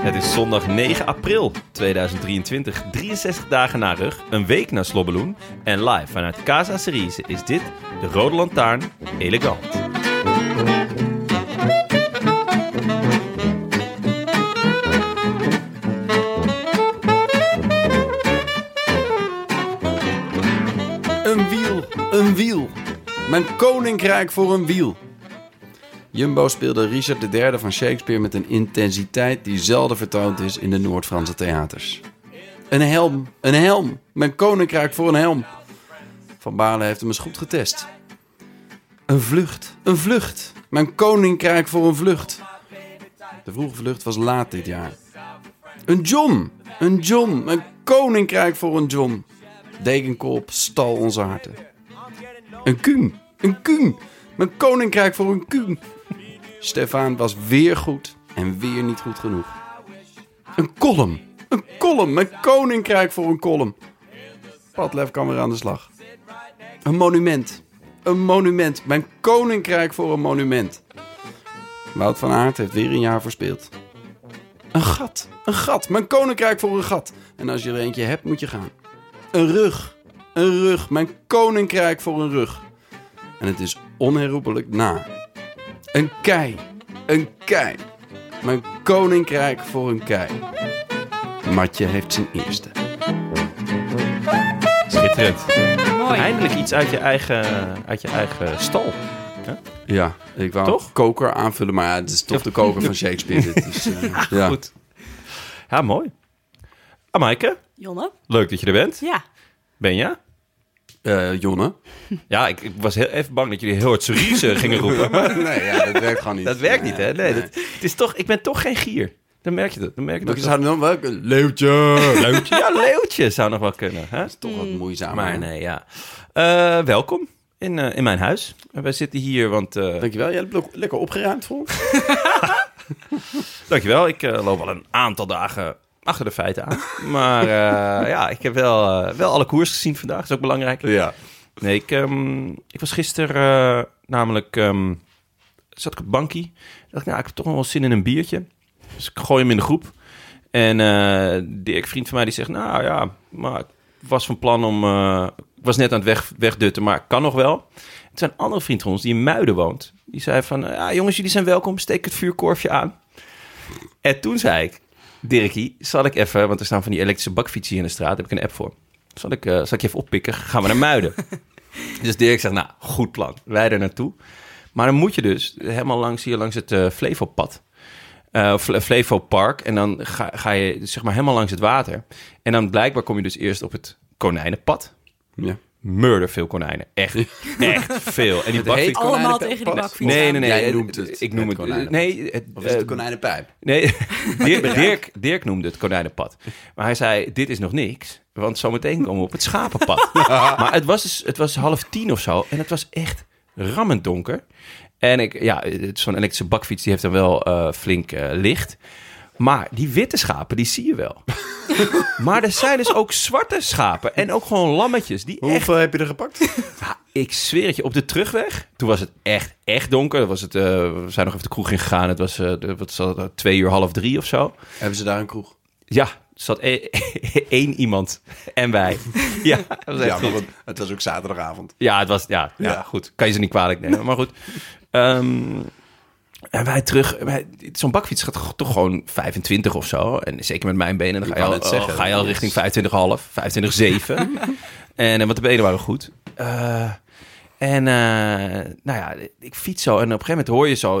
Het is zondag 9 april 2023, 63 dagen na rug, een week na Slobbeloen. En live vanuit Casa Cerise is dit de Rode Lantaarn Elegant. Een wiel, een wiel. Mijn koninkrijk voor een wiel. Jumbo speelde Richard III van Shakespeare met een intensiteit die zelden vertoond is in de Noord-Franse theaters. Een helm, een helm. Mijn koninkrijk voor een helm. Van Balen heeft hem eens goed getest. Een vlucht, een vlucht. Mijn koninkrijk voor een vlucht. De vroege vlucht was laat dit jaar. Een John, een John. Mijn koninkrijk voor een John. Degenkolp stal onze harten. Een kuun, een kuun. Mijn koninkrijk voor een kuun. Stefan was weer goed en weer niet goed genoeg. Een kolom, een kolom. Mijn koninkrijk voor een kolom. Padlef kan weer aan de slag. Een monument, een monument. Mijn koninkrijk voor een monument. Wout van Aert heeft weer een jaar verspeeld. Een gat, een gat. Mijn koninkrijk voor een gat. En als je er eentje hebt, moet je gaan. Een rug. Een rug. Mijn koninkrijk voor een rug. En het is onherroepelijk na. Een kei. Een kei. Mijn koninkrijk voor een kei. Matje heeft zijn eerste. Schitterend. Mooi. Eindelijk iets uit je eigen, uit je eigen stal. Ja, ik wou Toch? koker aanvullen, maar ja, het is toch de koker van Shakespeare. Dit is, eh, ja. Goed. Ja, mooi. Amaike, Jonne? leuk dat je er bent. Ja. Benja? Eh, Jonne? Ja, ik, ik was heel even bang dat jullie heel hard Cerise gingen roepen. Nee, ja, dat werkt gewoon niet. Dat werkt niet, hè? Nee, dat, het is toch, ik ben toch geen gier. Dan merk je dat. Dan merk je dat. We zouden dan wel... Leeuwtje! Leeuwtje? Ja, leeuwtje zou nog wel kunnen. Hè? Toch wat moeizaam. Maar hè? nee, ja. Eh, welkom in, eh, in mijn huis. En wij zitten hier, want... eh Dankjewel, jij hebt nog lekker opgeruimd voor ons. dankjewel, ik eh, loop al een aantal dagen achter de feiten aan. Maar eh, ja, ik heb wel, eh, wel alle koers gezien vandaag. Dat is ook belangrijk. Ja. Nee, ik, ehm, ik was gisteren eh, namelijk... ehm, zat ik op het bankie. dacht ik, nou, ik heb toch nog wel zin in een biertje. Dus ik gooi hem in de groep. En eh Dirk, vriend van mij, die zegt... Nou ja, maar ik was van plan om... eh, ik was net aan het weg, wegdutten, maar ik kan nog wel. Het zijn andere vriend van ons die in Muiden woont. Die zei van... eh, Ja, jongens, jullie zijn welkom. Steek het vuurkorfje aan. En toen zei ik... Dirkie, zal ik even... Want er staan van die elektrische bakfietsen hier in de straat. Daar heb ik een app voor. Zal ik, eh, zal ik je even oppikken? Gaan we naar Muiden. dus Dirk zegt... Nou, goed plan. Wij er naartoe. Maar dan moet je dus helemaal langs hier langs het eh Flevopad. eh, Fle- Flevopark. En dan ga, ga je zeg maar helemaal langs het water. En dan blijkbaar kom je dus eerst op het konijnenpad. ja. Murder veel konijnen. Echt, echt veel. En die heet bakfiets... konijnen- Allemaal tegen die Pas. bakfiets. Nee, nee, nee. Jij eh, noemt het Ik noem het het. konijnenpad. nee, het, Of is het eh, de konijnenpijp? Nee, Dirk, Dirk, Dirk noemde het konijnenpad. Maar hij zei, dit is nog niks, want zometeen komen we op het schapenpad. maar het was, dus, het was half tien of zo en het was echt rammend donker. En ik, ja, het- zo'n elektrische bakfiets die heeft dan wel eh, flink eh, licht. Maar die witte schapen, die zie je wel. maar er zijn dus ook zwarte schapen en ook gewoon lammetjes die echt heb je er gepakt? ja, Ah, ik zweer het je, op de terugweg, toen was het echt, echt donker. Dan Was het, eh, we eh, zijn nog even de kroeg ingegaan. Het was eh, de- wat zal het, nou, twee uur, half drie of zo. Hebben ze daar een kroeg? Ja, zat e- één iemand en wij. ja, dat was echt Ja, maar goed. goed, het was ook zaterdagavond. Ja, het was, ja, ja, Ja. goed. Kan je ze niet kwalijk nemen, maar goed. Ehm, en wij terug, wij- zo'n bakfiets gaat toch gewoon 25 of zo. En zeker met mijn benen, dan Ik ga je wou al, net zeggen, ga je al dat is- richting 25,5, 25,7. en, eh, want de benen waren goed. Eh, en eh, nou ja, ik fiets zo en op een gegeven moment hoor je zo...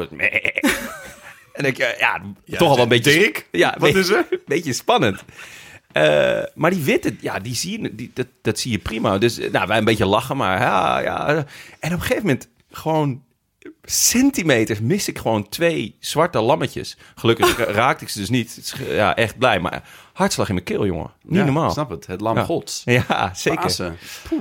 En ik, ja, ja, toch al wel een beetje... Dirk? Ja, Wat be- is er? Beetje spannend. Eh, maar die witte, ja, die zie je, die, dat, dat zie je prima. Dus eh, nou, wij een beetje lachen, maar ja, ja. En op een gegeven moment gewoon centimeters mis ik gewoon twee zwarte lammetjes. Gelukkig Ah. ra- raakte ik ze dus niet. Het is ge- Ja, echt blij. Maar hartslag in mijn keel, jongen. Niet Ja, normaal. Snap het, het lam Ja. gods. Ja, zeker. Pasen.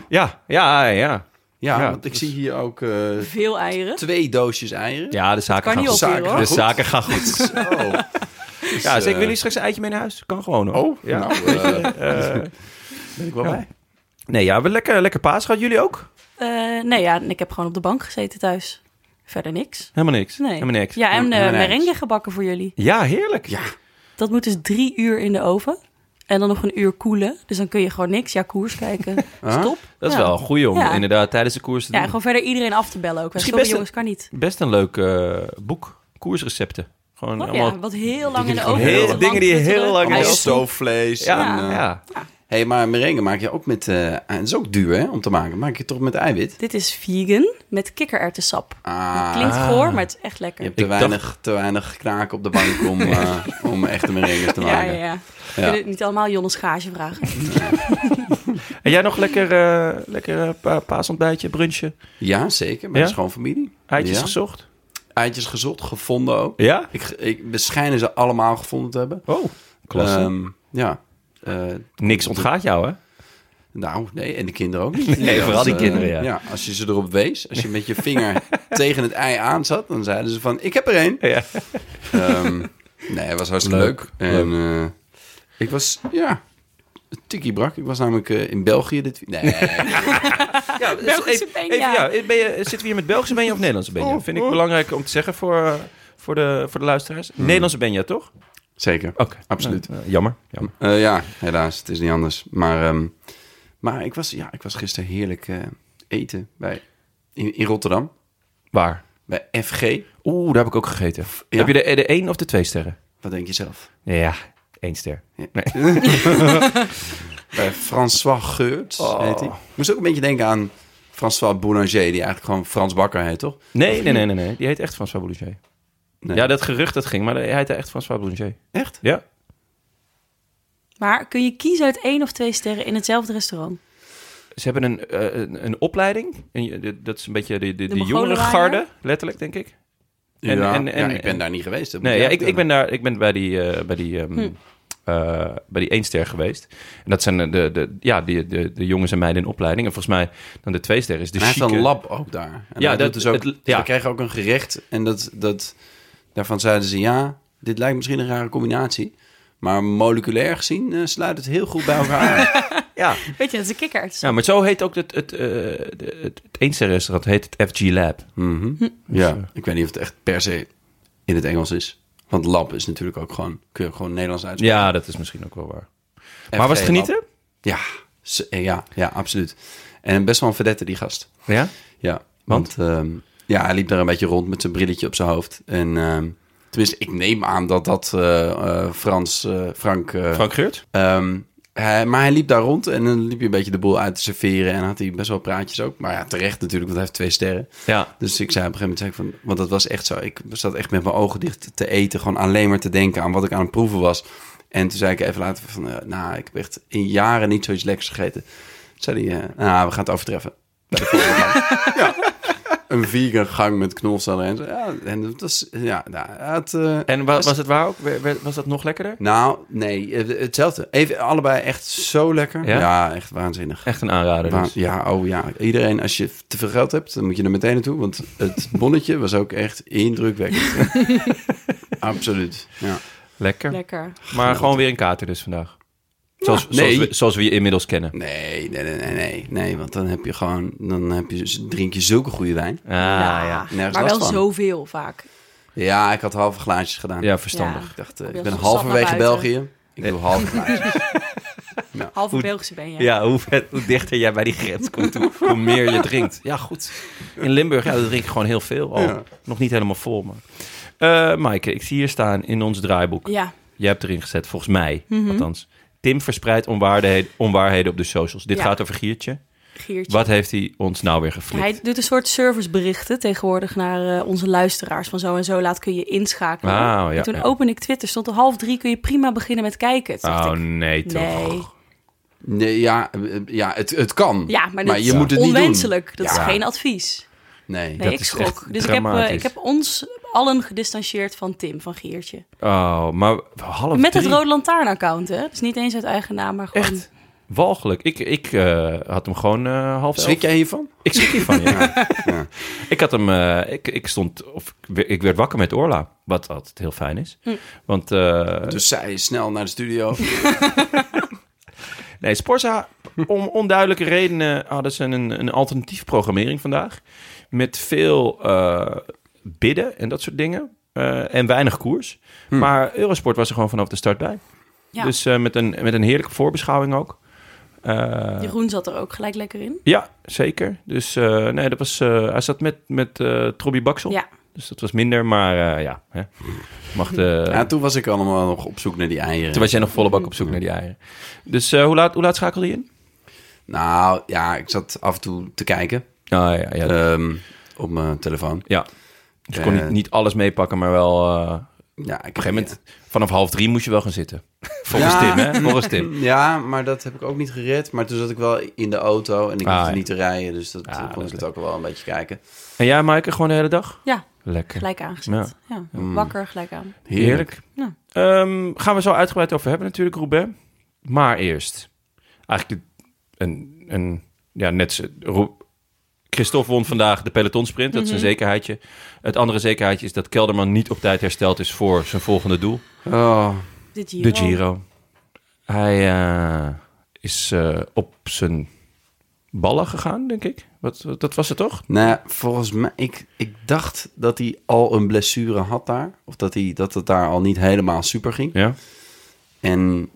Ja, ja, ja. Ja, Ja, want ik zie hier ook eh, Veel eieren. twee doosjes eieren. Ja, de zaken kan gaan niet goed. op. Zaken hoor. gaan De goed. zaken gaan goed. Zo. Ja, Dus, zeker. eh, Wil je straks een eitje mee naar huis? Kan gewoon hoor. Oh, ja. nou, eh, ben ik wel bij. Nee, ja, we hebben lekker, lekker paas gehad. Jullie ook? Eh, nee, ja, ik heb gewoon op de bank gezeten thuis. Verder niks. Helemaal niks. Nee. Helemaal niks. Ja, en eh Helemaal niks. merengue gebakken voor jullie. Ja, heerlijk. Ja. Dat moet dus drie uur in de oven. En dan nog een uur koelen. Dus dan kun je gewoon niks. Ja, koers kijken. Stop. Dat is Ja. wel een goeie om Ja. inderdaad tijdens de koers te Ja, doen. gewoon verder iedereen af te bellen ook. Misschien Sorry best een- jongens, kan niet. Best een leuk eh, boek. Koersrecepten. Gewoon Wat, allemaal... Oh ja, wat heel lang in de gewoon oven. heel- zitten, lang dingen die heel pruttelen. lang in de allemaal oven- stoofvlees. Ja, en, ja. eh, ja. hey, maar merengue maak je ook met... eh, ah, het is ook duur hè, om te maken. Maak je het toch met eiwit? Dit is vegan met kikkererwtensap. Ah. Klinkt goor, maar het is echt lekker. Je hebt te Ik dacht- weinig, te weinig kraken op de bank om, eh, om echte merengues te ja, maken. ja, ja. Ja. We kunnen het niet allemaal Jonnes Gage vragen. En jij nog lekker, eh lekker eh, pa- paasontbijtje, brunchje, Ja, zeker. Bij Ja? de schoonfamilie. eitjes ja. gezocht? Eitjes gezocht, gevonden ook. Ja? Ik, ik, we schijnen ze allemaal gevonden te hebben. Oh, klasse. Ehm, ja. Eh, Niks ontgaat jou, hè? nou, nee, en de kinderen ook niet. eh, Nee, vooral die kinderen, ja. Als je ze erop wees, als je met je vinger tegen het ei aan zat, dan zeiden ze van, ik heb er één. Ja. Ehm, nee, het was hartstikke leuk. Leuk, En eh, ik was, ja, tikkie brak. Ik was namelijk eh, in België dit... Nee, ja Belgische even- ben even- ja. ja, eh, ben je, zitten we hier met Belgische benja of Nederlandse benja? Vind ik belangrijk om te zeggen voor, eh, voor, de, voor de luisteraars. Nederlandse benja, toch? Hmm. Oké. zeker. Absoluut. Eh, eh, jammer. jammer. Eh, ja, helaas. Het is niet anders. Maar, ehm, maar ik, was, ja, ik was gisteren heerlijk eh, eten bij, in, in Rotterdam. Waar? Bij FG. Oeh, daar heb ik ook gegeten. ja. Heb je de, de één of de twee sterren? Wat denk je zelf? Ja, één ster. Bij Eh, François Geurts Oh. heet hij. Moest ook een beetje denken aan François Boulanger, die eigenlijk gewoon Frans Bakker heet, toch? Nee, nee, nee, nee, nee. Die heet echt François Boulanger. Nee. Ja, dat gerucht dat ging, maar hij heette echt François Boulanger. Echt? Ja. Maar kun je kiezen uit één of twee sterren in hetzelfde restaurant? Ze hebben een, eh, een, een opleiding. En je- de- dat is een beetje de, de, de, Mongolen jongere waren garde, letterlijk, denk ik. En- ja. en- en- ja, ik ben daar niet geweest. dat moet Nee, jij ja, ik, ik, ben vertellen. daar, ik ben bij die, eh, bij die, ehm, Hm. eh, bij die één ster geweest. En dat zijn de, de, de- ja, die, de, de jongens en meiden in opleiding. En volgens mij dan de twee ster is de En hij heeft een chique- lab ook daar. En Ja, ja, dat- dat is ook. het- dus ja. We kregen ook een gerecht en dat, dat, daarvan zeiden ze ja. Dit lijkt misschien een rare combinatie, maar moleculair gezien eh, sluit het heel goed bij elkaar aan. Ja. Weet je, dat is een kikkererwtensap. ja, maar zo heet ook het, het, eh, de- het, het één ster restaurant, heet het FG Lab. Mhm. Ja, ik weet niet of het echt per se in het Engels is. Want lab is natuurlijk ook gewoon, kun je gewoon Nederlands uitspreken. Ja, dat is misschien ook wel waar. Maar was het genieten? Ja, s- eh, ja, ja, absoluut. En best wel een verdette die gast. Ja? Ja, Want? want, ehm, ja, hij liep daar een beetje rond met zijn brilletje op zijn hoofd. En ehm, tenminste, ik neem aan dat dat eh, eh, Frans, eh, Frank... eh, Frank Geurt? ehm, hij, maar hij liep daar rond en dan liep hij een beetje de boel uit te serveren. En had hij best wel praatjes ook. Maar ja, terecht natuurlijk, want hij heeft twee sterren. Ja. Dus ik zei op een gegeven moment, zei ik van, want dat was echt zo. Ik zat echt met mijn ogen dicht te eten, gewoon alleen maar te denken aan wat ik aan het proeven was. En toen zei ik even later van, eh, nou, ik heb echt in jaren niet zoiets lekkers gegeten. Toen zei hij, eh, nou, we gaan het overtreffen. Bij de volgende gang. ja. Een vegan gang met knolsel en zo. Ja, en dat was, ja, nou, het, eh, En wa- was het waar ook? We- we- Was dat nog lekkerder? nou, nee, eh, hetzelfde. Even, allebei echt zo lekker. Ja? Ja, echt waanzinnig. Echt een aanrader. Wa- dus. Ja, oh ja. Iedereen, als je te veel geld hebt, dan moet je er meteen naartoe. Want het bonnetje was ook echt indrukwekkend. Absoluut. Ja. Lekker. Lekker. Maar gewoon weer een kater dus vandaag. Zoals, zoals, nee. we, zoals we je inmiddels kennen. Nee, nee, nee, nee, nee, nee. Want dan heb je gewoon, dan heb je, drink je zulke goede wijn. Ah, ja. Ja, Nergens Maar wel last van. zoveel vaak. Ja, ik had halve glaasjes gedaan. verstandig. Ik dacht, eh, Kom je ik ben als een sap naar halverwege buiten. België. Ik doe half glaasjes. Halve Hoe- Belgische ben je. Ja, hoe, ver- hoe dichter jij bij die grens komt, hoe, hoe meer je drinkt. Ja, goed. In Limburg ja, dat drink ik gewoon heel veel. Al. Ja. Nog niet helemaal vol, maar... Eh Maaike, ik zie hier staan in ons draaiboek. Ja, Jij hebt erin gezet, volgens mij, althans. Tim verspreidt onwaarheden, onwaarheden op de socials. Dit Ja. gaat over Giertje. Geertje. Wat heeft hij ons nou weer geflikt? Hij doet een soort serviceberichten tegenwoordig naar eh, onze luisteraars. Van zo en zo laat kun je inschakelen. Wauw, Ah, ja, en toen ja. open ik Twitter, stond om half drie kun je prima beginnen met kijken. Toen dacht Oh ik, nee, toch. nee. Nee, ja, eh, ja het, het kan. Ja, maar, dat je moet het niet doen. onwenselijk. Dat Ja. is geen advies. Nee. Nee, Dat ik is schrok. echt Dus ik heb, eh, dramatisch. ik heb ons allen gedistanceerd van Tim, van Geertje. Oh, maar half Met het drie? Rode Lantaarn-account, hè? Dus niet eens uit eigen naam, maar gewoon... Echt walgelijk. Ik, ik eh, had hem gewoon eh half Schrik elf. jij hiervan? Ik schrik hiervan, ja. ja. Ik had hem... eh, ik, ik stond... Of, ik werd- ik werd wakker met Orla. Wat altijd heel fijn is. Hm. Want... eh, Dus zij is snel naar de studio. Nee, Sporza, om onduidelijke redenen hadden ze een, een alternatief programmering vandaag. Met veel eh, bidden en dat soort dingen. eh, en weinig koers. Maar Eurosport was er gewoon vanaf de start bij. Ja. Dus eh, met, een, met een heerlijke voorbeschouwing ook. Eh, Jeroen zat er ook gelijk lekker in. ja, zeker. Dus eh, nee, dat was, eh, hij zat met, met eh Trobby Baksel. Ja, Dus dat was minder, maar eh, ja. Hè. Mag de, Ja, toen was ik allemaal nog op zoek naar die eieren. Toen was jij nog volle bak op zoek naar die eieren. Dus eh, hoe, laat, hoe laat schakelde je in? Nou ja, ik zat af en toe te kijken Nou ja, ja ehm, op mijn telefoon. Ja. Dus je kon niet, Eh. niet alles meepakken, maar wel... eh, op Ja, ik een gegeven moment, vanaf half drie moest je wel gaan zitten. Volgens Ja. Tim, hè? Volgens Tim. Mm, Ja, maar dat heb ik ook niet gered. Maar toen zat ik wel in de auto en ik Ah, hoefde ja. niet te rijden. Dus dat Ah, eh, kon dat ik is het ook wel een beetje kijken. En jij, Maaike, gewoon de hele dag? ja Lekker. gelijk aangezet. Ja. Wakker, gelijk aan. Heerlijk. Ja. Ehm, gaan we zo uitgebreid over hebben natuurlijk, Roubaix. Maar eerst, eigenlijk een... een ja, net zo- Rou- Christophe won vandaag de pelotonsprint. Dat is een zekerheidje. Het andere zekerheidje is dat Kelderman niet op tijd hersteld is voor zijn volgende doel. Oh, De Giro. De Giro. Hij eh, is eh, op zijn ballen gegaan, denk ik. Wat, wat- dat was het toch? Nou, ja, volgens mij, ik, ik dacht dat hij al een blessure had daar. Of dat, hij, dat het daar al niet helemaal super ging. Ja. En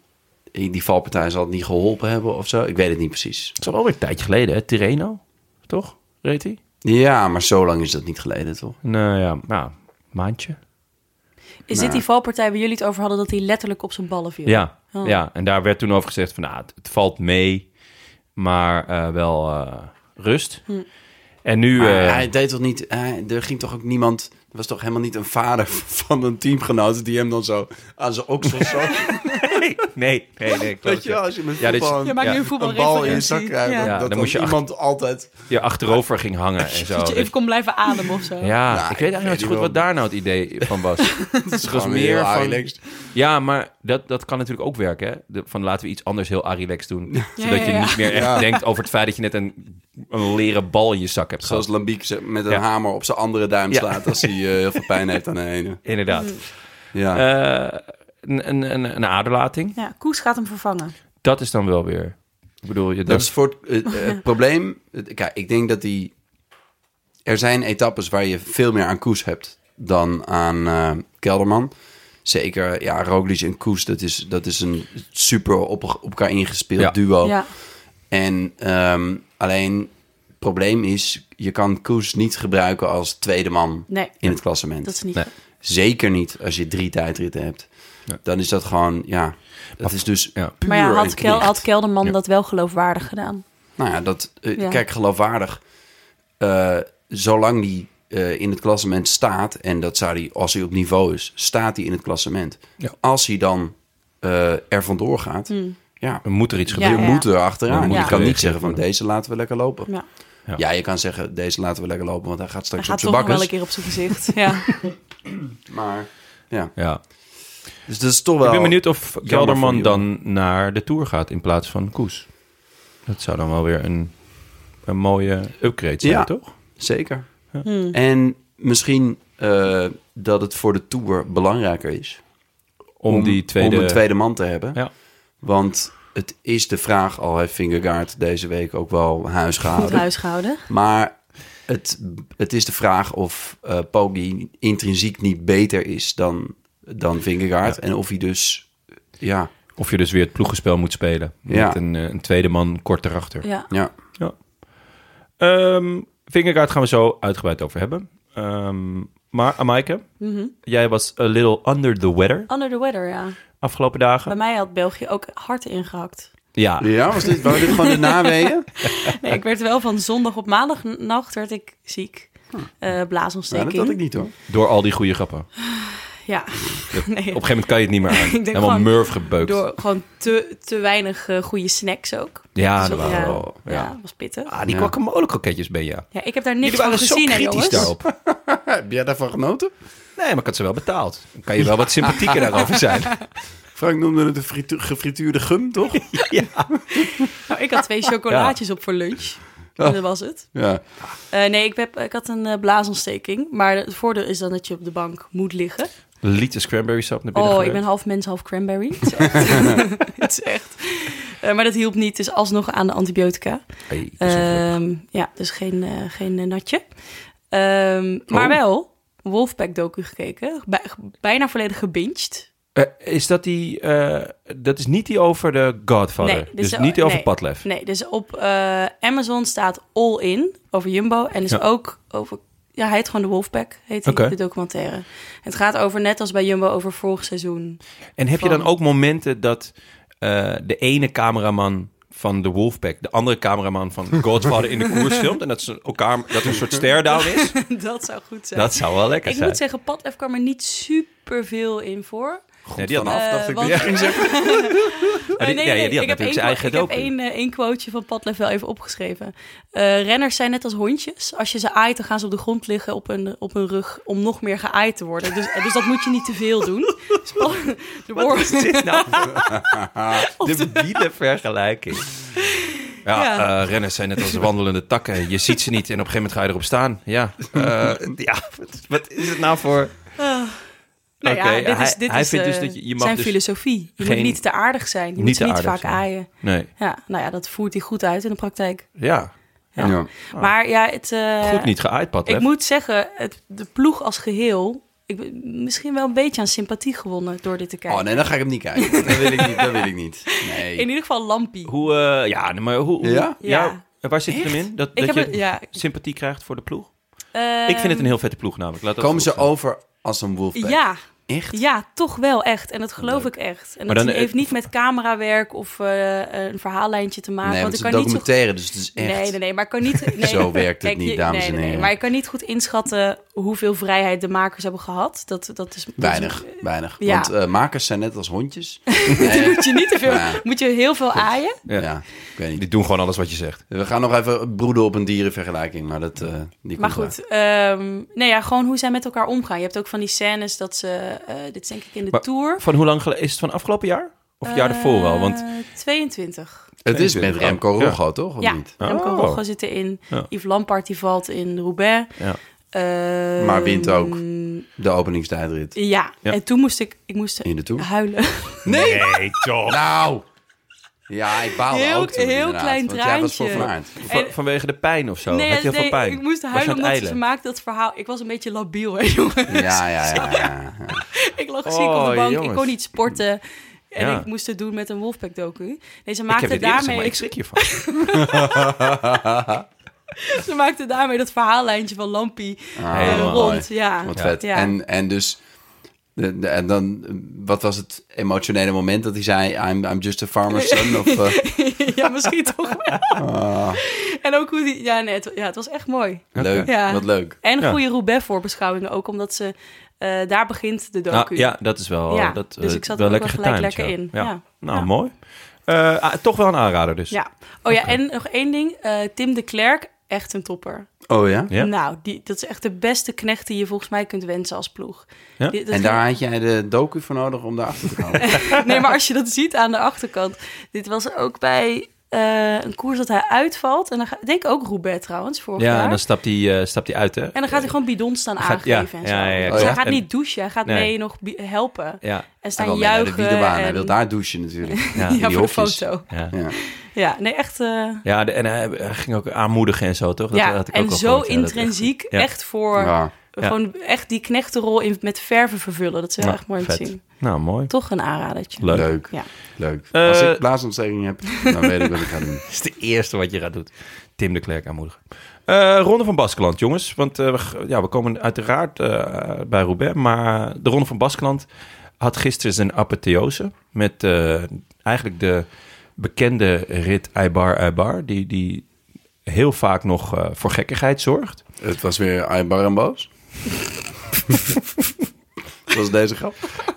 die valpartij zal het niet geholpen hebben of zo. Ik weet het niet precies. Het is al alweer een tijdje geleden, hè? Tirreno, toch? Reed hij? Ja, maar zo lang is dat niet geleden, toch? Nou ja, nou, maandje. Is dit die valpartij waar jullie het over hadden dat hij letterlijk op zijn ballen viel? Ja, Oh. ja. En daar werd toen over gezegd van, nou, het, het valt mee, maar eh, wel eh, rust. Hm. En nu... Maar eh, hij deed toch niet... Hij, er ging toch ook niemand... Er was toch helemaal niet een vader van een teamgenoot... die hem dan zo aan zijn oksels zo... nee, nee, nee, nee, ik geloof Weet het, je, ja. wel, als je met Ja, dit is- voetbal een- Je maakt Ja, nu een een een bal in je voetbalreferentie. zak krijgt... Ja. dat- Ja, dat dan dan moet je iemand altijd... Je achterover ging hangen en zo. Dat je weet even kon blijven ademen of zo. Oh, Ja, Ja, ik weet eigenlijk Nou, ik niet weet zo goed niet wat daar nou het idee van was. het was gewoon heel meer van... relaxed. Ja, maar dat, dat kan natuurlijk ook werken. Hè? De- van laten we iets anders heel Arilex doen. zodat ja, je ja. niet meer echt Ja. denkt over het feit dat je net een, een leren bal in je zak hebt Zoals gehad. Lambiek ze- met een Ja. hamer op zijn andere duim Ja. slaat... als hij eh, heel veel pijn heeft aan de ene. Inderdaad. Mm. Ja. Eh, een, een, een, een aderlating. Ja, Koes gaat hem vervangen. Dat is dan wel weer... Ik bedoel, je Dat is voor het, eh, het probleem. Het- Kijk, ik denk dat die. Er zijn etappes waar je veel meer aan Koes hebt dan aan eh, Kelderman. Zeker, ja, Roglic en Koes, dat is, dat is een super op, op elkaar ingespeeld Ja. duo. Ja. En ehm, alleen het probleem is, je kan Koes niet gebruiken als tweede man Nee, in het klassement. dat is niet. Nee. Zeker niet als je drie tijdritten hebt. Dan is dat gewoon, ja, dat is dus ja. puur Maar ja, had, een Kel, knecht. had Kelderman dat wel geloofwaardig gedaan? Nou ja, dat, eh, Ja. kijk, geloofwaardig. eh, zolang die eh, in het klassement staat, en dat zou hij, als hij op niveau is, staat hij in het klassement. Ja. Als hij dan eh, er vandoor gaat, ja, Er moet er iets Hmm. Ja, je gebeuren. moet er achteraan. Dan moet Je je kan niet reageren. zeggen van deze laten we lekker lopen. Ja. Ja. Ja. je kan zeggen deze laten we lekker lopen, want hij gaat Hij straks gaat op zijn toch nog wel bakkers. een keer op zijn gezicht. Ja. Maar ja, Ja. dus dat is toch wel. Ik ben benieuwd of Kelderman voor jullie. dan naar de Tour gaat in plaats van Koes. Dat zou dan wel weer een, een mooie upgrade zijn, Ja. toch? Zeker. Hmm. En misschien eh, dat het voor de tour belangrijker is Om, die tweede... om een tweede man te hebben. Ja. Want het is de vraag, al heeft Fingergaard deze week ook wel huis Goed gehouden. huishouden. Maar het, het is de vraag of eh Poggi intrinsiek niet beter is dan, dan Fingergaard. En of hij dus, ja, Of je dus weer het ploegenspel moet spelen. Ja. Met een, eh, een tweede man kort erachter. Ja. Ja. Ehm Vingerkaart gaan we zo uitgebreid over hebben. Ehm, maar Amaike, Mhm. jij was a little under the weather Under the weather, ja. afgelopen Bij dagen. mij had België ook hard ingehakt. Ja, Ja, was dit, waren dit gewoon de naweeën? Nee, ik werd wel van zondag op maandagnacht werd ik ziek. Eh, Nou, blaasontsteking. dat had ik niet hoor. door al die goede grappen. Ja. Op een nee, gegeven moment kan je het niet meer aan. denk Helemaal gewoon murf gebeukt. door gewoon te, te weinig eh, goede snacks ook. Ja, Dus Ah, dat dat- waren ja. wel. Ja. Ja, was pittig. Ah, die Ja. guacamole kroketjes ben je. Ja, ik heb daar niks Jullie van waren zo gezien, hè, kritisch jongens. daarop. Heb jij daarvan genoten? Nee, maar ik had ze wel betaald. Dan kan je wel wat sympathieker daarover zijn. Frank noemde het een fritu- gefrituurde gum, toch? Nou, ik had twee chocolaatjes op voor lunch. Oh. En dat was het. Ja. Eh, nee, ik, heb, ik had een eh, blaasontsteking. Maar het voordeel is dan dat je op de bank moet liggen. Liter cranberry sap naar binnen Oh, ik gegooid. ben half mens, half cranberry. Het is echt. Het is echt. Eh, maar dat hielp niet. Dus alsnog aan de antibiotica. Hey, dat is ongelukkig. Ehm, ja, dus geen, eh, geen eh, natje. Ehm, Maar Oh. wel Wolfpack-docu gekeken. Bij- bijna volledig gebinged. Eh, is dat die... eh, dat is niet die over de Godfather. Nee, dit dus is- niet die over nee. Padlef. Nee, dus op eh, Amazon staat All In over Jumbo. En dus Ja. ook over... Ja, hij heet gewoon de Wolfpack, heet die, Oké. de documentaire. Het gaat over, net als bij Jumbo, over vorig seizoen. En heb je Van- dan ook momenten dat eh, de ene cameraman van de Wolfpack... de andere cameraman van Godfather in de koers filmt... en dat, ze elkaar, dat er een soort stare-down is? dat zou goed zijn. Dat zou wel lekker ik zijn. moet zeggen, Padlef kwam er niet super veel in voor. Nee, die had- vanaf. Eh, dacht ik want- dat je ging zeggen. Ja, Oh, die- nee, ja, nee, ja, die had ik natuurlijk heb één, zijn eigen quote- ik docu. heb één, eh, één quoteje van Padlef wel even opgeschreven. Eh, renners zijn net als hondjes. Als je ze aait, dan gaan ze op de grond liggen op hun, op hun rug om nog meer geaaid te worden. Dus, dus dat moet je niet te veel doen. Dus Pad- de Wat is woorden- dit nou? voor- de biele vergelijking. Ja, Ja. eh, renners zijn net als wandelende takken. Je ziet ze niet en op een gegeven moment ga je erop staan. Ja, eh, ja wat, wat is het nou voor... Nou Oké, ja, dit hij- is, dit hij is vindt dus eh, dat je- je mag zijn dus filosofie. Je geen- moet niet te aardig zijn. Je niet moet ze te niet aardig vaak zijn. aaien. Nee, Ja, nou ja, dat voert hij goed uit in de praktijk. ja. Ja. Maar ja, het... eh, Oh. Goed niet geaaid, Padlef. Ik moet zeggen, het, de ploeg als geheel... Ik ben misschien wel een beetje aan sympathie gewonnen door dit te kijken. Oh nee, dan ga ik hem niet kijken. Dat wil ik niet. Dat wil ik niet. Nee. In ieder geval Lampie. Hoe, eh, ja, nee, maar hoe... hoe- Ja? Ja. en Waar zit het hem in? Dat, Ik dat heb je het- ja. sympathie krijgt voor de ploeg? Ehm, ik vind het een heel vette ploeg namelijk. Laat dat Komen ze vooropstellen. over als een wolfpack? Ja, Echt? ja, toch wel echt. En dat geloof ik echt. En Maar dat dan, die eh, heeft niet met camerawerk of eh, een verhaallijntje te maken. nee, want het want ik is een kan niet zo documentaire, dus het is echt... Nee, nee, nee, maar ik kan niet... Nee, Zo werkt het niet, dames nee, en nee, nee, heren. maar ik kan niet goed inschatten hoeveel vrijheid de makers hebben gehad. Dat, dat is... dat is- Weinig, weinig. Ja. Want eh, makers zijn net als hondjes. Nee, Moet je niet te veel... Ja. Moet je heel veel aaien. ja. ik weet niet. Die doen gewoon alles wat je zegt. We gaan nog even broeden op een dierenvergelijking, maar dat... eh, die Maar komt wel. goed, ehm, nee, ja, gewoon hoe zij met elkaar omgaan. Je hebt ook van die scènes dat ze... eh, dit is denk ik in de Maar Tour. Van hoe lang gele- Is het van afgelopen jaar? Of het jaar ervoor wel? Want Eh, 22. Het is met 22. Remco Ja. Rogo, toch? Of ja, niet? Remco Oh. Rocco zit erin. Ja. Yves Lampaard die valt in Roubaix. Ja. Ehm, Maar wint ook. De openingstijdrit Ja. Ja. en toen moest ik, ik moest in de Tour. Oh, huilen. Nee, toch. Nou! Ja, ik baalde Heel- ook toen heel inderdaad, klein want jij was voor traantje. Van Aert. Van- vanwege de pijn of zo? Had je heel veel pijn? ik moest Was je huilen aan het omdat ze eilen? maakte dat verhaal. Ik was een beetje labiel, hè, jongens. Ja, ja, ja. ja, ja. Ik lag Oh, ziek op de bank, ik jongens. kon niet sporten. En Ja. ik moest het doen met een Wolfpack-docu. Nee, ze Ik heb maakte, dit eerder gezegd, maar daarmee, ik schrik hiervan. ze maakte daarmee dat verhaallijntje van Lampie Ah, eh, Helemaal rond. Ja. Wat Ja. vet. Ja. En, en dus... de- de- en dan, wat was het emotionele moment dat hij zei... I'm, I'm just a farmer's son? Of, eh, ja, misschien toch wel. Ah. En ook hoe die... Ja, nee, het, ja, het was echt mooi. leuk, Ja. wat leuk. En Ja. goede Roubaix-voorbeschouwingen ook, omdat ze... eh, daar begint de docu. Nou, ja, dat is wel, Ja, dat, dus eh, ik zat wel er ook lekker wel gelijk getimed, lekker in. Ja. Ja. Nou, Ja. mooi. Eh, ah, toch wel een aanrader dus. Ja. Oh ja, en nog één ding. eh, Tim de Klerk, echt een topper. Oh ja? Ja. Nou, die, dat is echt de beste knecht die je volgens mij kunt wensen als ploeg. Ja? Die- dat En daar had jij de docu voor nodig om daarachter te komen. Nee, maar als je dat ziet aan de achterkant. Dit was ook bij eh, een koers dat hij uitvalt. En dan ga, ik denk ook Roubaix trouwens, vorig Ja, jaar. en dan stapt hij eh, stapt hij uit, hè? En dan gaat hij gewoon bidons staan Gaat- aangeven ja, en zo. ja, ja, ja, dus hij klopt. gaat En- niet douchen, hij gaat Nee. mee nog bi- helpen. Ja, En Hij staan wil mee naar de juichen. Wiedewaan. Hij en- wil daar douchen natuurlijk. ja, ja, die voor hofjes. de foto. Ja, Ja. Ja, nee, echt... eh, ja de- en hij, hij ging ook aanmoedigen en zo, toch? Dat ja, had ik ook en al zo gehoord, ja, dat echt- intrinsiek ja. echt voor... Ja. Gewoon echt die knechtenrol in, met verven vervullen. Dat is heel Ja, erg mooi om vet. te zien. Nou, mooi. Toch een aanradertje. Leuk. Leuk. Ja. Leuk. Eh, Als ik blaasontsteking heb, dan weet ik wat ik ga doen. Dat is de eerste wat je gaat doen. Tim de Klerk aanmoedigen. Eh, Ronde van Baskeland, jongens. Want eh, we, g- ja, we komen uiteraard eh, bij Roubaix. Maar de Ronde van Baskeland had gisteren zijn apotheose. Met eh, eigenlijk de bekende rit Aibar Aibar. Die, die heel vaak nog eh, voor gekkigheid zorgt. Het was weer Aibar en Boos. Dat was deze grap.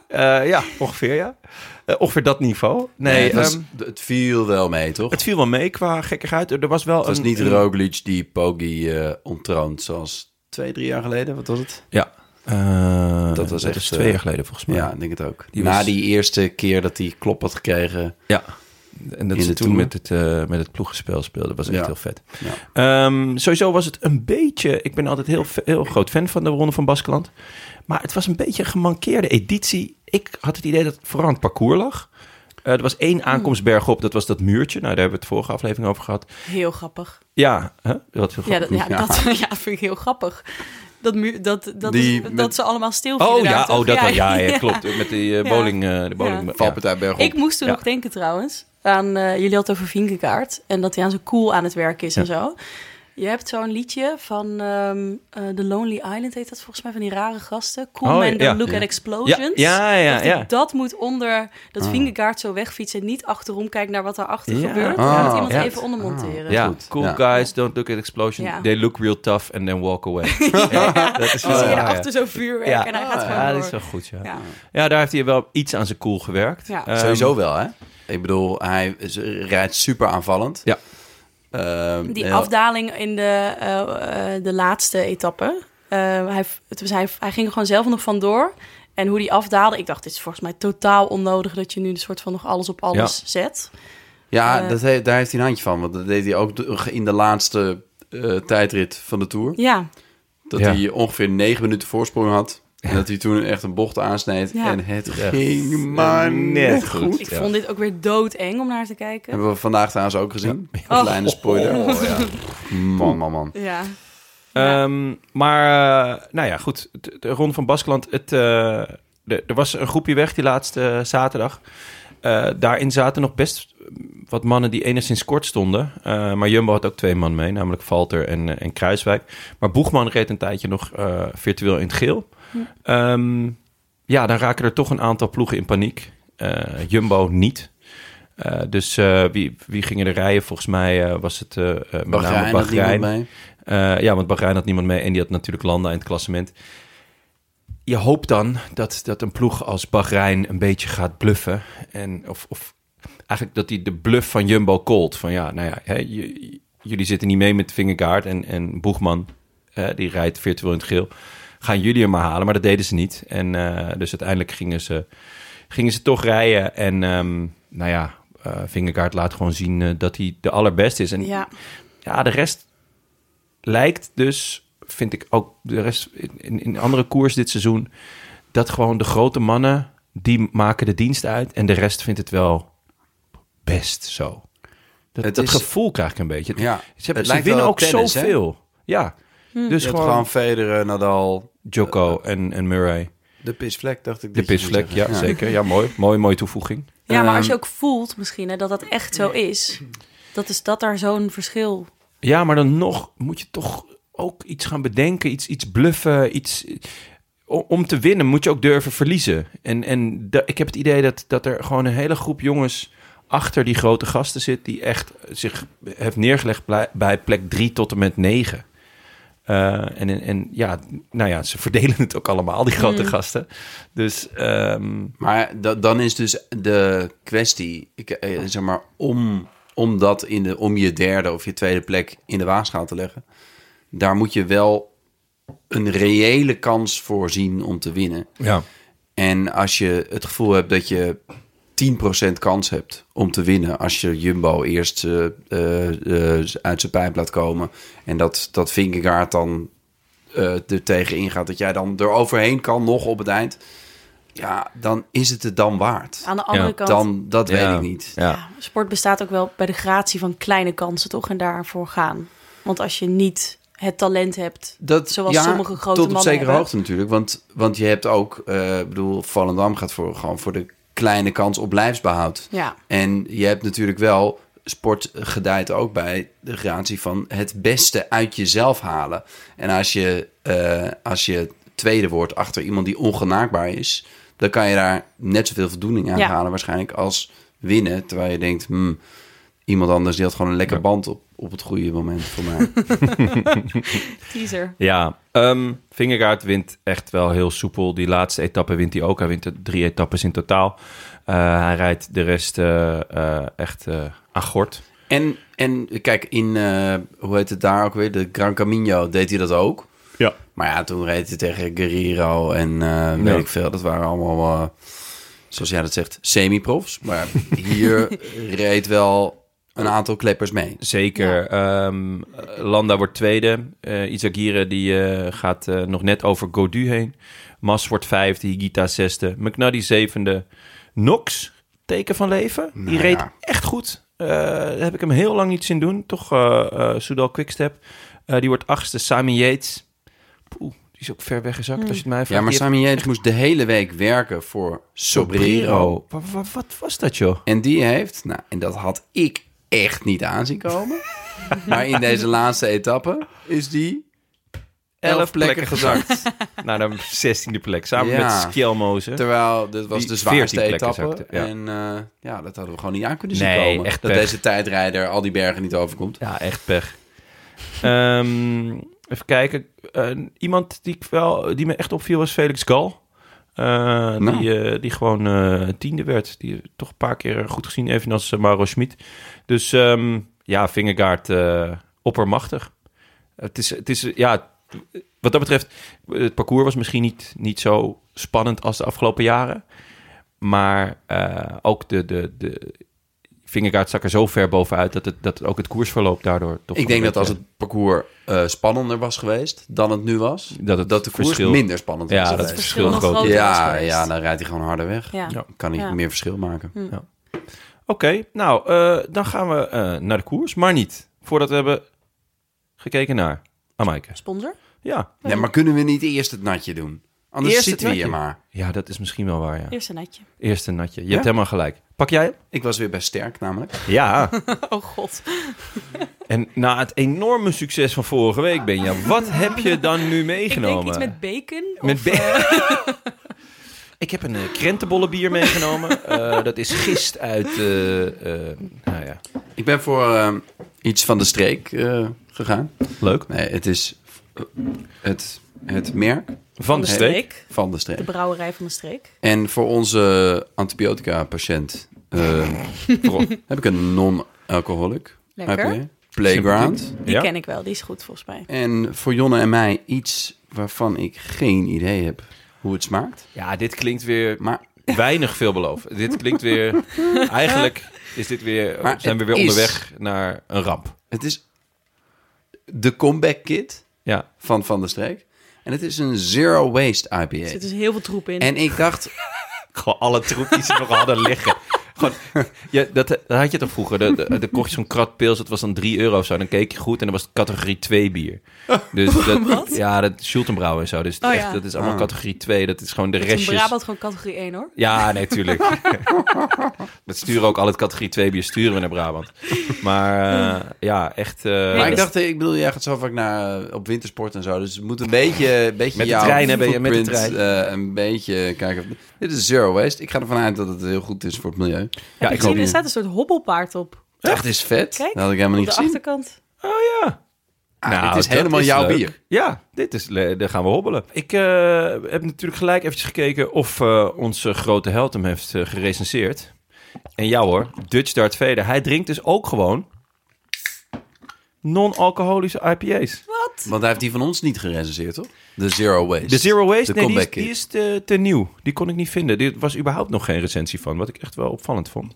Eh, ja, ongeveer ja. Eh, ongeveer dat niveau. Nee, het, was- ehm, het viel wel mee, toch? het viel wel mee qua gekkigheid. Er was wel Het was een, niet een- Roglic die Poggi eh ontroont zoals twee, drie jaar geleden. Wat was het? Ja. Eh, Dat was echt, is eh, twee jaar geleden volgens mij. Ja, ik denk het ook. Die Na was- die eerste keer dat hij klop had gekregen. Ja. En dat In ze de toen Tour. met het, eh, met het ploegenspel speelden. was echt Ja. heel vet. Ja. Ehm, sowieso was het een beetje... Ik ben altijd heel, fe- heel groot fan van de Ronde van Baskeland. Maar het was een beetje een gemankeerde editie. Ik had het idee dat het vooral aan het parcours lag. Eh, er was Hmm. één aankomst bergop. Dat was dat muurtje. Nou, daar hebben we het vorige aflevering over gehad. Heel grappig. Ja, hè? Wat heel Ja, dat, ja, Ja. Dat, ja, vind ik heel grappig. Dat, mu- dat, dat, Die is- met- dat ze allemaal stil vielen Oh daar, ja, toch? oh, dat wel. Ja, ja, klopt. Met die eh, Ja. bowling... eh, de bowling ja. Valpartij bergop. Ik moest toen Ja. nog denken trouwens aan... eh, jullie hadden het over Vinkenkaart en dat hij aan zijn cool aan het werk is en zo. Je hebt zo'n liedje van ehm, eh, The Lonely Island, heet dat volgens mij, van die rare gasten. Cool Oh, Man, ja, Don't ja. Look Ja. at Explosions. Ja, ja, ja, Dacht ik, ja. Ah. Dat moet onder, dat Vingegaard zo wegfietst en niet achterom kijkt naar wat daarachter Ja. gebeurt. Ah, Ja, dat iemand ja. Ah, even ondermonteren. Ja, Goed, cool ja. guys, don't look at explosion. Ja. They look real tough and then walk away. ja, dat is Dan zie je Ah, ja, daarachter zo vuurwerk Ja. Ah, en hij gaat ja. gewoon Ja, door. dat is wel goed, ja. ja. Ja. daar heeft hij wel iets aan zijn cool gewerkt. Ja. Ehm, Sowieso wel, hè? Ik bedoel, hij is- rijdt super aanvallend. Ja. Ehm, Die heel- afdaling in de, eh, eh, de laatste etappe. Eh, hij, het was, hij, hij ging er gewoon zelf nog vandoor. En hoe die afdaalde, ik dacht, dit is volgens mij totaal onnodig dat je nu een soort van nog alles op alles zet. Ja, Eh. dat he- daar heeft hij een handje van. Want dat deed hij ook de- in de laatste eh, tijdrit van de Tour. Ja, Dat Ja. hij ongeveer negen minuten voorsprong had. En dat hij toen echt een bocht aansneed. Ja. En het ging maar net net goed. goed. ik vond dit ook weer doodeng om naar te kijken. Hebben we vandaag trouwens ook gezien. Oh. Kleine spoiler. Oh, Man, man, man. Ja, Eh, Ehm, maar, eh, nou ja, goed. De, de Ronde van Baskeland. Het, eh, de- er was een groepje weg die laatste zaterdag. Eh, daarin zaten nog best wat mannen die enigszins kort stonden. Eh, maar Jumbo had ook twee man mee, namelijk Valter en, eh, en Kruiswijk. Maar Boegman reed een tijdje nog eh, virtueel in het geel. Ehm, ja, dan raken er toch een aantal ploegen in paniek. Eh, Jumbo niet. Eh, dus eh, wie, wie gingen er rijden? Volgens mij eh, was het eh, eh, met name Bahrein had niemand Bahrein. mee. Eh, ja, want Bahrein had niemand mee en die had natuurlijk Landa in het klassement. Je hoopt dan dat, dat een ploeg als Bahrein een beetje gaat bluffen. En, of, of eigenlijk dat hij de bluff van Jumbo called. Van ja, nou ja, hè, j- jullie zitten niet mee met Vingegaard en, en Boegman. eh, die rijdt virtueel in het geel. Gaan jullie hem maar halen, maar dat deden ze niet. En eh, dus uiteindelijk gingen ze, gingen ze toch rijden. En ehm, nou ja, eh Vingegaard laat gewoon zien eh, dat hij de allerbeste is. En ja. ja, de rest lijkt dus, vind ik ook de rest in, in andere koers dit seizoen, dat gewoon de grote mannen, die maken de dienst uit en de rest vindt het wel best zo. Dat, Het dat is- gevoel krijg ik een beetje. Ja, ze hebben, ze het lijkt winnen wel ook tennis, hè? zoveel. Ja, Hm. dus Je had gewoon, gewoon Federer, Nadal, Joko en, en Murray. de pisvlek, dacht ik. De dat je zou pisvlek, ja, Eh, zeggen. zeker. Ja, mooi. Mooi, mooie toevoeging. ja, maar als je Ehm. ook voelt misschien hè, dat dat echt zo is, dat is dat daar zo'n verschil. Ja, maar dan nog moet je toch ook iets gaan bedenken, iets, iets bluffen, iets... o- Om te winnen moet je ook durven verliezen. En, en da- ik heb het idee dat, dat er gewoon een hele groep jongens achter die grote gasten zit... die echt zich heeft neergelegd blij- bij plek 3 tot en met 9. en, en, en ja, nou ja, ze verdelen het ook allemaal, die grote gasten. Dus ehm, Maar da- dan is dus de kwestie, ik, eh, zeg maar, om, om dat in de, om je derde of je tweede plek in de waagschaal te leggen, daar moet je wel een reële kans voor zien om te winnen. ja. En als je het gevoel hebt dat je 10% kans hebt om te winnen als je Jumbo eerst eh, eh, eh, uit zijn pijp laat komen en dat, dat Vingegaard dan eh er tegen ingaat, dat jij dan eroverheen kan nog op het eind, ja, dan is het het dan waard. Aan de andere Ja, kant, Dan, dat Ja. weet ik niet. Ja. ja, sport bestaat ook wel bij de gratie van kleine kansen toch en daarvoor gaan. Want als je niet het talent hebt. Dat, Zoals sommige grote tot op mannen zekere hebben. hoogte natuurlijk. Want, want je hebt ook, eh, ik bedoel, Volendam gaat voor, gewoon voor de kleine kans op lijfsbehoud. Ja. En je hebt natuurlijk wel, sport gedijt ook bij de gratie van het beste uit jezelf halen. En als je, eh, als je tweede wordt achter iemand die ongenaakbaar is, dan kan je daar net zoveel voldoening aan Ja. halen waarschijnlijk als winnen. Terwijl je denkt, hmm, iemand anders die had gewoon een lekker band op, op het goede moment voor mij. Teaser. Ja, ehm Vingegaard wint echt wel heel soepel. Die laatste etappe wint hij ook. Hij wint er drie etappes in totaal. Eh, hij rijdt de rest eh, eh, echt eh aan gort. En, en kijk, in, eh, hoe heet het daar ook weer? De Gran Camino deed hij dat ook. Ja. Maar ja, toen reed hij tegen Guerrero en eh, weet Ja. ik veel. Dat waren allemaal, eh, zoals jij dat zegt, semi-profs. Maar hier reed wel een aantal kleppers mee. Dus Zeker. Ehm, Landa wordt tweede. Eh Izagirre die, eh, gaat eh, nog net over Godu heen. Mas wordt vijfde. Higita zesde. McNuddy zevende. Knox, teken van leven. die Nou ja. reed echt goed. Eh, daar heb ik hem heel lang niet zien doen. Toch eh eh Soudal Quickstep. Eh, die wordt achtste. Simon Yates. Poeh, die is ook ver weggezakt als je het mij vraagt. Hmm. Ja, maar Die Sammy Yates moest de hele week werken voor heeft- Sobrero. Wa- wa- Wat, was dat, joh? En die heeft, nou, en dat had ik echt niet aanzien komen. maar in deze laatste etappe is die elf, plekken, gezakt. Naar de Nou, zestiende plek. Samen Ja. met Skelmozen. Terwijl dit was Die de zwaarste 14 plekken etappe. zakte, ja. En eh, ja, dat hadden we gewoon niet aan kunnen zien Nee, komen. echt dat pech. deze tijdrijder al die bergen niet overkomt. Ja, echt pech. Ehm, even kijken. Eh, iemand die, ik wel, die me echt opviel was Felix Gal. Eh, die, eh, die gewoon eh, tiende werd. Die toch een paar keer goed gezien, evenals eh, Mauro Schmid. Dus ehm, ja, Vingegaard eh, oppermachtig. Het is, het is, ja, wat dat betreft, het parcours was misschien niet, niet zo spannend als de afgelopen jaren. Maar eh, ook de, de, de Vingegaard stak er zo ver bovenuit dat, het, dat ook het koersverloop daardoor toch... Ik denk een dat als beetje- het parcours eh, spannender was geweest dan het nu was, Dat het de koers verschil- minder spannend Ja, was. dat Dat het het geweest. verschil verschil nog groot groter is ja, nou, geweest. ja, dan rijdt hij gewoon harder weg. Ja. Kan hij Ja. Hm. meer verschil maken. Oké, nou, eh, dan gaan we eh, naar de koers, maar niet voordat we hebben gekeken naar Amaike. Sponsor? Ja. Nee, maar kunnen we niet eerst het natje doen? Anders Eerst zitten we het hier natje. maar. ja, dat is misschien wel waar, ja. Eerst een netje. Eerst een natje. Je Ja? hebt helemaal gelijk. Pak jij hem? Ik was weer bij Sterk namelijk. Ja. Oh god. En na het enorme succes van vorige week, Benja, wat heb je dan nu Ik meegenomen? denk iets met eh, bacon. Met be- Ik heb een eh, krentenbollenbier meegenomen. Eh, dat is gist uit... eh, eh, nou ja, Ik ben voor eh, iets van de streek eh, gegaan. leuk. Nee, het is eh, het, het merk Van de steek. van de streek. De brouwerij van de streek. En voor onze antibiotica-patiënt eh, heb ik een non-alcoholic Lekker. IPA. Playground. Die Ja? ken ik wel. Die is goed volgens mij. En voor Jonne en mij iets waarvan ik geen idee heb hoe het smaakt. Ja, dit klinkt weer Maar, weinig veelbelovend. dit klinkt weer... Eigenlijk is dit weer, Maar zijn we het weer is- onderweg naar een ramp. het is de comeback kit Ja. van Van der Streek. En het is een zero waste Er zit IPA. dus heel veel troep in. En ik dacht, Gewoon alle troep die ze nog hadden liggen. Gewoon, ja, dat, dat had je toch vroeger? De, de, de kocht je zo'n krat pils, dat was dan 3 euro of zo. Dan keek je goed en dan was het categorie 2 bier. Dus dat, ja, dat Schultenbrouwen en zo. Dus Oh, echt, ja. dat is allemaal categorie 2. Dat is gewoon de Het is in restjes. Brabant gewoon categorie 1 hoor. Ja, nee, tuurlijk. dat sturen ook al het categorie 2 bier sturen we naar Brabant. Maar eh, ja, echt... eh, maar ik dacht, ik bedoel, jij gaat zo vaak naar, eh, op wintersport en zo. Dus het moet een beetje, een beetje Met de jouw trein, hè, ben je- met de footprint, eh, een beetje kijken. of- Dit is zero waste. Ik ga ervan uit dat het heel goed is voor het milieu. ja, ik ik zie, hoop... er staat een soort hobbelpaard op. Echt is vet. Kijk, dat had ik helemaal Op niet de gezien. achterkant. Oh ja, Ah, Nou, dit is dat helemaal jouw leuk. bier. Ja, dit is, le- daar gaan we hobbelen. Ik eh, heb natuurlijk gelijk eventjes gekeken of eh, onze grote held hem heeft eh, gerecenseerd. En jou hoor, Dutch Dart Vader. Hij drinkt dus ook gewoon non-alcoholische IPA's. Want hij heeft die van ons niet gerecenseerd, toch? De zero waste. De Zero Waste, De nee, die is, comeback die kit. is te, te nieuw. Die kon ik niet vinden. Er was überhaupt nog geen recensie van, wat ik echt wel opvallend vond.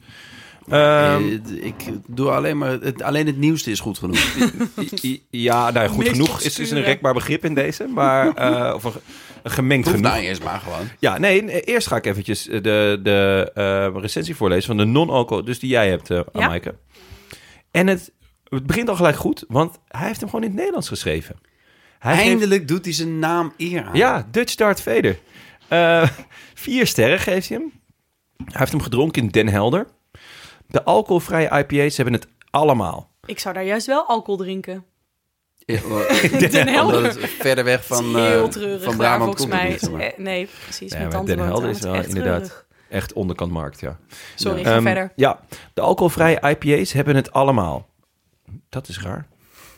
Ehm, Eh, ik doe alleen maar... Het, alleen het nieuwste is goed genoeg. Eh, I- i- Ja, nou ja, goed Meest genoeg is, is obscure. een rekbaar begrip in deze. Maar, eh, of een, ge- een gemengd Proef genoeg. nou eerst maar gewoon. Ja, nee, nee, eerst ga ik eventjes eh, de, de eh, recensie voorlezen van de non-alcohol, dus die jij hebt, eh Ja. Maaike. En het, het begint al gelijk goed, want hij heeft hem gewoon in het Nederlands geschreven. Hij geeft- Eindelijk doet hij zijn naam eer aan. ja, Dutch Darth Vader. Eh, vier sterren geeft hij hem. Hij heeft hem gedronken in Den Helder. De alcoholvrije IPA's hebben het allemaal. Ik zou daar juist wel alcohol drinken. Ja, wel- Den Helder. Omdat het verder weg Van, van, is heel eh, treurig van daar, Brabant volgens komt het mij. niet. zeg maar. Eh, nee, precies. Ja, mijn maar tante Den woont Helder aan, is het wel echt inderdaad- treurig. Echt onderkant markt, ja. Sorry, Ja. ik ga Ehm, verder. Ja, de alcoholvrije IPA's hebben het allemaal. Dat is raar.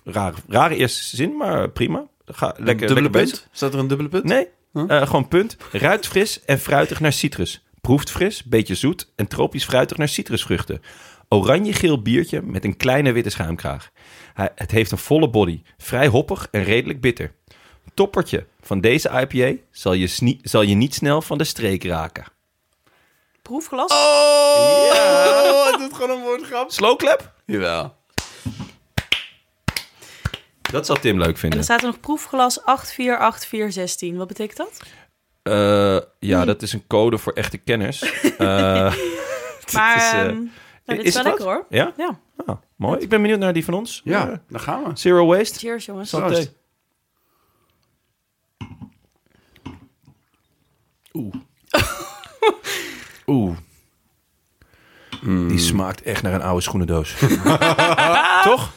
Raar, rare eerste zin, maar prima. Ga, lekker, dubbele lekker bezig. punt? Staat er een dubbele punt? Nee, Huh? eh, gewoon punt. Ruikt fris en fruitig naar citrus. Proeft fris, beetje zoet en tropisch fruitig naar citrusvruchten. Oranje-geel biertje met een kleine witte schuimkraag. Hij, het heeft een volle body, vrij hoppig en redelijk bitter. Toppertje van deze IPA zal je, snie- zal je niet snel van de streek raken. Proefglas? Oh, het doet gewoon een woordgrap. Slowclap? Jawel. Dat zal Tim leuk En vinden. dan staat er nog proefglas 848416. Wat betekent dat? Eh, Hmm. ja, dat is een code voor echte kenners. Nou, Eh, dit Maar is, is, eh, nou, dit is is wel het lekker hoor. ja? Ja. Ah, mooi. Ik ben benieuwd naar die van ons. Eh, Ja, daar gaan we. Zero waste. Cheers jongens. Santé. Proost. Oeh. Oeh. Die smaakt echt naar een oude schoenendoos. Toch?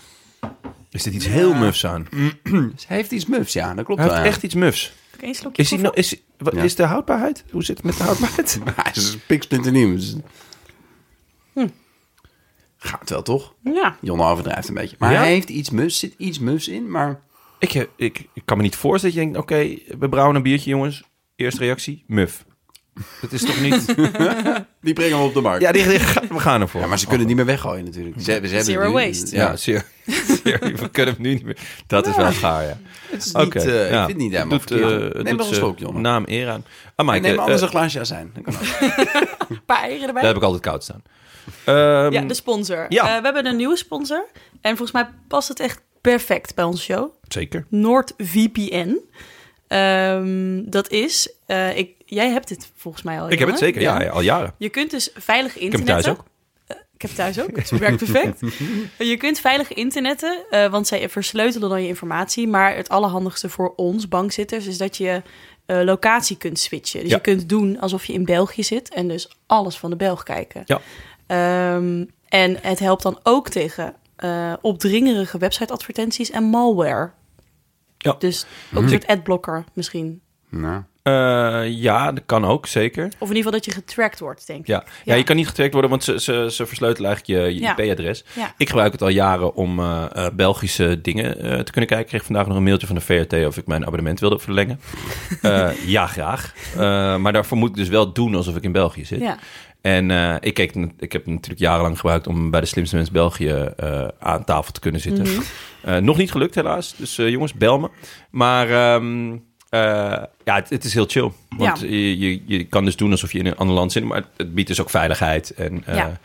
Is dit iets heel mufs aan? Dus hij heeft iets mufs, ja, dat klopt Hij wel. heeft ja. echt iets mufs. Ook één slokje Is, die, nou- is, wat, Ja. is de houdbaarheid? Hoe zit het met de houdbaarheid? Hij is piksplinternieuw. Dus... Hm. Gaat wel, toch? proeven? Ja. Jon overdrijft een beetje. Maar Ja? hij heeft iets mufs, zit iets mufs in, maar... ik, heb- ik, ik kan me niet voorstellen dat je denkt... Oké, we brouwen een biertje, jongens. Eerste reactie, muf. Dat is toch niet... Die brengen we op de markt. Ja, ja, die, die- we gaan ervoor. Oh, maar ze kunnen het niet meer weggooien natuurlijk. Ze, ze hebben het Zero nu. waste. Ja, Ja, zeer. zeer- We kunnen hem nu niet meer... Dat is wel gaar, ja. het is Oké, niet, eh, ja. Ik vind het nou, niet helemaal Doet, eh, verkeerd. doet Neem nog een ze slok, Jon. Naam eer aan. Ah, Mike, En neem eh, anders eh, een glaasje azijn. Dat kan ook. Een paar eieren erbij. daar heb ik altijd koud staan. Ehm, Ja, de sponsor. Ja. Eh, we hebben een nieuwe sponsor. En volgens mij past het echt perfect bij onze show. Zeker. NordVPN. Ehm, dat is, eh, ik, jij hebt dit volgens mij al. Ik heb jongen. het zeker, ja, ja, al jaren. Je kunt dus veilig Ik heb het internetten. Eh, thuis ook. Ik heb het thuis ook. Het werkt perfect. je kunt veilig internetten, eh, want zij versleutelen dan je informatie. Maar het allerhandigste voor ons bankzitters is dat je eh, locatie kunt switchen. Dus Ja. je kunt doen alsof je in België zit en dus alles van de Belg kijken. Ja. Ehm, en het helpt dan ook tegen eh, opdringerige website-advertenties en malware. Ja. Dus ook Hm. een soort adblocker misschien. Nou, Eh, ja, dat kan ook, zeker. Of in ieder geval dat je getrackt wordt, denk ik. Ja. Ja. Ja. je kan niet getrackt worden, want ze, ze, ze versleutelen eigenlijk je, je Ja. IP-adres. Ja. Ik gebruik het al jaren om eh, eh, Belgische dingen eh, te kunnen kijken. Ik kreeg vandaag nog een mailtje van de VRT of ik mijn abonnement wilde verlengen. Eh, ja, graag. Eh, maar daarvoor moet ik dus wel doen alsof ik in België zit. Ja. En eh, ik, keek, ik heb natuurlijk jarenlang gebruikt om bij de slimste mens België eh, aan tafel te kunnen zitten. Mhm. Eh, nog niet gelukt helaas, dus eh, jongens, bel me. Maar ehm, eh, ja, het, het is heel chill. Want Ja. je, je, je kan dus doen alsof je in een ander land zit, maar het, het biedt dus ook veiligheid. En eh, Ja.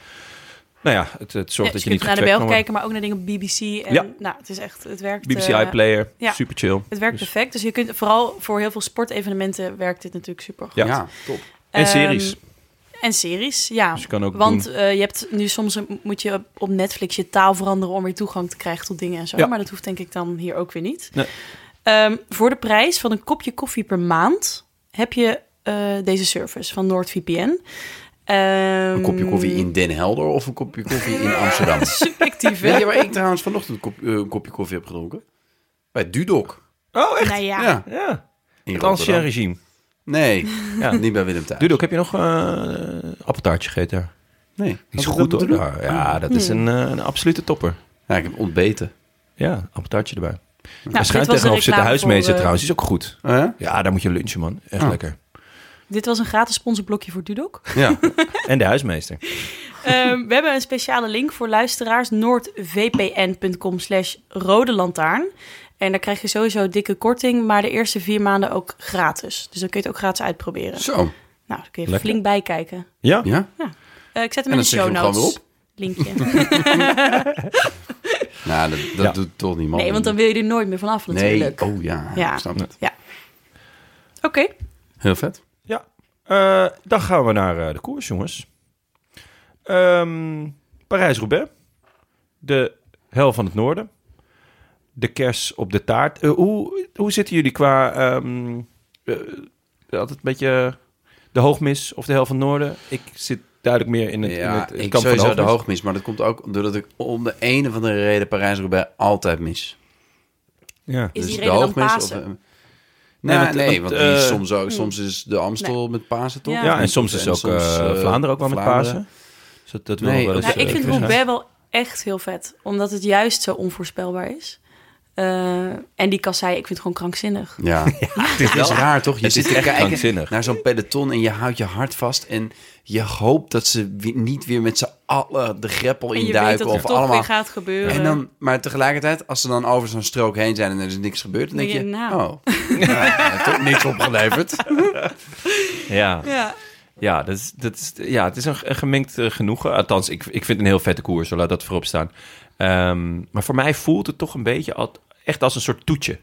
nou ja, het, het zorgt Ja, dat dus je je niet kunt naar de getrackt Belg kan worden. kijken, maar ook naar dingen op BBC. En, Ja. Nou, het is echt, het werkt. BBC eh, iPlayer, ja. super chill. Het werkt Dus- perfect. Dus je kunt vooral voor heel veel sportevenementen werkt dit natuurlijk super goed. Ja. ja. top. En Ehm, series. En series, ja. Dus je kan ook Want doen- eh, je hebt nu soms een- moet je op Netflix je taal veranderen om weer toegang te krijgen tot dingen en zo. Ja. Maar dat hoeft denk ik dan hier ook weer niet. Nee. Ehm, voor de prijs van een kopje koffie per maand heb je eh, deze service van NordVPN. Ehm, Een kopje koffie in Den Helder of een kopje koffie in Amsterdam? Subjectief, Weet hè? je waar ik trouwens vanochtend een, kop- eh, een kopje koffie heb gedronken? Bij Dudok. Oh, echt? Nou ja. Ja, Ja, in het Rotterdam. ancien regime. Nee, Ja. niet bij Willem Thuis. Dudok, heb je nog eh appeltaartje gegeten daar? Nee, Die is Had ik goed dat hoor. moeten daar. Ja, dat is Hmm. een, eh, een absolute topper. doen? Ja, ik heb ontbeten. Ja, appeltaartje erbij. Nou, en schuin dit was een tegenover zit de reclame huismeester voor, eh, Oh. trouwens. Die is ook goed. Hè? Ja, daar moet je lunchen, man. Echt Ah. lekker. Dit was een gratis sponsorblokje voor Dudok. Ja, En de huismeester. Ehm, we hebben een speciale link voor luisteraars. noordvpn.com slash rode lantaarn. En daar krijg je sowieso dikke korting, maar de eerste vier maanden ook gratis. Dus dan kun je het ook gratis uitproberen. zo. Nou, dan kun je even Lekker. flink bijkijken. Ja? Ja? Eh, ik zet hem En dan in de zeg je show hem gewoon notes. weer Linkje. Nou, dat, dat Ja. doet toch niet, man. Nee, want dan wil je er nooit meer vanaf Nee, natuurlijk. oh ja, Ja. ik snap het. Oké, Heel vet. Ja. Eh, dan gaan we naar eh, de koers, jongens. Ehm, Parijs-Roubaix. De hel van het noorden. de kers op de taart. Eh, hoe, hoe zitten jullie qua... ehm, eh, altijd een beetje de hoogmis of de hel van het noorden? Ik zit duidelijk meer in het, in Ja, het, het ik kamp van de sowieso de hoogmis. hoogmis. Maar dat komt ook doordat ik om de een of andere reden Parijs-Roubaix altijd mis. Ja. Is Dus die de reden dan hoogmis Pasen? Hm. of, eh, nou, want- nee, want, want die is eh, soms, ook, soms is de Amstel met Pasen toch? Ja. Ja, en soms is En ook soms, eh, eh, Vlaanderen ook wel Vlaanderen. met Pasen. Dus dat, dat wil Nee, nog wel eens, Nou, Dus, ik eh, vind fris zijn. Roubaix wel echt heel vet. Omdat het juist zo onvoorspelbaar is. Eh, en die kassei, ik vind het gewoon krankzinnig. Ja, het is, raar toch? Je Het zit is te echt kijken krankzinnig. naar zo'n peloton en je houdt je hart vast. En je hoopt dat ze wie- niet weer met z'n allen de greppel En je weet dat induiken. het Of toch weer allemaal. gaat gebeuren. En dan, maar tegelijkertijd, als ze dan over zo'n strook heen zijn en er is niks gebeurd, dan denk Denk je, je, nou. oh, ja, heeft toch niks opgeleverd. Ja, Ja. ja, dat is, dat is, ja het is een, een gemengd eh, genoegen. Althans, ik, ik vind het een heel vette koers, zo laat dat voorop staan. Ehm, maar voor mij voelt het toch een beetje al, echt als een soort toetje.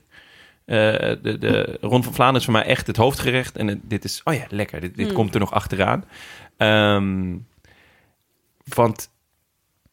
Eh, de, de Rond van Vlaanderen is voor mij echt het hoofdgerecht. En het- dit is, oh ja, lekker. Dit, dit komt er nog achteraan. Ehm, want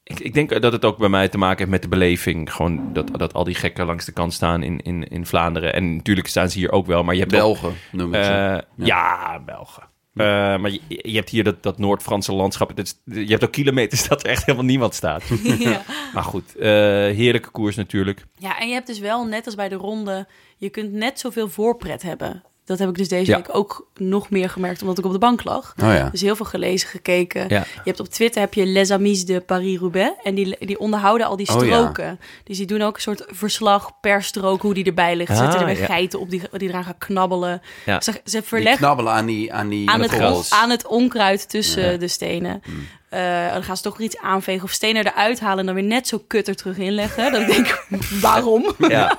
ik, ik denk dat het ook bij mij te maken heeft met de beleving. Gewoon dat, dat al die gekken langs de kant staan in, in, in Vlaanderen. En natuurlijk staan ze hier ook wel. Maar je hebt wel Belgen noemen ze. eh, ja. Belgen. Eh, maar je, je hebt hier dat, dat Noord-Franse landschap. Het is- je hebt ook kilometers dat er echt helemaal niemand staat. ja. maar goed, eh, heerlijke koers natuurlijk. Ja, en je hebt dus wel, net als bij de ronde, je kunt net zoveel voorpret hebben. Dat heb ik dus deze Ja. week ook nog meer gemerkt, omdat ik op de bank lag. oh ja. Dus heel veel gelezen, gekeken. Ja. Je hebt op Twitter heb je Les Amis de Paris-Roubaix. En die, die onderhouden al die Oh, ja. stroken. Dus die doen ook een soort verslag per strook, hoe die erbij ligt. Ah, Zitten er weer ja. geiten op die, die eraan gaan knabbelen. Ja. Ze, ze Die verleggen knabbelen aan die aan die aan het, on- korrels. aan het onkruid tussen de stenen. Mm. Eh, dan gaan ze toch weer iets aanvegen of stenen eruit halen... en dan weer net zo kut er terug inleggen. Dan denk ik, waarom? Ja.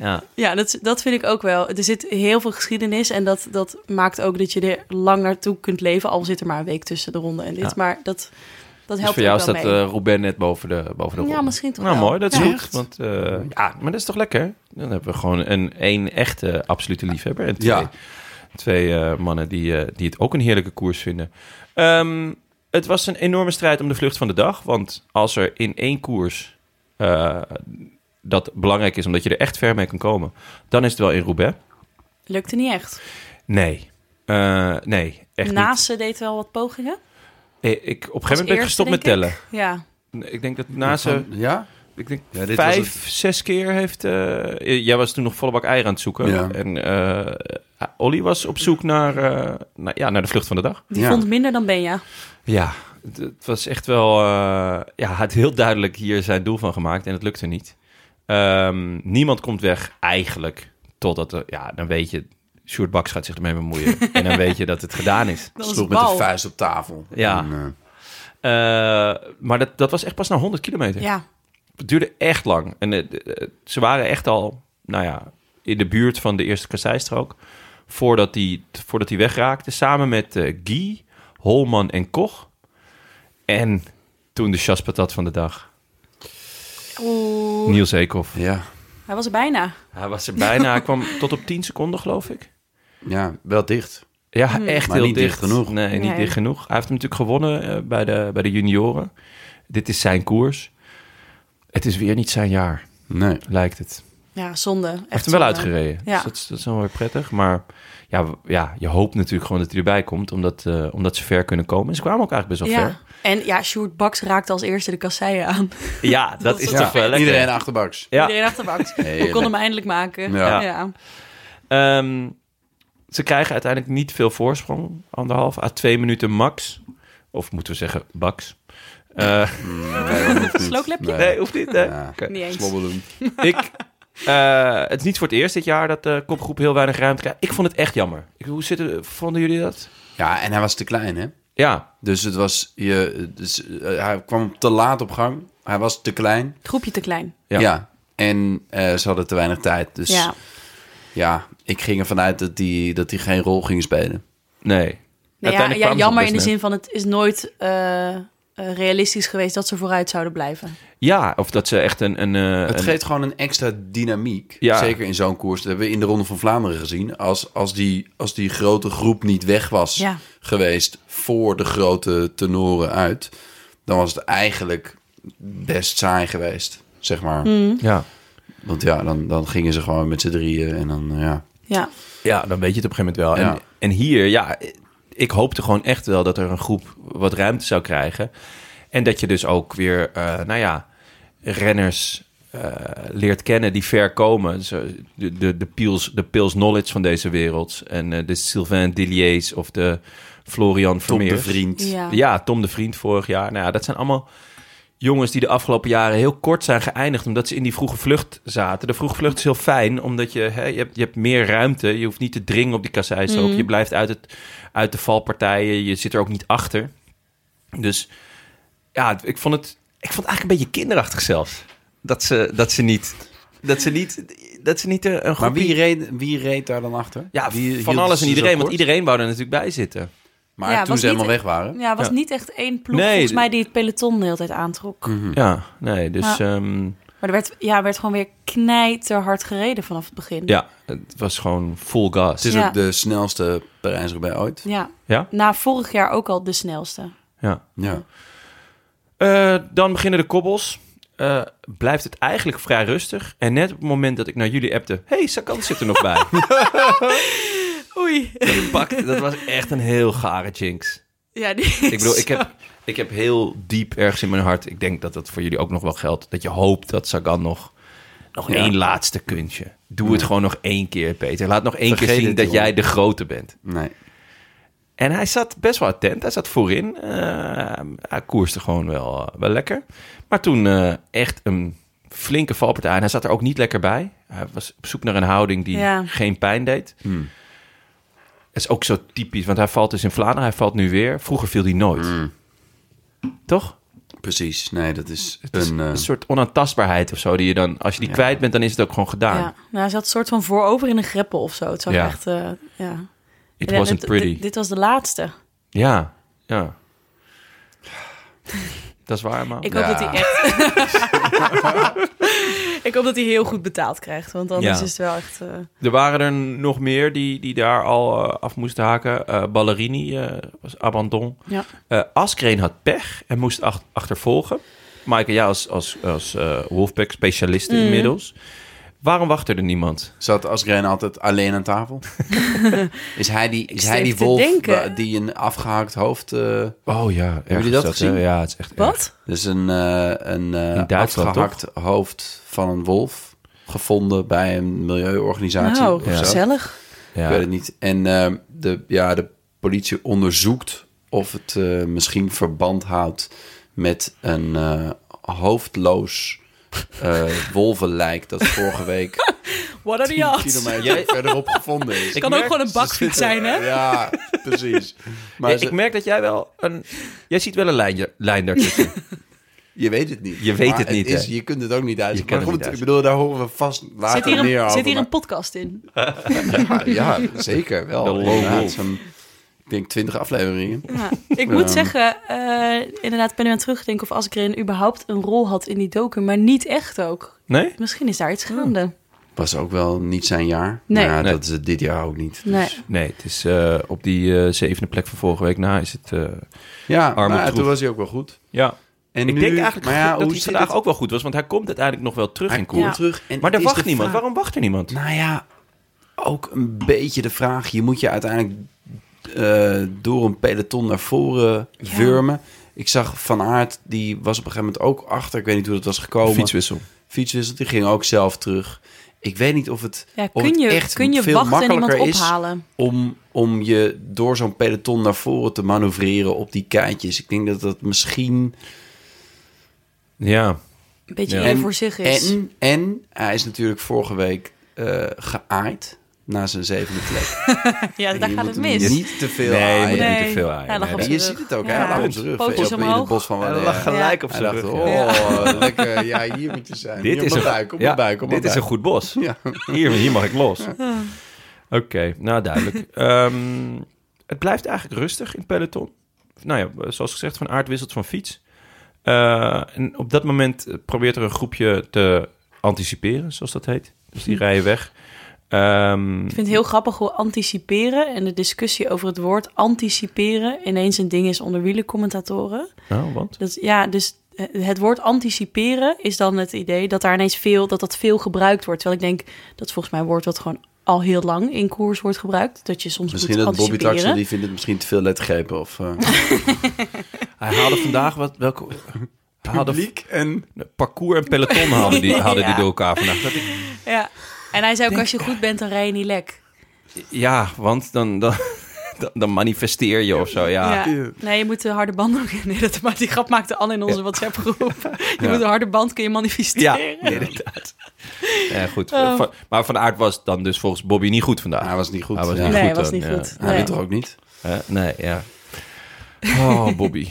ja. Ja, dat, dat vind ik ook wel. Er zit heel veel geschiedenis en dat, dat maakt ook dat je er lang naartoe kunt leven. Al zit er maar een week tussen de ronde en dit. Ja. Maar dat, dat Dus helpt voor jou ook wel staat mee. eh Roubaix net boven de, boven de Ja, ronde. misschien toch Nou, wel. mooi. Dat is Ja. goed. Want, eh, ja, maar dat is toch lekker? Dan hebben we gewoon een één echte absolute liefhebber. En twee, Ja. twee eh, mannen die, eh, die het ook een heerlijke koers vinden. Ehm, het was een enorme strijd om de vlucht van de dag. Want als er in één koers eh, dat belangrijk is, omdat je er echt ver mee kan komen, dan is het wel in Roubaix. Lukte niet echt. Nee. Eh, nee, echt niet. Naast eh, deed wel wat pogingen. Eh, Ik, op een gegeven moment ben ik eerste, gestopt met denk tellen. Ja, Ik denk dat naast Ja? ik denk Ja, dit was vijf, zes keer heeft... eh, jij was toen nog volle bak eieren aan het zoeken. Ja. En eh Olly was op zoek naar, eh, naar, ja, naar de vlucht van de dag. die Ja. vond minder dan Benja. Ja, het, het was echt wel... eh, ja, hij had heel duidelijk hier zijn doel van gemaakt en het lukte niet. Ehm, niemand komt weg eigenlijk totdat... Er, ja, dan weet je... Sjoerd Baks gaat zich ermee bemoeien. en dan weet je dat het gedaan is. Dat was Sloeg met de bal. vuist op tafel. Ja. En, eh, Eh, maar dat, dat was echt pas na 100 kilometer. Ja, Het duurde echt lang. En eh, eh, ze waren echt al, nou ja, in de buurt van de eerste kasseistrook. Voordat die, voordat die wegraakte. Samen met eh, Guy, Holman en Koch. En toen de chaspatat van de dag. oeh. Niels Eekhoff. eh, ja. Hij was er bijna. Hij was er bijna. Hij kwam tot op 10 seconden, geloof ik. ja, wel dicht. Ja, echt Maar heel niet dicht genoeg. Nee, niet Hmm. Nee. dicht genoeg. Hij heeft hem natuurlijk gewonnen eh, bij, de, bij de junioren. Dit is zijn koers. Het is weer niet zijn jaar, Nee. lijkt het. Ja, zonde. Echt Echt hem wel zonde. uitgereden. Ja. Dus dat, is- dat is wel weer prettig. Maar ja, w- ja, je hoopt natuurlijk gewoon dat hij erbij komt. Omdat, eh, omdat ze ver kunnen komen. En ze kwamen ook eigenlijk best wel Ja. En ja, Sjoerd Baks raakte als eerste de kasseien aan. ver. Ja, dat, Dat is is toch wel lekker. Iedereen achterbaks. Ja. Iedereen dacht, Baks, we konden hem eindelijk maken. Ja. ja. Ehm, ze krijgen uiteindelijk niet veel voorsprong. Anderhalf à twee minuten max. Of moeten we zeggen, baks. Eh, Mm, Slooklapje? nee, hoeft niet. hè? Ja. Oké. Niet eens. Slobbeloen. Ik, eh, het is niet voor het eerst dit jaar dat de kopgroep heel weinig ruimte krijgt. Ik vond het echt jammer. Ik, hoe zitten, vonden jullie dat? Ja, en hij was te klein, hè? Ja, Dus het was je. Dus, eh, hij kwam te laat op gang. Hij was te klein. Groepje te klein. Ja. Ja. En eh, ze hadden te weinig tijd. Dus ja. ja, ik ging ervan uit dat die, dat die geen rol ging spelen. nee. Nou ja, Uiteindelijk ja, kwamen ze jammer op in best net. de zin van het is nooit eh, eh, realistisch geweest dat ze vooruit zouden blijven. Ja, of dat ze echt een... een eh, Het een- geeft gewoon een extra dynamiek. Ja. Zeker in zo'n koers. Dat hebben we in de Ronde van Vlaanderen gezien. Als, als, die, als die grote groep niet weg was Ja. geweest voor de grote tenoren uit, Hmm. Hm? dan was het eigenlijk best saai geweest. Zeg maar. Ja. Want ja, dan, dan gingen ze gewoon met z'n drieën en dan, eh, ja. Ja, Ja, dan weet je het op een gegeven moment wel. Ja. En, en hier, ja, ik hoopte gewoon echt wel dat er een groep wat ruimte zou krijgen. En dat je dus ook weer, eh, nou ja, renners eh, leert kennen die ver komen. Zo, de, de, de, Pils, de Pils Knowledge van deze wereld. En eh, de Sylvain Dilliers of de Florian Tom Vermeer. de Vriend. ja. Ja, Tom de Vriend vorig jaar. Nou ja, dat zijn allemaal jongens die de afgelopen jaren heel kort zijn geëindigd... omdat ze in die vroege vlucht zaten. De vroege vlucht is heel fijn, omdat je, hè, je, hebt, je hebt meer ruimte. Je hoeft niet te dringen op die kasseis ook. Mhm. Je blijft uit, het, uit de valpartijen. Je zit er ook niet achter. Dus ja, ik vond het, ik vond het eigenlijk een beetje kinderachtig zelfs. Dat ze, dat ze niet... Dat ze niet, dat ze niet eh, een groepie... Maar wie reed, wie reed daar dan achter? ja, Wie hield van alles ze en zo iedereen. Want kort? iedereen wou er natuurlijk bij zitten. Maar Ja, toen was ze helemaal niet- weg waren. Ja, was Ja. niet echt één ploeg Nee, volgens d- mij die het peloton de hele tijd aantrok. Mhm. Ja, nee, dus... ehm, Maar er werd, ja, werd gewoon weer knijterhard gereden vanaf het begin. Ja, het was gewoon full gas. Het is Ja. ook de snelste Parijs-Roubaix ooit. Ja. Ja? Na vorig jaar ook al de snelste. Ja. Ja. Eh, dan beginnen de kobbels. Eh, blijft het eigenlijk vrij rustig. En net op het moment dat ik naar jullie appte... hey, Sakan zit er nog bij. Oei. dat, pak, dat was echt een heel gare jinx. Ja, Ik bedoel, ik heb, ik heb heel diep ergens in mijn hart... Ik denk dat dat voor jullie ook nog wel geldt. Dat je hoopt dat Sagan nog... Nog Ja. één laatste kunstje. Doe het gewoon nog één keer, Peter. Laat nog één Vergeet keer zien het, dat jongen. jij de grote bent. Nee. En hij zat best wel attent. Hij zat voorin. Eh, hij koerste gewoon wel, eh, wel lekker. Maar toen eh, echt een flinke valpartij. En hij zat er ook niet lekker bij. Hij was op zoek naar een houding die Ja. geen pijn deed. Hmm. Dat is ook zo typisch. Want hij valt dus in Vlaanderen. Hij valt nu weer. Vroeger viel hij nooit. Mm. Toch? Precies. Nee, dat is Het is een... een, eh, soort onaantastbaarheid of zo. Die je dan, als je die Ja. kwijt bent, dan is het ook gewoon gedaan. Ja. Nou, hij zat soort van voorover in een greppel of zo. Het zag Ja. echt... eh, ja. It Ja, wasn't dit- pretty. Dit, dit was de laatste. Ja, ja. Dat is waar, man. Ik hoop Ja. dat hij echt... ik hoop dat hij heel goed betaald krijgt. Want anders Ja. is het wel echt... eh, Er waren er nog meer die, die daar al eh, af moesten haken. Eh, Ballerini eh, was abandon. Ja. Eh, Askreen had pech en moest ach- achtervolgen. Maaike, ja, als, als, als eh, Wolfpack-specialist Mhm. inmiddels. Waarom wachtte er niemand? Zat Asgreen altijd alleen aan tafel? is hij die, is zit hij die even te wolf denken. wa- die een afgehakt hoofd... eh Oh ja, eh, ergens jullie dat dat, gezien? hè? ja, het is echt Wat? dus een, eh, een eh, In Duitsland, afgehakt hoofd van een wolf gevonden bij een milieuorganisatie. nou, of zo. gezellig. Ik weet het niet. En eh, de, ja, de politie onderzoekt of het eh, misschien verband houdt met een eh, hoofdloos eh wolvenlijk dat vorige week What are 10 the odds? kilometer verderop gevonden is. kan ook gewoon een bakfiets zijn, hè? Ja, precies. Maar Maar ze- ik merk dat jij wel een... Jij ziet wel een lijn, lijn daartussen. je weet het niet. Je weet Maar het niet, is, hè? je kunt het ook niet Je uit. kan Maar het goed, niet ik bedoel, daar horen we vast later Zit hier, meer een, over. zit hier een maar- podcast in? ja, ja, zeker wel. De low Inderdaad, wolf. zo'n- ik denk 20 afleveringen. Ja. Ik moet zeggen, eh, inderdaad, ik ben nu aan het terugdenken... of als ik erin überhaupt een rol had in die docu, maar niet echt ook. Nee? Misschien is daar iets gaande. Was ook wel niet zijn jaar. Nee. Maar ja, Nee. dat is het dit jaar ook niet. Dus Nee. Nee, het is eh, op die eh, zevende plek van vorige week na is het... eh, Ja, Arme maar ja, troef. toen was hij ook wel goed. ja. En Ik nu, denk eigenlijk maar ja, dat hoe hij zit vandaag het? ook wel goed was, want hij komt uiteindelijk nog wel terug Hij in komt koers. terug. En Maar er is wacht de niemand. vraag- Waarom wacht er niemand? Nou ja, ook een beetje de vraag. Je moet je uiteindelijk eh, door een peloton naar voren wurmen. Ik zag Van Aert, die was op een gegeven moment ook achter. Ik weet niet hoe dat was gekomen. Fietswissel. Fietswissel, die ging ook zelf terug. Ik weet niet of het, Ja, of kun het je, echt kun je veel wachten en iemand makkelijker is ophalen? om, om je door zo'n peloton naar voren te manoeuvreren op die keitjes. Ik denk dat dat misschien... Ja. Een beetje Ja. eerder En- voor zich is. En, en hij is natuurlijk vorige week eh, geaaid na zijn zevende plek. ja, daar Je gaat moet het hem mis. Niet te veel Nee, je moet aaien. niet te veel aan. Hij lag op En zijn je rug. ziet het ook, Ja. hij lag eh, op zijn rug. Pootjes in het omhoog. bos van Wanne. gelijk Oh, Hij dacht, rug, oh, ja. lekker, ja, hier moet je zijn. Dit Dit hier is is op een, mijn buik, op ja, mijn buik, op mijn dit is een buik. goed bos. Ja. Hier, hier mag ik los. Oké, nou duidelijk. Ehm, het blijft eigenlijk rustig in het peloton. Nou ja, zoals gezegd, van aard wisselt van fiets. Eh, en op dat moment probeert er een groepje te anticiperen, zoals dat heet. Dus die rijden weg. Ehm, Ik vind het heel grappig hoe anticiperen en de discussie over het woord anticiperen ineens een ding is onder wielercommentatoren. nou, want? Dat, ja, dus eh, het woord anticiperen is dan het idee dat daar ineens veel, dat dat veel gebruikt wordt. Terwijl ik denk, dat is volgens mij een woord wat gewoon al heel lang in koers wordt gebruikt. Dat je soms Misschien moet dat Bobby anticiperen. Traxel, die vindt het misschien te veel letgrepen. Of, eh, Hij haalde vandaag wat... Welke, hij haalde publiek en... parcours en peloton hadden die, hadden die Ja. door elkaar vandaag. Dat ik- Ja. En hij zei ook, als je goed bent, dan rij je niet lek. ja, want dan, dan, dan- dan manifesteer je of zo, Ah, ja. Ja. Nee, je moet de harde band ook... Nee, dat, maar die grap maakte Anne in onze WhatsApp-groep. Je moet een harde band kun je Ja, manifesteren. inderdaad. Ja, goed. Oh. Van- maar Van Aert was dan dus volgens Bobby niet goed vandaag. Hij was niet goed. Hij was ja. niet Nee, goed hij was dan, niet ja. goed. Hij Nee. weet er ook niet. Hè? Nee, ja. Oh, Bobby.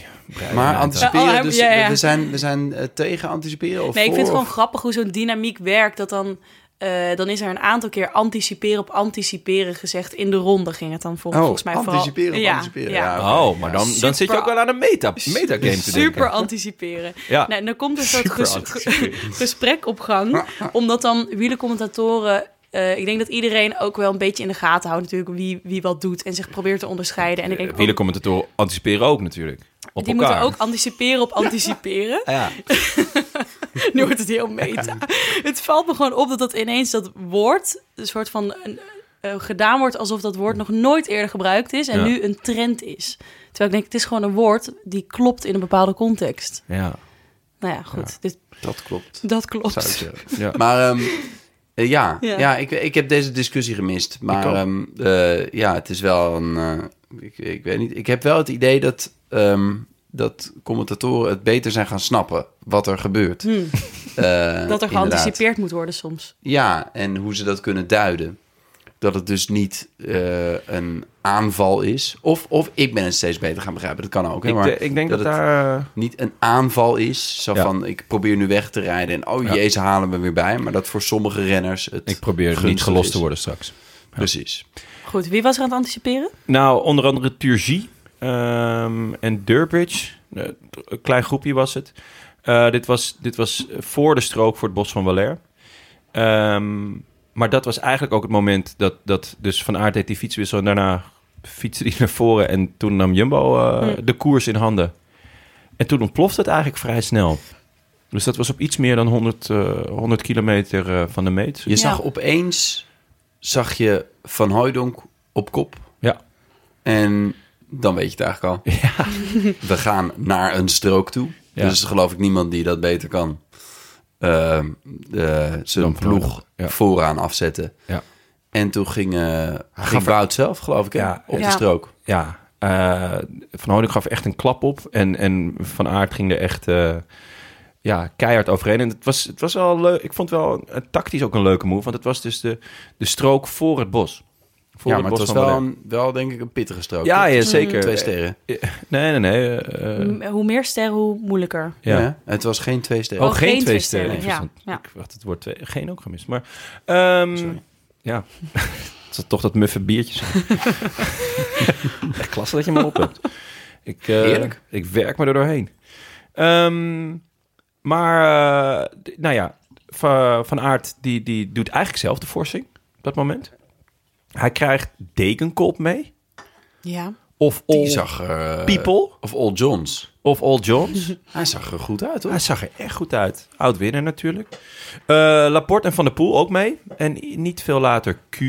Maar Oh, anticiperen, hij- dus ja, ja. we zijn, we zijn eh, tegen anticiperen of Nee, ik voor, vind het gewoon of- grappig hoe zo'n dynamiek werkt. Dat dan, eh, dan is er een aantal keer anticiperen op anticiperen gezegd. In de ronde ging het dan vol- Oh, volgens mij vooral. anticiperen op anticiperen, ja. Oh, maar dan, dan zit je Super- ook wel aan een meta, metagame te denken. Super anticiperen. Ja. Nou, en dan komt er een soort Super ges- anticiperen. gesprek op gang. Omdat dan wielercommentatoren... eh ik denk dat iedereen ook wel een beetje in de gaten houdt natuurlijk wie, wie wat doet en zich probeert te onderscheiden. En ik denk, ook, Wielercommentatoren anticiperen ook natuurlijk. Op die elkaar. moeten ook anticiperen op anticiperen. Ja. Nu wordt het heel meta. Het valt me gewoon op dat dat ineens dat woord een soort van een, eh, gedaan wordt alsof dat woord nog nooit eerder gebruikt is en Ja. nu een trend is. Terwijl ik denk, het is gewoon een woord die klopt in een bepaalde context. Ja, Nou ja, goed. Dit, Dat klopt. dat Zou ik klopt. zeggen. ja. Maar ehm, eh, ja, ja. Ja. ik, ik heb deze discussie gemist. Maar ook. ehm, eh, ja, het is wel een. eh, ik, ik weet niet. Ik heb wel het idee dat, ehm, dat commentatoren het beter zijn gaan snappen wat er gebeurt. Hm, Eh, dat er inderdaad. geanticipeerd moet worden soms. Ja, en hoe ze dat kunnen duiden. Dat het dus niet eh, een aanval is. Of, of ik ben het steeds beter gaan begrijpen. Dat kan ook. Hè? ik, maar de- eh, ik denk dat, het daar... eh, niet een aanval is. Zo Ja. van, ik probeer nu weg te rijden. En oh Ja. jee, ze halen me weer bij. Maar dat voor sommige renners het Ik probeer niet gunstig gelost is. te worden straks. Precies. Goed, wie was er aan het anticiperen? Nou, onder andere Turgie ehm, en Durbridge. Eh, Een klein groepje was het. Eh, dit, was, dit was voor de strook voor het Bos van Waller. Ehm, maar dat was eigenlijk ook het moment dat, dat dus Van Aert deed die fietswissel... en daarna fietste hij naar voren en toen nam Jumbo eh, Hm. de koers in handen. En toen ontplofte het eigenlijk vrij snel. Dus dat was op iets meer dan 100, eh, 100 kilometer eh, van de meet. Je zag opeens, zag je Van Hooijdonk op kop. Ja. En dan weet je het eigenlijk al. We gaan naar een strook toe. Ja. Dus geloof ik niemand die dat beter kan. Ehm, eh, zijn Dan Van ploeg Hooijdonk, ja. vooraan afzetten. Ja. En toen ging, eh ging gaf- Wout zelf, geloof ik, hè, Ja, op ja. de strook. ja, eh, Van Hooydonk gaf echt een klap op. En, en Van Aert ging er echt eh, ja, keihard overheen. En het was, het was wel leuk. Ik vond het wel eh, tactisch ook een leuke move. Want het was dus de, de strook voor het bos. Voor ja, maar het was van wel, Belen. een- wel, denk ik, een pittige strook. Ja, toch? ja, zeker. Twee sterren. Eh, Nee, nee, nee. eh, eh, M- hoe meer sterren, hoe moeilijker. ja. Mm, Ja, Het was geen twee sterren. Oh, geen twee sterren. Ja, Ik ja. Ik had het woord twee, geen ook gemist. Maar ehm, Sorry. ja, het zat toch dat muffe biertje. zijn. Echt klasse dat je me op hebt. Ik, eh, Heerlijk. ik werk me er doorheen. Ehm, maar, eh, d- nou ja, Va- Van Aert die, die doet eigenlijk zelf de forcing op dat moment. Hij krijgt Dekenkop mee. Ja. Of Die All zag er... eh, People. Of All Johns. Of All Johns. Hij zag er goed uit, Hij hoor. zag er echt goed uit. Oud winnaar natuurlijk. Eh, Laporte en Van der Poel ook mee. En i- niet veel later Q.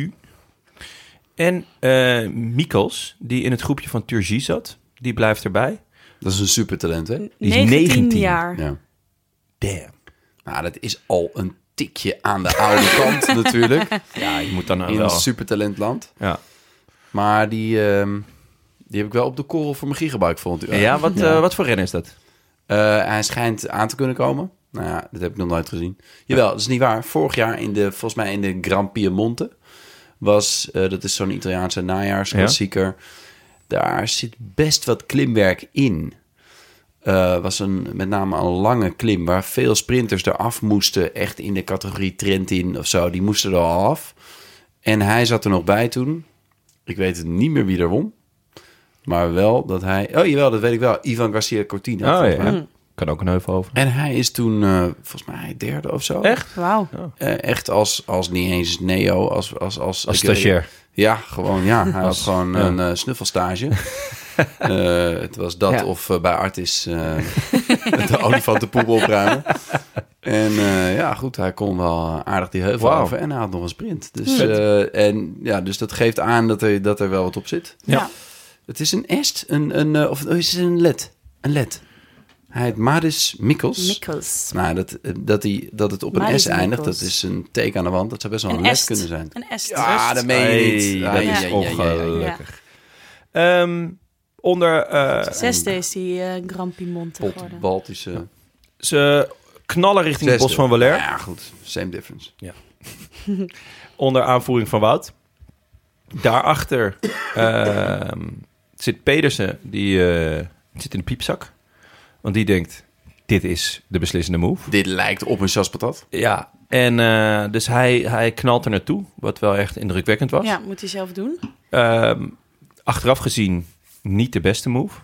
En eh Mikkels, die in het groepje van Turgie zat, die blijft erbij. Dat is een supertalent, hè? Die is 19. 19 jaar. Ja. Damn. Nou, dat is al een tikje aan de oude kant natuurlijk. Ja, je moet dan eh, In wel... een supertalentland. Ja, Maar die, ehm, die heb ik wel op de korrel voor mijn gigabyte vond. u. ja, wat, eh, wat voor rennen is dat? Eh, hij schijnt aan te kunnen komen. Nou ja, dat heb ik nog nooit gezien. Jawel, dat is niet waar. Vorig jaar in de, volgens mij in de Gran Piemonte was, eh, dat is zo'n Italiaanse najaarsklassieker. Daar zit best wat klimwerk in. Eh, was een, met name een lange klim waar veel sprinters eraf moesten. Echt in de categorie Trentin of zo. Die moesten er al af. En hij zat er nog bij toen. Ik weet niet meer wie er won. Maar wel dat hij... Oh jawel, dat weet ik wel. Ivan Garcia Cortina. Oh volgens mij. ja, kan ook een heuvel over. En hij is toen, eh, volgens mij, derde of zo. Echt? Wauw. Eh, echt als, als niet eens neo, als... Als, als, Als ik- stagiair. Ja, gewoon, ja. Hij Als- had gewoon ja. een eh, snuffelstage. Eh, het was dat Ja. of eh, bij Artis eh, de olifantenpoep opruimen. En eh, ja, goed, hij kon wel eh, aardig die heuvel Wauw. af en hij had nog een sprint. Dus, eh, en, ja, dus dat geeft aan dat er, dat er wel wat op zit. Ja. Het is een est, een, een, eh, of oh, is het een led? Een led. Hij heet Maris Mikkels. Mikkels. nou, dat, eh, dat, die, dat het op een Maris S eindigt, Mikkels. dat is een teken aan de wand. Dat zou best wel een, Een led est. kunnen zijn. Een dus. est. Ja, dat meen je niet. Hey, Ah, dat ja, is ja, ja, ja, ja. ongelukkig. Ehm, onder, eh, Zesde is die eh Grand Piemonte geworden. Pot, Baltische. ze knallen richting het Zesde. bos van Waller. Ja, goed. Same difference. onder aanvoering van Wout. Daarachter ehm, zit Pedersen, die eh, zit in de piepzak. Want die denkt, dit is de beslissende move. Dit lijkt op een chaspatat. Ja, en eh, dus hij, hij knalt er naartoe, wat wel echt indrukwekkend was. Ja, moet hij zelf doen. Ehm, achteraf gezien niet de beste move.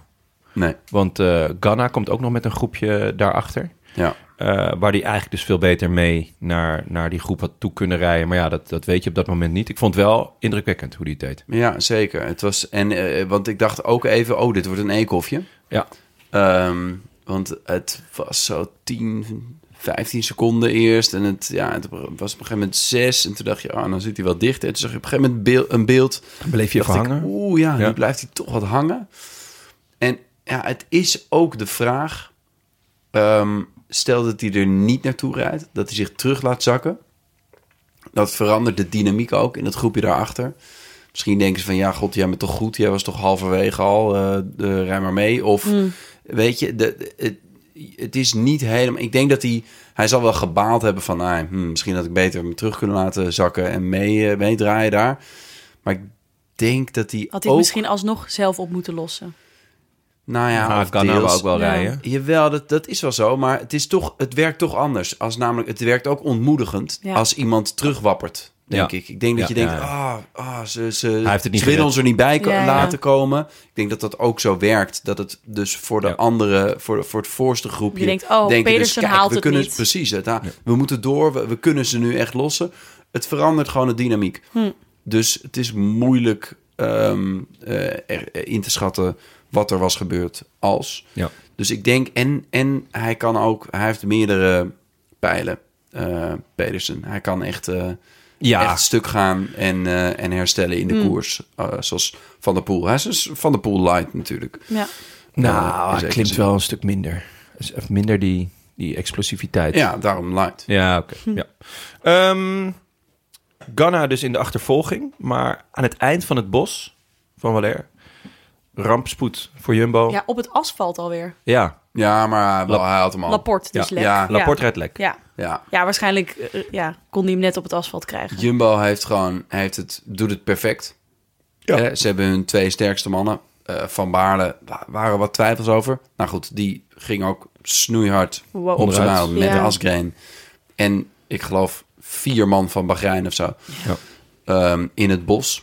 Nee. Want eh, Ghana komt ook nog met een groepje daarachter. Ja. Eh, waar die eigenlijk dus veel beter mee naar, naar die groep had toe kunnen rijden. Maar ja, dat, dat weet je op dat moment niet. Ik vond het wel indrukwekkend hoe die het deed. Ja, zeker. Het was, en, eh, want ik dacht ook even, oh, dit wordt een eekhoffje. Ja. Ehm, want het was zo 10, 15 seconden eerst. En het, ja, het was op een gegeven moment 6. En toen dacht je, ah, dan zit hij wel dichter. En toen zag je op een gegeven moment beeld, een beeld. Bleef je Dacht ik, verhangen? Oeh, ja, Ja. nu blijft hij toch wat hangen. En ja, het is ook de vraag... ehm, stel dat hij er niet naartoe rijdt, dat hij zich terug laat zakken. Dat verandert de dynamiek ook in het groepje daarachter. Misschien denken ze van, ja, god, jij bent toch goed. Jij was toch halverwege al, eh eh, rij maar mee. Of, Mm. weet je, de, de- het, het is niet helemaal... Ik denk dat hij... Hij zal wel gebaald hebben van, ah, hm, misschien had ik beter hem terug kunnen laten zakken en mee, eh, meedraaien daar. Maar ik denk dat hij Had hij ook... het misschien alsnog zelf op moeten lossen. Nou ja, Ah, of Ghana deels. wou ook wel Ja. rijden. Jawel, dat, dat is wel zo, maar het, is toch, het werkt toch anders. Als namelijk, het werkt ook ontmoedigend Ja. als iemand terugwappert, denk Ja. ik. Ik denk dat Ja, je denkt, ja, ah, ah, ze, ze, heeft het niet ze willen gered. ons er niet bij ko- Ja, ja. laten komen. Ik denk dat dat ook zo werkt. Dat het dus voor de Ja. andere, voor, voor het voorste groepje... Je denkt, oh, denken Pedersen haalt we het kunnen, niet. Precies, het, ha- we moeten door, we, we kunnen ze nu echt lossen. Het verandert gewoon de dynamiek. Dus het is moeilijk ehm, eh, er- er in te schatten wat er was gebeurd als... Ja. Dus ik denk, en, en hij kan ook, hij heeft meerdere pijlen, eh, Pedersen. Hij kan echt, eh, Ja. echt stuk gaan en, eh, en herstellen in de koers. eh, zoals Van der Poel. Hij is dus Van der Poel light natuurlijk. Ja. Eh, in Nou, hij zekere klimt zin. wel een stuk minder. Dus even minder die, die explosiviteit. Ja, daarom light. Ja, oké. Ja. Ehm, Ganna dus in de achtervolging. Maar aan het eind van het bos van Waller. Rampspoed voor Jumbo. Ja. ja, op het asfalt alweer. Ja, maar wel, hij had hem al. Laporte, dus Ja. lek. Oh. Ja, Laporte rijdt lek. Ja. Ja. ja, waarschijnlijk eh, ja, kon hij hem net op het asfalt krijgen. Jumbo heeft gewoon, heeft het, doet het perfect. Ja. Eh, ze hebben hun twee sterkste mannen. Eh, van Baarle wa- waren wat twijfels over. Nou goed, die ging ook snoeihard Wow. op zijn Onderuit. muil met Ja. Asgreen. En ik geloof vier man van Bahrein of zo. Ja. Ehm, in het bos.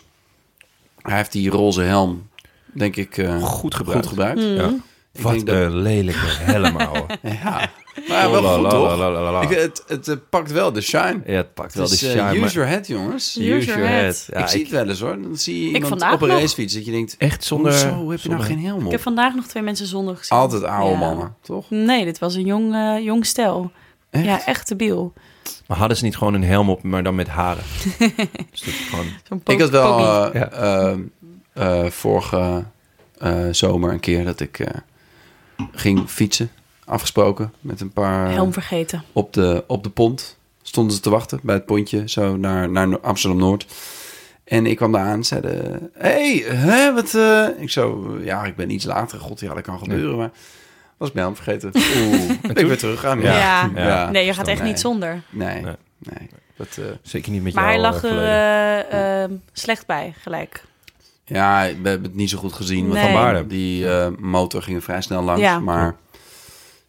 Hij heeft die roze helm, denk ik, eh, Goed gebruikt. goed gebruikt. Ja. Ik Wat denk dat- een lelijke helm, ouwe. Ja, maar wel Oh, la, goed la, toch? la, la, la, la. Ik, het het eh, pakt wel de shine. Ja, het pakt wel Het de is eh, shine. maar- use your head, jongens. Use your head. Ja, ik, zie ik- het wel eens hoor. Dan zie je iemand vandaag op een nog. racefiets dat je denkt... echt zonder... Hoezo heb je zonder- nou geen helm Ik op? heb vandaag nog twee mensen zonder gezien. Altijd oude Ja. mannen, toch? Nee, dit was een jong, eh, jong stel. Echt? Ja, echt te biel. Maar hadden ze niet gewoon een helm op, maar dan met haren? dus dat gewoon... Zo'n po- Ik had wel pogie. Ja. eh, ehm, eh, vorige eh, zomer een keer dat ik eh, ging fietsen. Afgesproken met een paar helm vergeten. op de, op de pont. Stonden ze te wachten bij het pontje, zo naar, naar No- Amsterdam-Noord. En ik kwam daar aan en zeiden... Hé, hey, hè, wat... eh?" Ik zo, ja, ik ben iets later. God, ja, dat kan gebeuren, maar... Was ik mijn helm vergeten. Oeh, ben ik weer terug aan. Ja. Ja. Ja. Nee, je gaat echt Nee. niet zonder. Nee, Nee. nee. Dat, eh, Zeker niet met Maar jou, hij lag eh, er verleden. eh, ehm, slecht bij, gelijk. Eh, Ja, we hebben het niet zo goed gezien. want Nee. Van Baarle. Die eh, motor ging vrij snel langs. Ja. Maar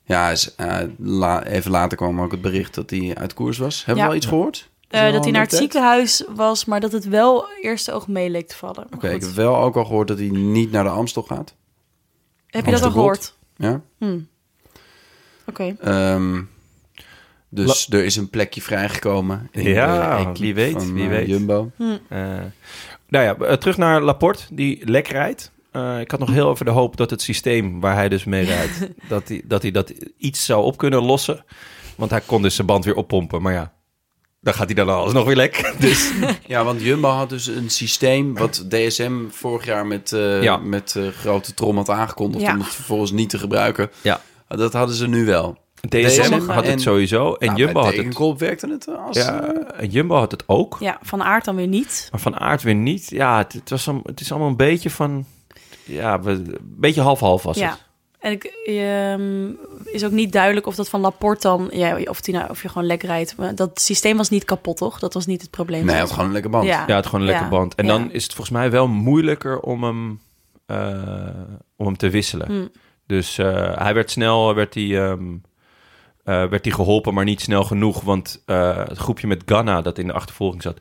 ja, is, eh, la- even later kwam ook het bericht dat hij uit koers was. Hebben Ja. we al iets gehoord? Is er Eh, al dat hij een naar het update? ziekenhuis was, maar dat het wel eerste oog mee leek te vallen. Maar Oké, goed. ik heb wel ook al gehoord dat hij niet naar de Amstel gaat. Heb je dat al Amsterdam. gehoord? Ja? Hm. Oké. Ehm, dus er is een plekje vrijgekomen. in Ja, de equipe wie weet, Hm. van, wie eh, weet. Jumbo. Eh, nou ja, eh, terug naar Laporte, die lek rijdt. Eh, ik had nog heel even de hoop dat het systeem waar hij dus mee rijdt, dat, hij, dat hij dat iets zou op kunnen lossen. Want hij kon dus zijn band weer oppompen. Maar ja, dan gaat hij dan alles nog weer lek. Dus Ja, want Jumbo had dus een systeem wat DSM vorig jaar met, eh, Ja. met eh, grote trom had aangekondigd Ja. om het vervolgens niet te gebruiken. ja, Dat hadden ze nu wel. DSM DSM had en- het sowieso. En, Nou, Jumbo bij had het, Tegenkolb werkte het als... eh, ja, en Jumbo had het ook. Ja, van aard dan weer niet. Maar van aard weer niet. Ja, het, het was een, het is allemaal een beetje van. Ja, we- een beetje half-half was ja. het. En ik, ehm, is ook niet duidelijk of dat van Laporte dan, ja, of, die nou, of je gewoon lek rijdt. Maar dat systeem was niet kapot, toch? Dat was niet het probleem. Nee, hij had gewoon een lekker band. Ja. Ja, het gewoon een lekker Ah, Ja, band. En ja. dan is het volgens mij wel moeilijker om hem, eh, om hem te wisselen. Hmm. Dus eh, hij werd snel werd hij, ehm, eh, werd hij geholpen, maar niet snel genoeg. Want eh, het groepje met Ghana dat in de achtervolging zat,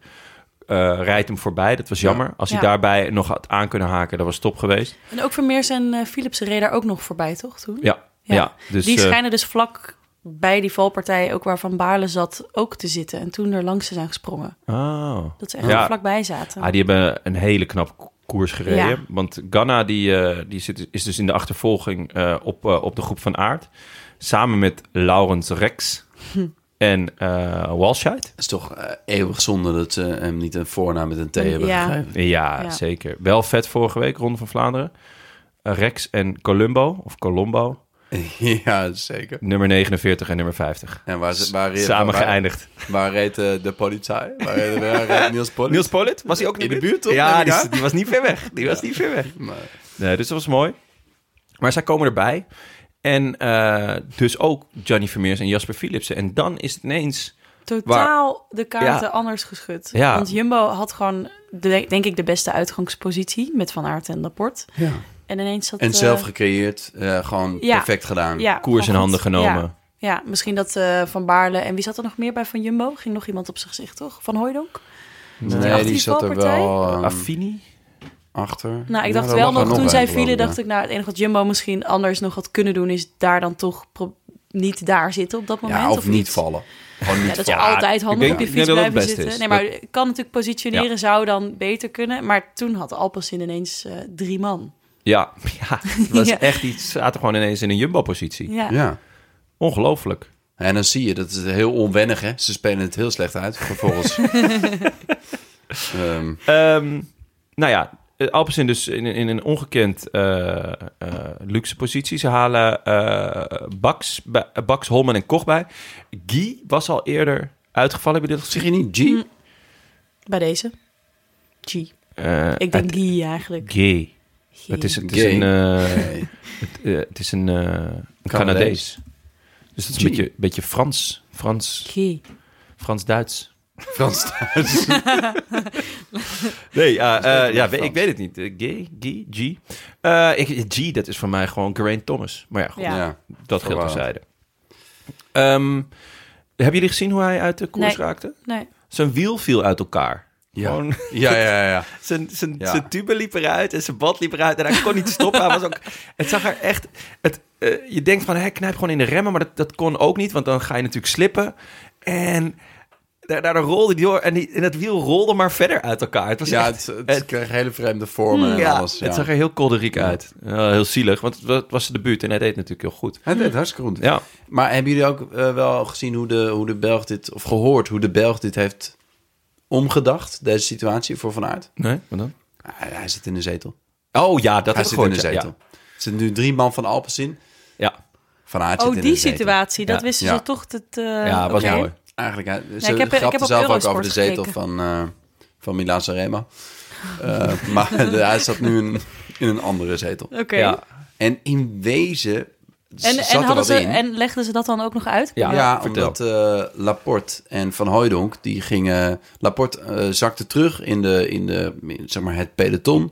eh, rijdt hem voorbij. Dat was jammer. Als hij Ja. daarbij nog had aan kunnen haken, dat was top geweest. En ook Vermeers en eh, Philips reden daar ook nog voorbij, toch? Toen? Ja, ja. Ja. dus, die eh, schijnen dus vlak bij die valpartij, ook waar Van Baarle zat, ook te zitten. En toen er langs ze zijn gesprongen. oh. Dat ze echt Ja. vlakbij zaten. Ah, die hebben een hele knap ko- koers gereden. Ja. Want Ghana die, eh, die zit, is dus in de achtervolging eh, op, eh, op de groep van Aard. Samen met Laurens Rex en eh Walshite. Het is toch eh, eeuwig zonde dat ze hem niet een voornaam met een T hebben Ja. gegeven. Ja, Ja. zeker. Wel vet vorige week, Ronde van Vlaanderen. Eh, Rex en Columbo, of Colombo, ja, zeker. nummer 49 en nummer 50. En waar, ze- waar, Samen waar, geëindigd. Waar reed eh, de politie? Waar reed, waar reed Niels Politie? Niels Pollitt, was hij ook in de buurt? toch? Ja, Neem ik die, aan? die was niet ver weg. Die was niet ver weg. Maar- Nee, dus dat was mooi. Maar zij komen erbij. En eh, dus ook Johnny Vermeers en Jasper Philipsen. En dan is het ineens... Totaal de Ja. kaarten anders geschud. Ja. Want Jumbo had gewoon, de, denk ik, de beste uitgangspositie met Van Aert en Laporte. En ineens zat... En eh, zelf gecreëerd, eh, gewoon ja. perfect gedaan. ja, koers in gewoon handen goed. genomen. Ja. Ja, misschien dat eh, Van Baarle... En wie zat er nog meer bij Van Jumbo? Ging nog iemand op zijn gezicht, toch? Van Hooydonk? Nee, die, achter die zat er valpartij? wel ehm, Affini? achter. Nou, Ja, ik dacht daar wel lag er nog, toen een, zij geloof vielen, ja. dacht ik... Nou, het enige wat Jumbo misschien anders nog had kunnen doen... is daar dan toch pro- niet daar zitten op dat moment. Ja, of niet iets. vallen. Gewoon niet Ja, dat is vallen. altijd handig denk- op je ik fiets denk dat dat blijven het beste zitten. is. Nee, maar kan natuurlijk positioneren zou dan beter kunnen. Maar toen had Alpecin ineens eh, drie man. Ja, ja het was Ja. echt iets. Ze zaten gewoon ineens in een Jumbo-positie. Ja. Ja. Ongelooflijk. En dan zie je, dat is heel onwennig, hè. Ze spelen het heel slecht uit, vervolgens. Ehm, Ehm, nou ja, eh, Alpecin dus in, in een ongekend eh, eh, luxe positie. Ze halen eh Bax, bij- eh, Bax, Holman en Koch bij. Guy was al eerder uitgevallen. Heb je dit zeg gezien? je niet G? Mm. Bij deze. G. Eh, Ik denk Guy eigenlijk. Guy. G. Het is, het is Gay. een, eh, Nee. het, eh, het is een, eh, een Canadees. Dus dat is een Gee. beetje, beetje Frans. Frans, Guy. Frans-Duits. Frans thuis. Nee, ja, eh, ja, Frans. ik weet het niet. Eh, Gay, Guy, G. Eh, ik, G, dat is voor mij gewoon Geraint Thomas. Maar ja, goed, Ja. Ja. dat geldt Verwarrend. terzijde. Ehm hebben jullie gezien hoe hij uit de koers Nee. raakte? Nee. Zijn wiel viel uit elkaar. Ja. Gewoon, Ja, ja, ja. zijn, zijn, Ja. zijn tube liep eruit en zijn bad liep eruit. En hij kon niet stoppen. Hij was ook, het zag er echt... Het, eh, je denkt van, hij knijp gewoon in de remmen. Maar dat, dat kon ook niet, want dan ga je natuurlijk slippen. En daar, daardoor rolde hij door. En, die, en het wiel rolde maar verder uit elkaar. Het was Ja, echt- het, het, kreeg hele vreemde Mm. vormen en ja, alles. Ja. het zag er heel kolderiek uit. Ja, heel zielig, want het wa- het was de debuut en hij deed natuurlijk heel goed. Hij deed hartstikke goed. Ja, Maar hebben jullie ook eh, wel gezien hoe de, hoe de Belg dit, of gehoord hoe de Belg dit heeft omgedacht, deze situatie voor Van Aert? Ah, nee, wat dan? Hij, hij zit in de zetel. Oh ja, dat hij is zit gewoon in de ja, zetel. Er zitten nu drie man van Alpecin. Ja, Van Aert zit Oh, in die de zetel. situatie. Dat Ja. wisten Ja. ze toch. Dat, eh, ja. ja was oké. mooi. Eigenlijk, hij- ze ik heb- ik grapte heb op zelf ook over Eurosport de zetel gekeken. van, eh van Milan Sanremo. Eh, maar de- hij zat nu in, in een andere zetel. Oké. Ja. En in wezen En, zat en, er hadden wat ze, in. en legden ze dat dan ook nog uit? Ja. Ja, vertel. omdat eh, Laporte en Van Hooijdonk, die gingen... Laporte eh, zakte terug in, de, in, de, in, zeg maar het peloton.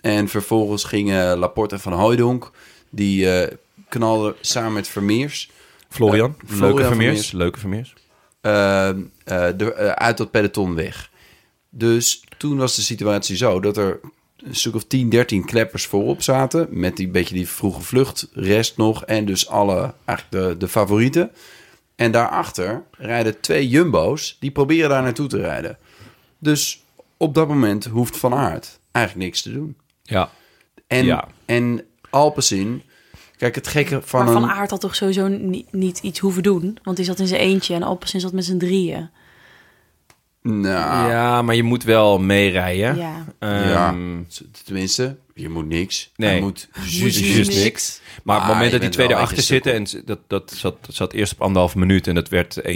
En vervolgens gingen Laporte en Van Hooijdonk... die eh, knalden samen met Vermeers... Florian, Eh, Florian leuke vermeers, Vermeers. leuke vermeers. eh, eh, de, eh, uit dat peloton weg. Dus toen was de situatie zo dat er een stuk of 10, 13 kleppers voorop zaten. Met die beetje die vroege vluchtrest nog. En dus alle, eigenlijk de, de favorieten. En daarachter rijden twee jumbo's. Die proberen daar naartoe te rijden. Dus op dat moment hoeft Van Aert eigenlijk niks te doen. Ja, En, Ja. en Alpecin. Kijk, het gekke van maar een... Van Aert had toch sowieso ni- niet iets hoeven doen? Want die zat in zijn eentje en Alpecin zat met zijn drieën. Nou, Ja, maar je moet wel meerijden. Ah. Ja. ja. Ehm, T- Tenminste, je moet niks. Nee. Je moet juist juist niks. niks. Maar op Ah, het moment je dat die bent twee wel echt erachter een zitten... en ze- dat, dat, zat, dat zat eerst op anderhalve minuut en dat werd 1,20,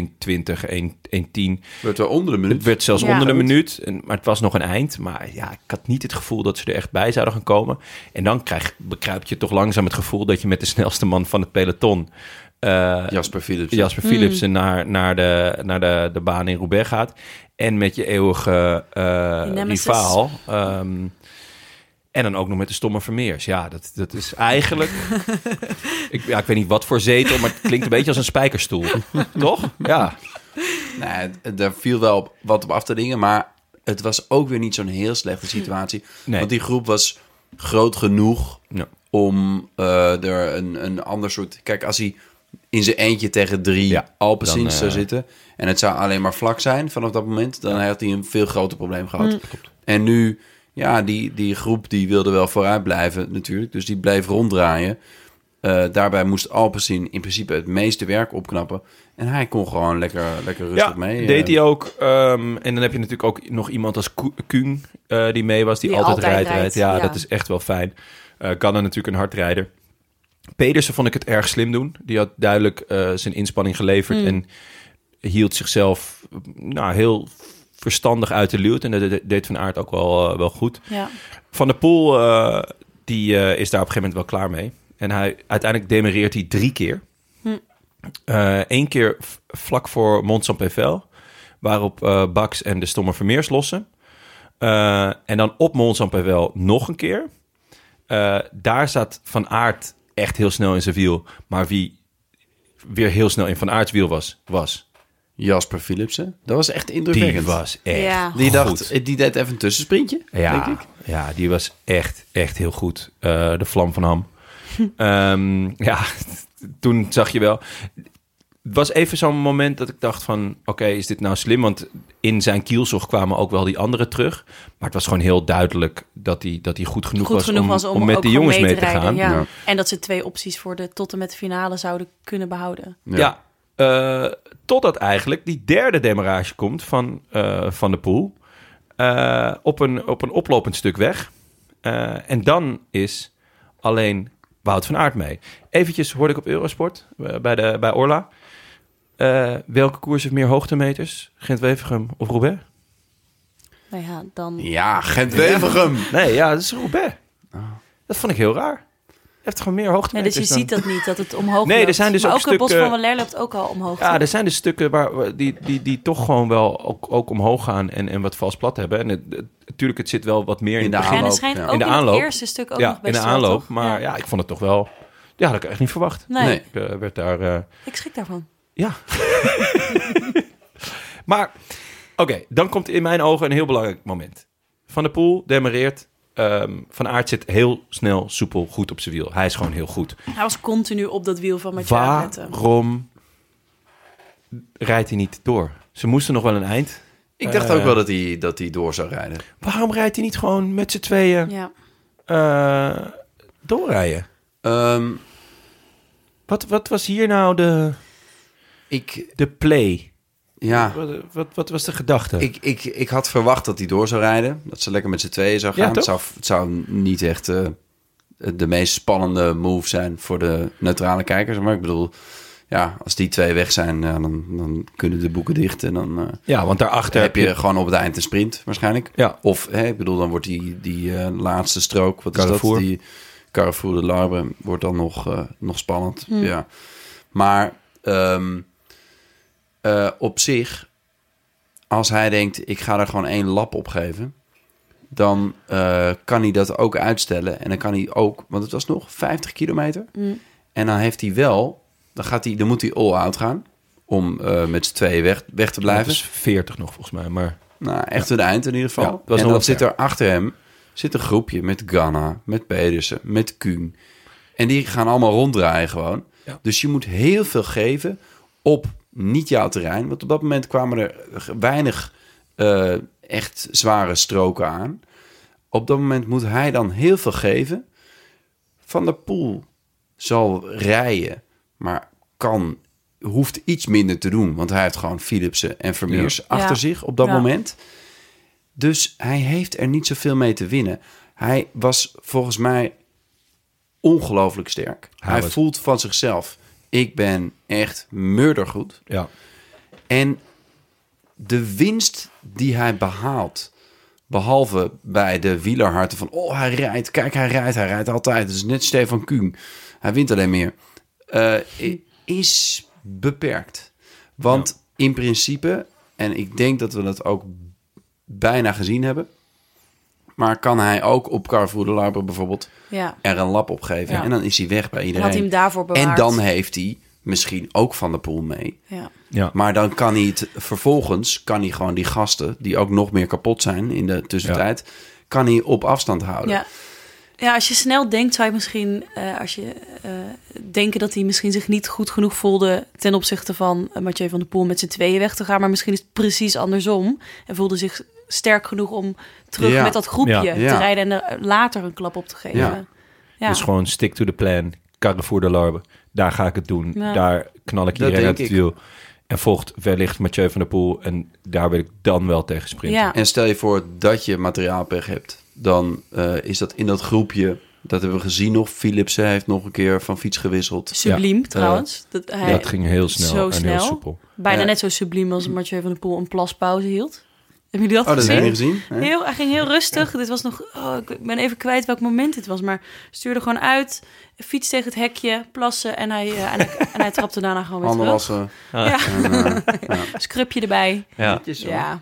1,10. Wordt wel onder de minuut. Het werd zelfs Ja. onder de Goed. minuut, en, maar het was nog een eind. Maar ja, ik had niet het gevoel dat ze er echt bij zouden gaan komen. En dan krijg, bekruip je toch langzaam het gevoel... dat je met de snelste man van het peloton... eh, Jasper Philips. Jasper Philipsen naar, naar, de, naar de, de baan in Roubaix gaat. En met je eeuwige eh, Nemesis. rivaal. ehm, en dan ook nog met de stomme Vermeers. Ja, dat, dat is eigenlijk... ik, ja, ik weet niet wat voor zetel, maar het klinkt een beetje als een spijkerstoel. Toch? Ja. Nee, Nou, het- daar viel wel op, wat op af te dingen. Maar het was ook weer niet zo'n heel slechte situatie. Nee. Want die groep was groot genoeg Ja. om eh, er een, een ander soort... Kijk, als hij in zijn eentje tegen drie Ja, ja, dan, eh, zou zitten... en het zou alleen maar vlak zijn vanaf dat moment... dan had hij een veel groter probleem gehad. Mm. En nu, ja, die, die groep die wilde wel vooruit blijven natuurlijk. Dus die bleef ronddraaien. Eh, daarbij moest Alpecin in principe het meeste werk opknappen. En hij kon gewoon lekker, lekker rustig ja, mee. deed eh. hij ook. ehm, en dan heb je natuurlijk ook nog iemand als Ku- Kuhn eh, die mee was, die, Die altijd, altijd rijdt. rijdt, rijdt. Ja, ja. dat is echt wel fijn. Eh Ganna natuurlijk een hardrijder. Pedersen vond ik het erg slim doen. Die had duidelijk eh, zijn inspanning geleverd en hield zichzelf eh, nou, heel verstandig uit de luwte. En dat dat deed Van Aert ook wel, eh, wel goed. Ja. Van der Poel eh, die, eh, is daar op een gegeven moment wel klaar mee. En hij, uiteindelijk demereert hij drie keer. Eén keer v- vlak voor Mont Saint Pevel, waarop eh Bax en de Stomme Vermeers lossen. Eh, en dan op Mont Saint Pevel nog een keer. Eh, daar zat Van Aert echt heel snel in zijn wiel. Maar wie weer heel snel in Van Aerts wiel was, was. Jasper Philipsen. Dat was echt Die indrukwekkend. was echt Ja. Die goed. dacht, eh, die deed even een tussensprintje, Ja, denk ik. ja die was echt, echt heel goed. Eh, de vlam van Ham. Hm. Ehm, ja, toen zag je wel. Het was even zo'n moment dat ik dacht van... oké, is dit nou slim? Want in zijn kielzog kwamen ook wel die anderen terug. Maar het was gewoon heel duidelijk dat hij, dat hij goed genoeg, Goed was, genoeg om, was om, om met ook de gewoon jongens mee te, rijden, gaan. ja. Ja. En dat ze twee opties voor de tot en met de finale zouden kunnen behouden. Ja. eh, totdat eigenlijk die derde demarrage komt van eh, Van de Poel. eh, op, een, op een oplopend stuk weg. Eh, en dan is alleen Wout van Aert mee. Eventjes hoorde ik op Eurosport, eh, bij, de, bij Orla. Eh, welke koers heeft meer hoogtemeters? Gent-Wevergem of Roubaix? Nou ja, dan... Ja, Gent-Wevergem. Nee, ja, dat is Roubaix. Dat vond ik heel raar. Hij heeft gewoon meer Nee, hoogtemeters dus je dan- ziet dat niet, dat het omhoog Nee, er loopt. zijn dus maar ook ook, het bos stukken- van Valère loopt ook al omhoog. Ja, er zijn dus stukken waar, waar- die, die, die toch gewoon wel ook, ook omhoog gaan en, en wat vals plat hebben. En het, het- natuurlijk, het zit wel wat meer in, In de het begin. en het aanloop, schijnt ja. ook In in, de aanloop. het eerste stuk ook nog Ja, in best de wel, aanloop. toch? Maar ja. ik vond het toch wel... Ja, dat had ik echt niet verwacht. Nee, Nee. Ik eh, werd daar... eh, ik schrik daarvan. ja. maar, oké. dan komt in mijn ogen een heel belangrijk moment. Van der Poel demareert. ehm, van Aert zit heel snel, soepel, goed op zijn wiel. Hij is gewoon heel goed. Hij was continu op dat wiel van Mathieu aan het letten. Waarom rijdt hij niet door? Ze moesten nog wel een eind. Ik dacht Eh. ook wel dat hij, dat hij door zou rijden. Waarom rijdt hij niet gewoon met z'n tweeën Ja. eh, doorrijden? Ehm, Wat, wat was hier nou de, ik, de play? ja, Wat, wat, wat was de gedachte? ik, ik, ik had verwacht dat hij door zou rijden. Dat ze lekker met z'n tweeën zou Ja, gaan. toch? het, zou, het zou niet echt eh, de meest spannende move zijn voor de neutrale kijkers. Maar ik bedoel, ja, als die twee weg zijn, ja, dan, dan kunnen de boeken dicht. En dan eh, ja, want daarachter heb je gewoon op het eind een sprint waarschijnlijk. Ja, Of, hè, ik bedoel, dan wordt die, die eh, laatste strook, wat Carrefour. is dat? Die Carrefour de Larbre wordt dan nog, eh, nog spannend. Hmm. Ja. Maar ehm, eh, op zich, als hij denkt, ik ga er gewoon één lap op geven... dan eh, kan hij dat ook uitstellen. En dan kan hij ook, want het was nog 50 kilometer... Hmm. en dan heeft hij wel, dan, gaat hij, dan moet hij all-out gaan... om eh, met z'n tweeën weg, weg te dat blijven. is 40 nog volgens mij. Maar Nou, echt een eind in ieder Ja, geval. het was en nog dan wat zit ver. er achter hem zit een groepje met Ghana, met Pedersen, met Kuhn. En die gaan allemaal ronddraaien gewoon. Ja. Dus je moet heel veel geven op niet jouw terrein. Want op dat moment kwamen er weinig eh, echt zware stroken aan. Op dat moment moet hij dan heel veel geven Van der Poel zal rijden, maar kan, hoeft iets minder te doen. Want hij heeft gewoon Philipsen en Vermeers achter Ja. zich op dat Ja. moment. Dus hij heeft er niet zoveel mee te winnen. Hij was volgens mij ongelooflijk sterk. Hij was- voelt van zichzelf, ik ben echt murdergoed. Ja. En de winst die hij behaalt, behalve bij de wielerharten van... oh, hij rijdt, kijk, hij rijdt, hij rijdt altijd. Het is net Stefan Kuhn. Hij wint alleen meer. Eh, i- is beperkt. Want in principe, en ik denk dat we dat ook bijna gezien hebben... maar kan hij ook op Carrefour de Larbre bijvoorbeeld Ja. er een lap op geven... Ja. en dan is hij weg bij iedereen. had hij hem daarvoor bewaard. En dan heeft hij misschien ook Van der Poel mee... ja. Ja. Maar dan kan hij het vervolgens, kan hij gewoon die gasten, die ook nog meer kapot zijn in de tussentijd, kan hij op afstand houden. Ja. ja, als je snel denkt, zou je misschien, eh, als je eh, denken dat hij misschien zich niet goed genoeg voelde ten opzichte van eh, Mathieu van der Poel met z'n tweeën weg te gaan. Maar misschien is het precies andersom. En voelde zich sterk genoeg om terug Ja. met dat groepje Ja. te Ja. rijden en er later een klap op te geven. Ja. Ja. Dus gewoon stick to the plan. Carrefour de Larbe. Daar ga ik het doen. Ja. Daar knal ik Dat iedereen uit denk het wiel. En volgt wellicht Mathieu van der Poel. En daar wil ik dan wel tegen sprinten. Ja. En stel je voor dat je materiaalpech hebt, dan eh, is dat in dat groepje, dat hebben we gezien nog, Philipsen heeft nog een keer van fiets gewisseld. Subliem trouwens. Dat, hij Dat ging heel snel Zo en snel. heel soepel. bijna eh, Ja. net zo subliem als Mathieu van der Poel een plaspauze hield. Hebben jullie dat Oh, dat gezien? heb je gezien? hè? Heel, hij ging heel rustig. Dit was nog. Oh, ik ben even kwijt welk moment dit was. Maar stuurde gewoon uit. Fiets tegen het hekje, plassen. En hij, eh, en hij, en hij trapte daarna gewoon weer Handen terug. wassen. Ja, En, eh, scrubje erbij. Ja. netjes, hoor. Ja.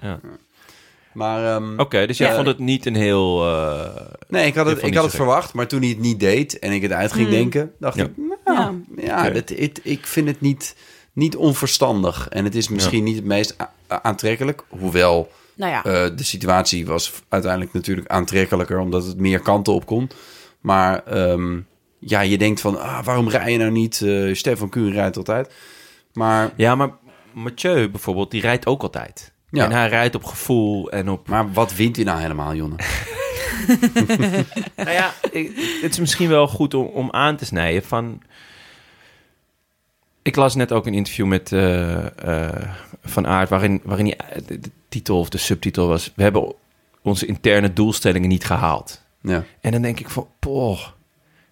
Maar ehm, Oké, dus jij Ja. vond het niet een heel... eh, nee, Ik ik had het, vond ik niet had het zo gek. verwacht, maar toen hij het niet deed en ik het uit ging Mm. denken, dacht Ja. ik, nou, Ja. Ja, Oké. dat, het, ik vind het niet, niet onverstandig. En het is misschien niet het meest a- a- aantrekkelijk. Hoewel Nou ja. eh, de situatie was f- uiteindelijk natuurlijk aantrekkelijker... omdat het meer kanten op kon. Maar ehm, ja, je denkt van... Ah, waarom rij je nou niet? Eh, Stefan Kuhn rijdt altijd. Maar, ja, maar Mathieu bijvoorbeeld, die rijdt ook altijd. Ja. En hij rijdt op gevoel en op... maar wat wint hij nou helemaal, Jonne? nou ja, ik- het is misschien wel goed om, om aan te snijden van... Ik las net ook een interview met eh, eh, Van Aert... waarin, waarin hij, eh, de, de titel of de subtitel was... we hebben onze interne doelstellingen niet gehaald. Ja. En dan denk ik van, poh,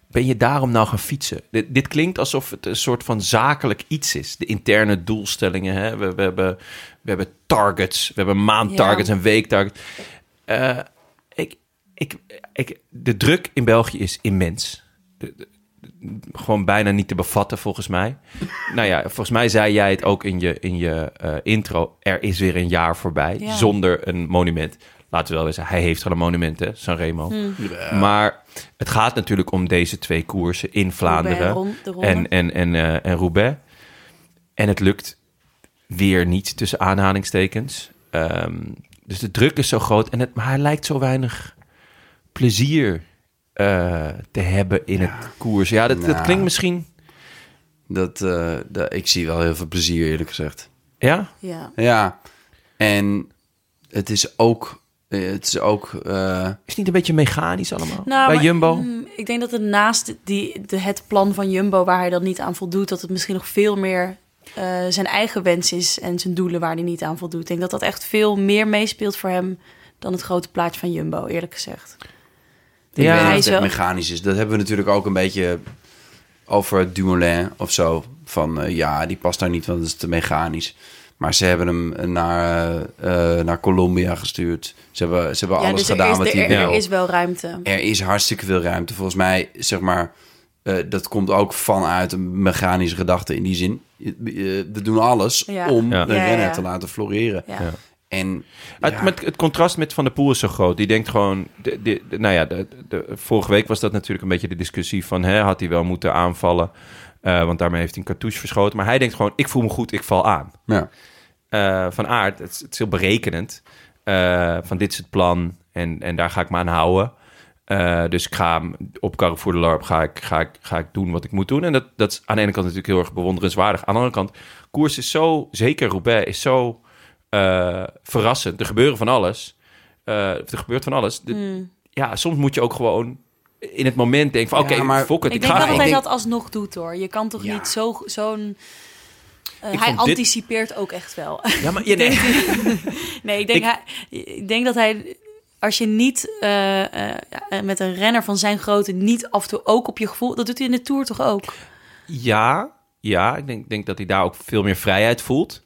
ben je daarom nou gaan fietsen? Dit, dit klinkt alsof het een soort van zakelijk iets is. De interne doelstellingen, hè? We, we, hebben, we hebben targets, we hebben maandtargets Ja. en weektargets. Eh, ik, ik, ik, de druk in België is immens. De- de- de- gewoon bijna niet te bevatten, volgens mij. nou ja, volgens mij zei jij het ook in je, in je eh, intro. Er is weer een jaar voorbij Ja. zonder een monument. Laten we wel wezen, hij heeft al een monument, hè, Sanremo. Hm. Maar het gaat natuurlijk om deze twee koersen in Vlaanderen Ron- de Ronde. en, en, en, eh, en Roubaix. En het lukt weer niet, tussen aanhalingstekens. Ehm, dus de druk is zo groot, en het, maar hij lijkt zo weinig plezier eh, te hebben in het koers. Ja, dat, dat Nou. klinkt misschien... Dat, eh, dat, ik zie wel heel veel plezier, eerlijk gezegd. Ja? ja. Ja, en het is ook... eh, Het is ook... eh, Is het niet een beetje mechanisch allemaal? Nou, Bij maar, Jumbo? mm, ik denk dat het naast die, de, het plan van Jumbo, waar hij dan niet aan voldoet, dat het misschien nog veel meer eh, zijn eigen wens is en zijn doelen waar hij niet aan voldoet. Ik denk dat dat echt veel meer meespeelt voor hem dan het grote plaatje van Jumbo, eerlijk gezegd. Ik Ja, weet niet hij of is het echt wel- mechanisch is. Dat hebben we natuurlijk ook een beetje over Dumoulin of zo. Van eh, ja, die past daar niet, want het is te mechanisch. Maar ze hebben hem naar, eh, eh, naar Colombia gestuurd. Ze hebben, ze hebben ja, alles dus gedaan er is, wat er- hij er- er wil. is wel ruimte. Er is hartstikke veel ruimte. Volgens mij, zeg maar, eh, dat komt ook vanuit een mechanische gedachte in die zin. Eh, eh, We doen alles Ja. om Ja. een Ja, renner ja. te laten floreren. Ja. En Het, ja, met, het contrast met Van der Poel is zo groot. Die denkt gewoon... De, de- de- nou ja, de, de- vorige week was dat natuurlijk een beetje de discussie van... Hè, had hij wel moeten aanvallen? Eh, want daarmee heeft hij een cartouche verschoten. Maar hij denkt gewoon, ik voel me goed, ik val aan. ja. Eh, van aard, het, is- het is heel berekenend. Eh, van dit is het plan en, en daar ga ik me aan houden. Eh, dus ik ga hem op Carrefour de Larp ga ik, ga, ik, ga ik doen wat ik moet doen. En dat, dat is aan de ene kant natuurlijk heel erg bewonderenswaardig. Aan de andere kant, koers is zo, zeker Roubaix, is zo eh, Hmm. verrassend. Er gebeuren van alles. Eh, er gebeurt van alles. De- Ja, soms moet je ook gewoon in het moment denk van Ja, oké, maar- fuck it, ik ik denk ga wel dat gewoon. hij denk- dat alsnog doet hoor. Je kan toch Ja. niet zo- zo'n... eh, Ik hij vond dit- anticipeert ook echt wel. Ja, maar, ja, nee. Nee, ik denk, Ik- hij, ik denk dat hij, als je niet eh, eh, ja, met een renner van zijn grootte niet af en toe ook op je gevoel, dat doet hij in de Tour toch ook? Ja, ja ik denk, denk dat hij daar ook veel meer vrijheid voelt.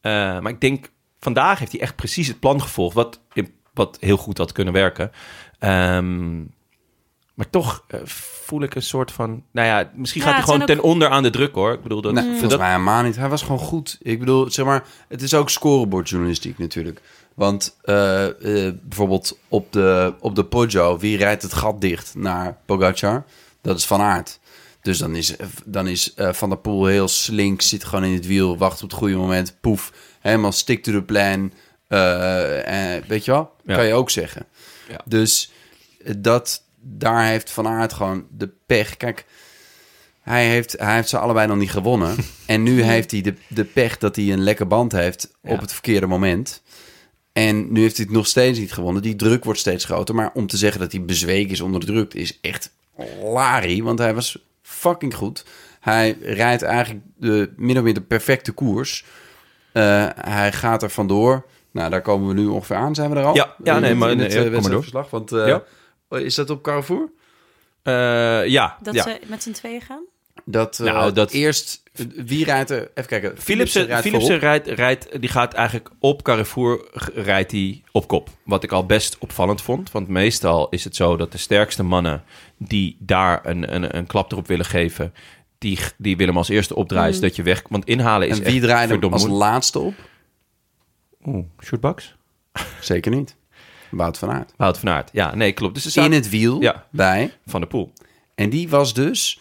Eh, maar ik denk, vandaag heeft hij echt precies het plan gevolgd, wat, wat heel goed had kunnen werken. Ehm, maar toch eh, voel ik een soort van, nou ja, misschien Ja, gaat hij het gewoon ten zijn onder aan de druk hoor. Ik bedoel, dat, Nee, dat, volgens mij helemaal niet. Hij was gewoon goed. Ik bedoel, zeg maar, het is ook scorebordjournalistiek natuurlijk. Want eh, eh, bijvoorbeeld op de, op de Poggio, wie rijdt het gat dicht naar Pogacar? Dat is Van Aert. Dus dan is, dan is eh, Van der Poel heel slink, zit gewoon in het wiel, wacht op het goede moment, poef, helemaal stick to the plan. Eh, eh, weet je wel? Ja. Kan je ook zeggen. Ja. Dus eh, dat, daar heeft Van Aert gewoon de pech. Kijk, hij heeft, hij heeft ze allebei nog niet gewonnen. en nu heeft hij de, de pech dat hij een lekke band heeft Ja. op het verkeerde moment. En nu heeft hij het nog steeds niet gewonnen. Die druk wordt steeds groter. Maar om te zeggen dat hij bezweek is onder de druk is echt lari. Want hij was fucking goed. Hij rijdt eigenlijk de, min of meer de perfecte koers. Eh, hij gaat er vandoor. Nou, daar komen we nu ongeveer aan. Zijn we er al? Ja, ja, In nee, het- maar- in nee, het ja, eh, kom maar door. wedstrijdverslag. Want eh, Ja. oh, is dat op Carrefour? eh, ja, Dat ja. ze met z'n tweeën gaan? Dat, eh, Nou, dat- eerst... Wie rijdt er... Even kijken. Philipsen, rijdt Philipsen voorop. rijdt, rijdt, die gaat eigenlijk op Carrefour g- rijdt hij op kop. Wat ik al best opvallend vond. Want meestal is het zo dat de sterkste mannen die daar een, een, een klap erop willen geven, die, g- die willen hem als eerste opdraaien, zodat je weg... Want inhalen is En wie draait hem verdomd als moeilijk. laatste op? Oeh, shootbox? Zeker niet. Wout van Aert. Wout van Aert. Ja, nee, klopt. Dus ze In staan het wiel Ja. bij. van de poel. En die was dus...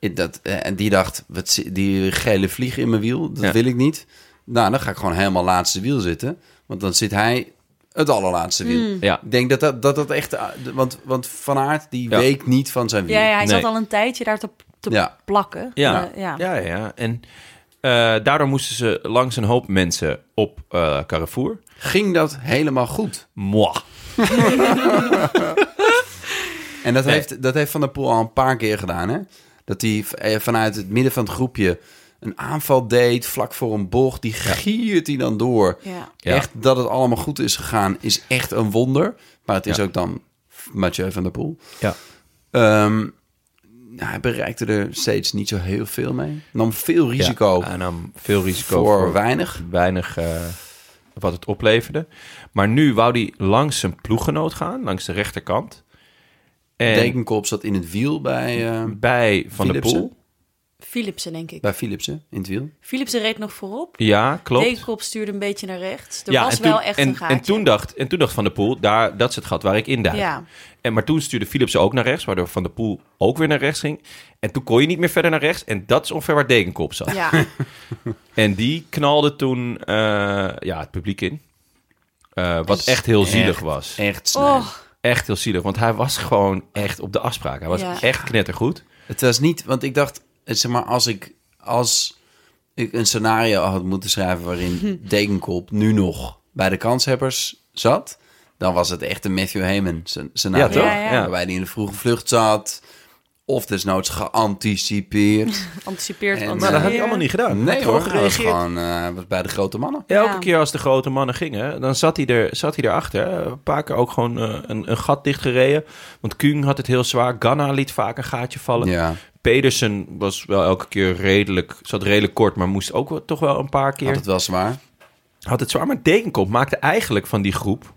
eh, Dat, eh, en die dacht, wat, zi- die gele vlieg in mijn wiel, dat Ja. wil ik niet. Nou, dan ga ik gewoon helemaal laatste wiel zitten. Want dan zit hij het allerlaatste wiel. Mm. Ja. Ik denk dat dat, dat, dat echt... eh, Want, want Van Aert, die Ja. week niet van zijn wiel. Ja, ja, hij zat Nee. al een tijdje daar te, te Ja. plakken. Ja, Eh, ja. ja. ja, ja. En eh, daardoor moesten ze langs een hoop mensen op eh, Carrefour. Ging dat helemaal goed. Mwah. En dat, Nee. heeft, dat heeft Van der Poel al een paar keer gedaan, hè? Dat hij v- eh, vanuit het midden van het groepje een aanval deed, vlak voor een bocht. Die giert hij dan door. Ja. Ja. Echt dat het allemaal goed is gegaan, is echt een wonder. Maar het is Ja. ook dan Mathieu van der Poel. Ja. Ehm, nou, hij bereikte er steeds niet zo heel veel mee. Nam veel risico Ja, en nam veel risico voor, voor weinig. weinig eh, wat het opleverde. Maar nu wou hij langs zijn ploeggenoot gaan, langs de rechterkant. En Dekenkop zat in het wiel bij, eh bij Van der Philipsen. Poel. Philipsen, denk ik. bij Philipsen, in het wiel. Philipsen reed nog voorop. Ja, klopt. Dekenkop stuurde een beetje naar rechts. Er ja, was en toen- wel echt en, een gaatje. En toen, dacht, en toen dacht Van der Poel, daar, dat is het gat waar ik in duik. ja. En, maar toen stuurde Philips ook naar rechts, waardoor Van der Poel ook weer naar rechts ging. En toen kon je niet meer verder naar rechts. En dat is ongeveer waar Dekenkop zat. Ja. En die knalde toen eh, ja, het publiek in. Eh, wat echt heel zielig was. Echt snel. Oh, echt heel zielig. Want hij was gewoon echt op de afspraak. Hij was Ja. echt knettergoed. Het was niet, want ik dacht, eh, zeg maar, als ik, als ik een scenario had moeten schrijven waarin Dekenkop nu nog bij de kanshebbers zat, dan was het echt een Matthew Heyman scen- scenario. Ja, toch? Ja, ja. Waarbij hij in de vroege vlucht zat, of desnoods geanticipeerd. anticipeert, En, anticipeert. maar dat had hij niet gedaan. Nee hoor, hij was gereageerd. gewoon eh, was bij de grote mannen. Elke Ja. keer als de grote mannen gingen, dan zat hij, er, zat hij erachter. Eh, Een paar keer ook gewoon eh, een, een gat dichtgereden. Want Kung had het heel zwaar. Ganna liet vaak een gaatje vallen. Ja, Pedersen was wel elke keer redelijk, zat redelijk kort, maar moest ook wel, toch wel een paar keer. had het wel zwaar. had het zwaar, maar Dekenkop maakte eigenlijk van die groep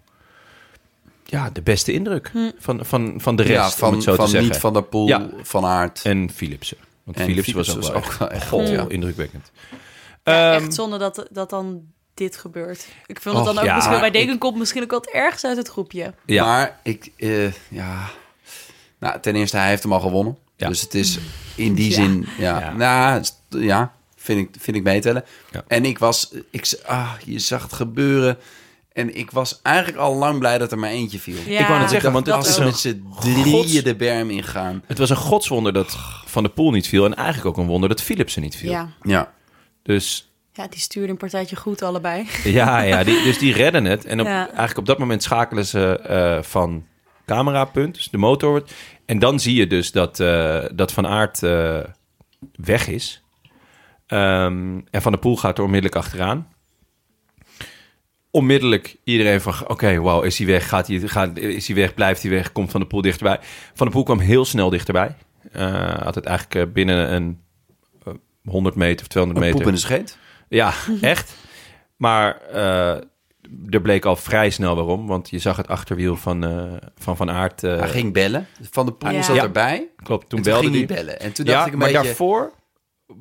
ja, de beste indruk Hm. van, van, van de rest, ja, om van, het zo van te zeggen. niet van der Poel, Ja. van Aert. En Philipsen. Want En Philipsen, was Philipsen ook wel was echt, ook wel echt goh, goed, ja. indrukwekkend. Ja, Ehm, echt zonde dat, dat dan dit gebeurt. Ik vond het Och, dan ook ja, misschien bij maar ik- Dekenkop misschien ook wel het ergste uit het groepje. Ja. Maar ik, eh, ja. Nou, ten eerste, hij heeft hem al gewonnen. Ja. Dus het is in die Ja. zin, ja. Ja. Nou, st- ja, vind ik, vind ik meetellen. Ja. En ik was, ik, z- ah, je zag het gebeuren. En ik was eigenlijk al lang blij dat er maar eentje viel. Ja, wou net zeggen, want dat het Als is ze ook. een met z'n drieën gods- de berm ingaan. Het was een godswonder dat Van der Poel niet viel. En eigenlijk ook een wonder dat Philipsen niet viel. Ja. Ja, Dus ja, die stuurde een partijtje goed allebei. ja, ja die, dus die redden het. En op, Ja. eigenlijk op dat moment schakelen ze eh, van camerapunt, dus de motor wordt. En dan zie je dus dat, eh, dat Van Aert eh, weg is. Ehm, en Van der Poel gaat er onmiddellijk achteraan. Onmiddellijk iedereen van, oké, wauw, is hij weg? Gaat hij, gaat, is hij weg? Blijft hij weg? Komt Van der Poel dichterbij? Van der Poel kwam heel snel dichterbij. Eh had het eigenlijk eh, binnen een eh, 100 meter of 200 Een meter. poep in de scheet. Ja, Mhm. echt. Maar eh, er bleek al vrij snel waarom. Want je zag het achterwiel van eh, Van, van Aert. eh, Hij ging bellen. Van de Poel Ja. zat Ja. erbij. En klopt, toen Toen belde ging hij. hij bellen. En toen ja, dacht ik een maar beetje... daarvoor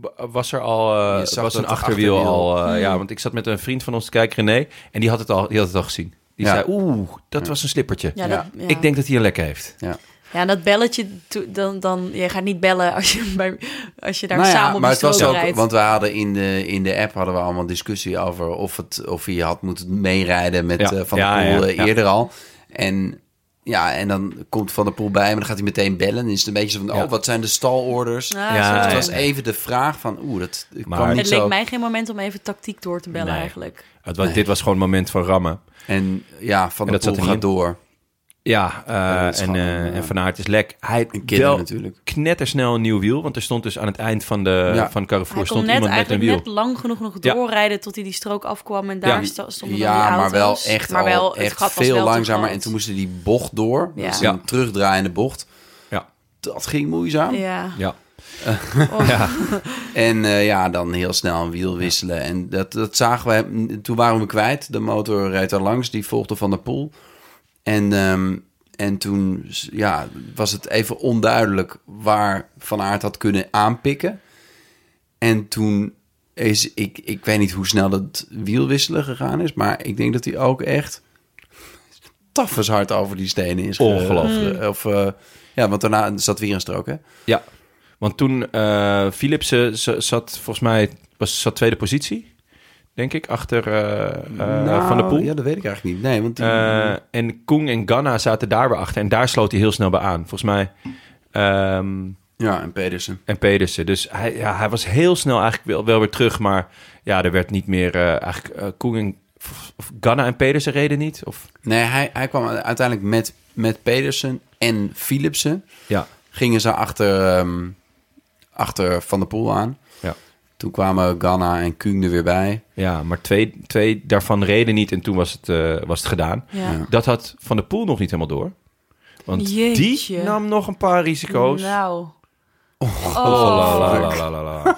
b- was er al eh, Je zag was dat een het achterwiel, achterwiel- al. eh, Hmm. Ja, want ik zat met een vriend van ons te kijken, René. En die had het al, die had het al gezien. Die Ja. zei, oeh, dat was een slippertje. Ja, Ja. Dat, ja. Ik denk dat hij een lek heeft. Ja, dat belletje, to- dan, dan, je gaat niet bellen als je, bij, als je daar Nou ja, samen op maar de het was strook ook, rijdt. want we hadden in de, in de app hadden we allemaal discussie over of, het, of je had moeten meerijden met Ja. eh, Van Ja, der Poel ja, eh, ja. eerder al. En ja, en dan komt Van der Poel bij, maar dan gaat hij meteen bellen. En is het een beetje zo van, Ja. oh, wat zijn de stalorders? Ja, Ja, zo Het is was het. even de vraag van, oeh, dat Maar- kwam niet het leek zo. mij geen moment om even tactiek door te bellen Nee. eigenlijk. Het was, Dit was gewoon een moment van rammen. En ja, Van En dat der Poel zat er gaat niet door. Ja, eh, dat is en, gewoon, eh, eh, en Van Aert is lek. Hij En kinderen wel natuurlijk. knettersnel een nieuw wiel. Want er stond dus aan het eind van, de, Ja. van Hij Carrefour kon stond net iemand met een eigenlijk wiel. net lang genoeg nog Ja. doorrijden tot hij die strook afkwam en daar Ja. sta- stonden dan die Ja, maar auto's. wel echt, Maar wel, al het echt gat was veel wel te langzamer. groot. En toen moesten die bocht door. Ja. Dat is een Ja. terugdraaiende bocht. Ja. Dat ging moeizaam. Ja. Ja. Oh. En eh, ja, dan heel snel een wiel wisselen. En dat, dat zagen we. hem- Toen waren we hem kwijt. De motor reed daar langs. Die volgde Van der Poel. En, ehm, en toen ja, was het even onduidelijk waar Van Aert had kunnen aanpikken. En toen is... Ik, ik weet niet hoe snel dat wielwisselen gegaan is. Maar ik denk dat hij ook echt... Taffes hard over die stenen is. ge- Ongelooflijk. ge- Of, eh, ja, want daarna zat weer een strook, hè? ja, want toen eh Philipsen z- zat volgens mij was, zat tweede positie, denk ik, achter eh, eh, Nou, Van der Poel. Ja, dat weet ik eigenlijk niet. Nee, want die... Eh, en Koen en Ganna zaten daar weer achter. En daar sloot hij heel snel bij aan. Volgens mij... ehm, Ja, en Pedersen. en Pedersen. Dus hij, ja, hij was heel snel eigenlijk wel, wel weer terug. Maar ja, er werd niet meer... eh, eigenlijk eh, Koen en... Of, of Ganna en Pedersen reden niet? Of, Nee, hij, hij kwam uiteindelijk met, met Pedersen en Philipsen. ja. Gingen ze achter, ehm, achter Van der Poel aan. Ja. Toen kwamen Ganna en Kuhn er weer bij. ja, maar twee, twee daarvan reden niet. En toen was het, eh, was het gedaan. Ja. Dat had Van der Poel nog niet helemaal door. Want Jeetje. die nam nog een paar risico's. Nou. Oh, Oh, la, la, la, la, la, la.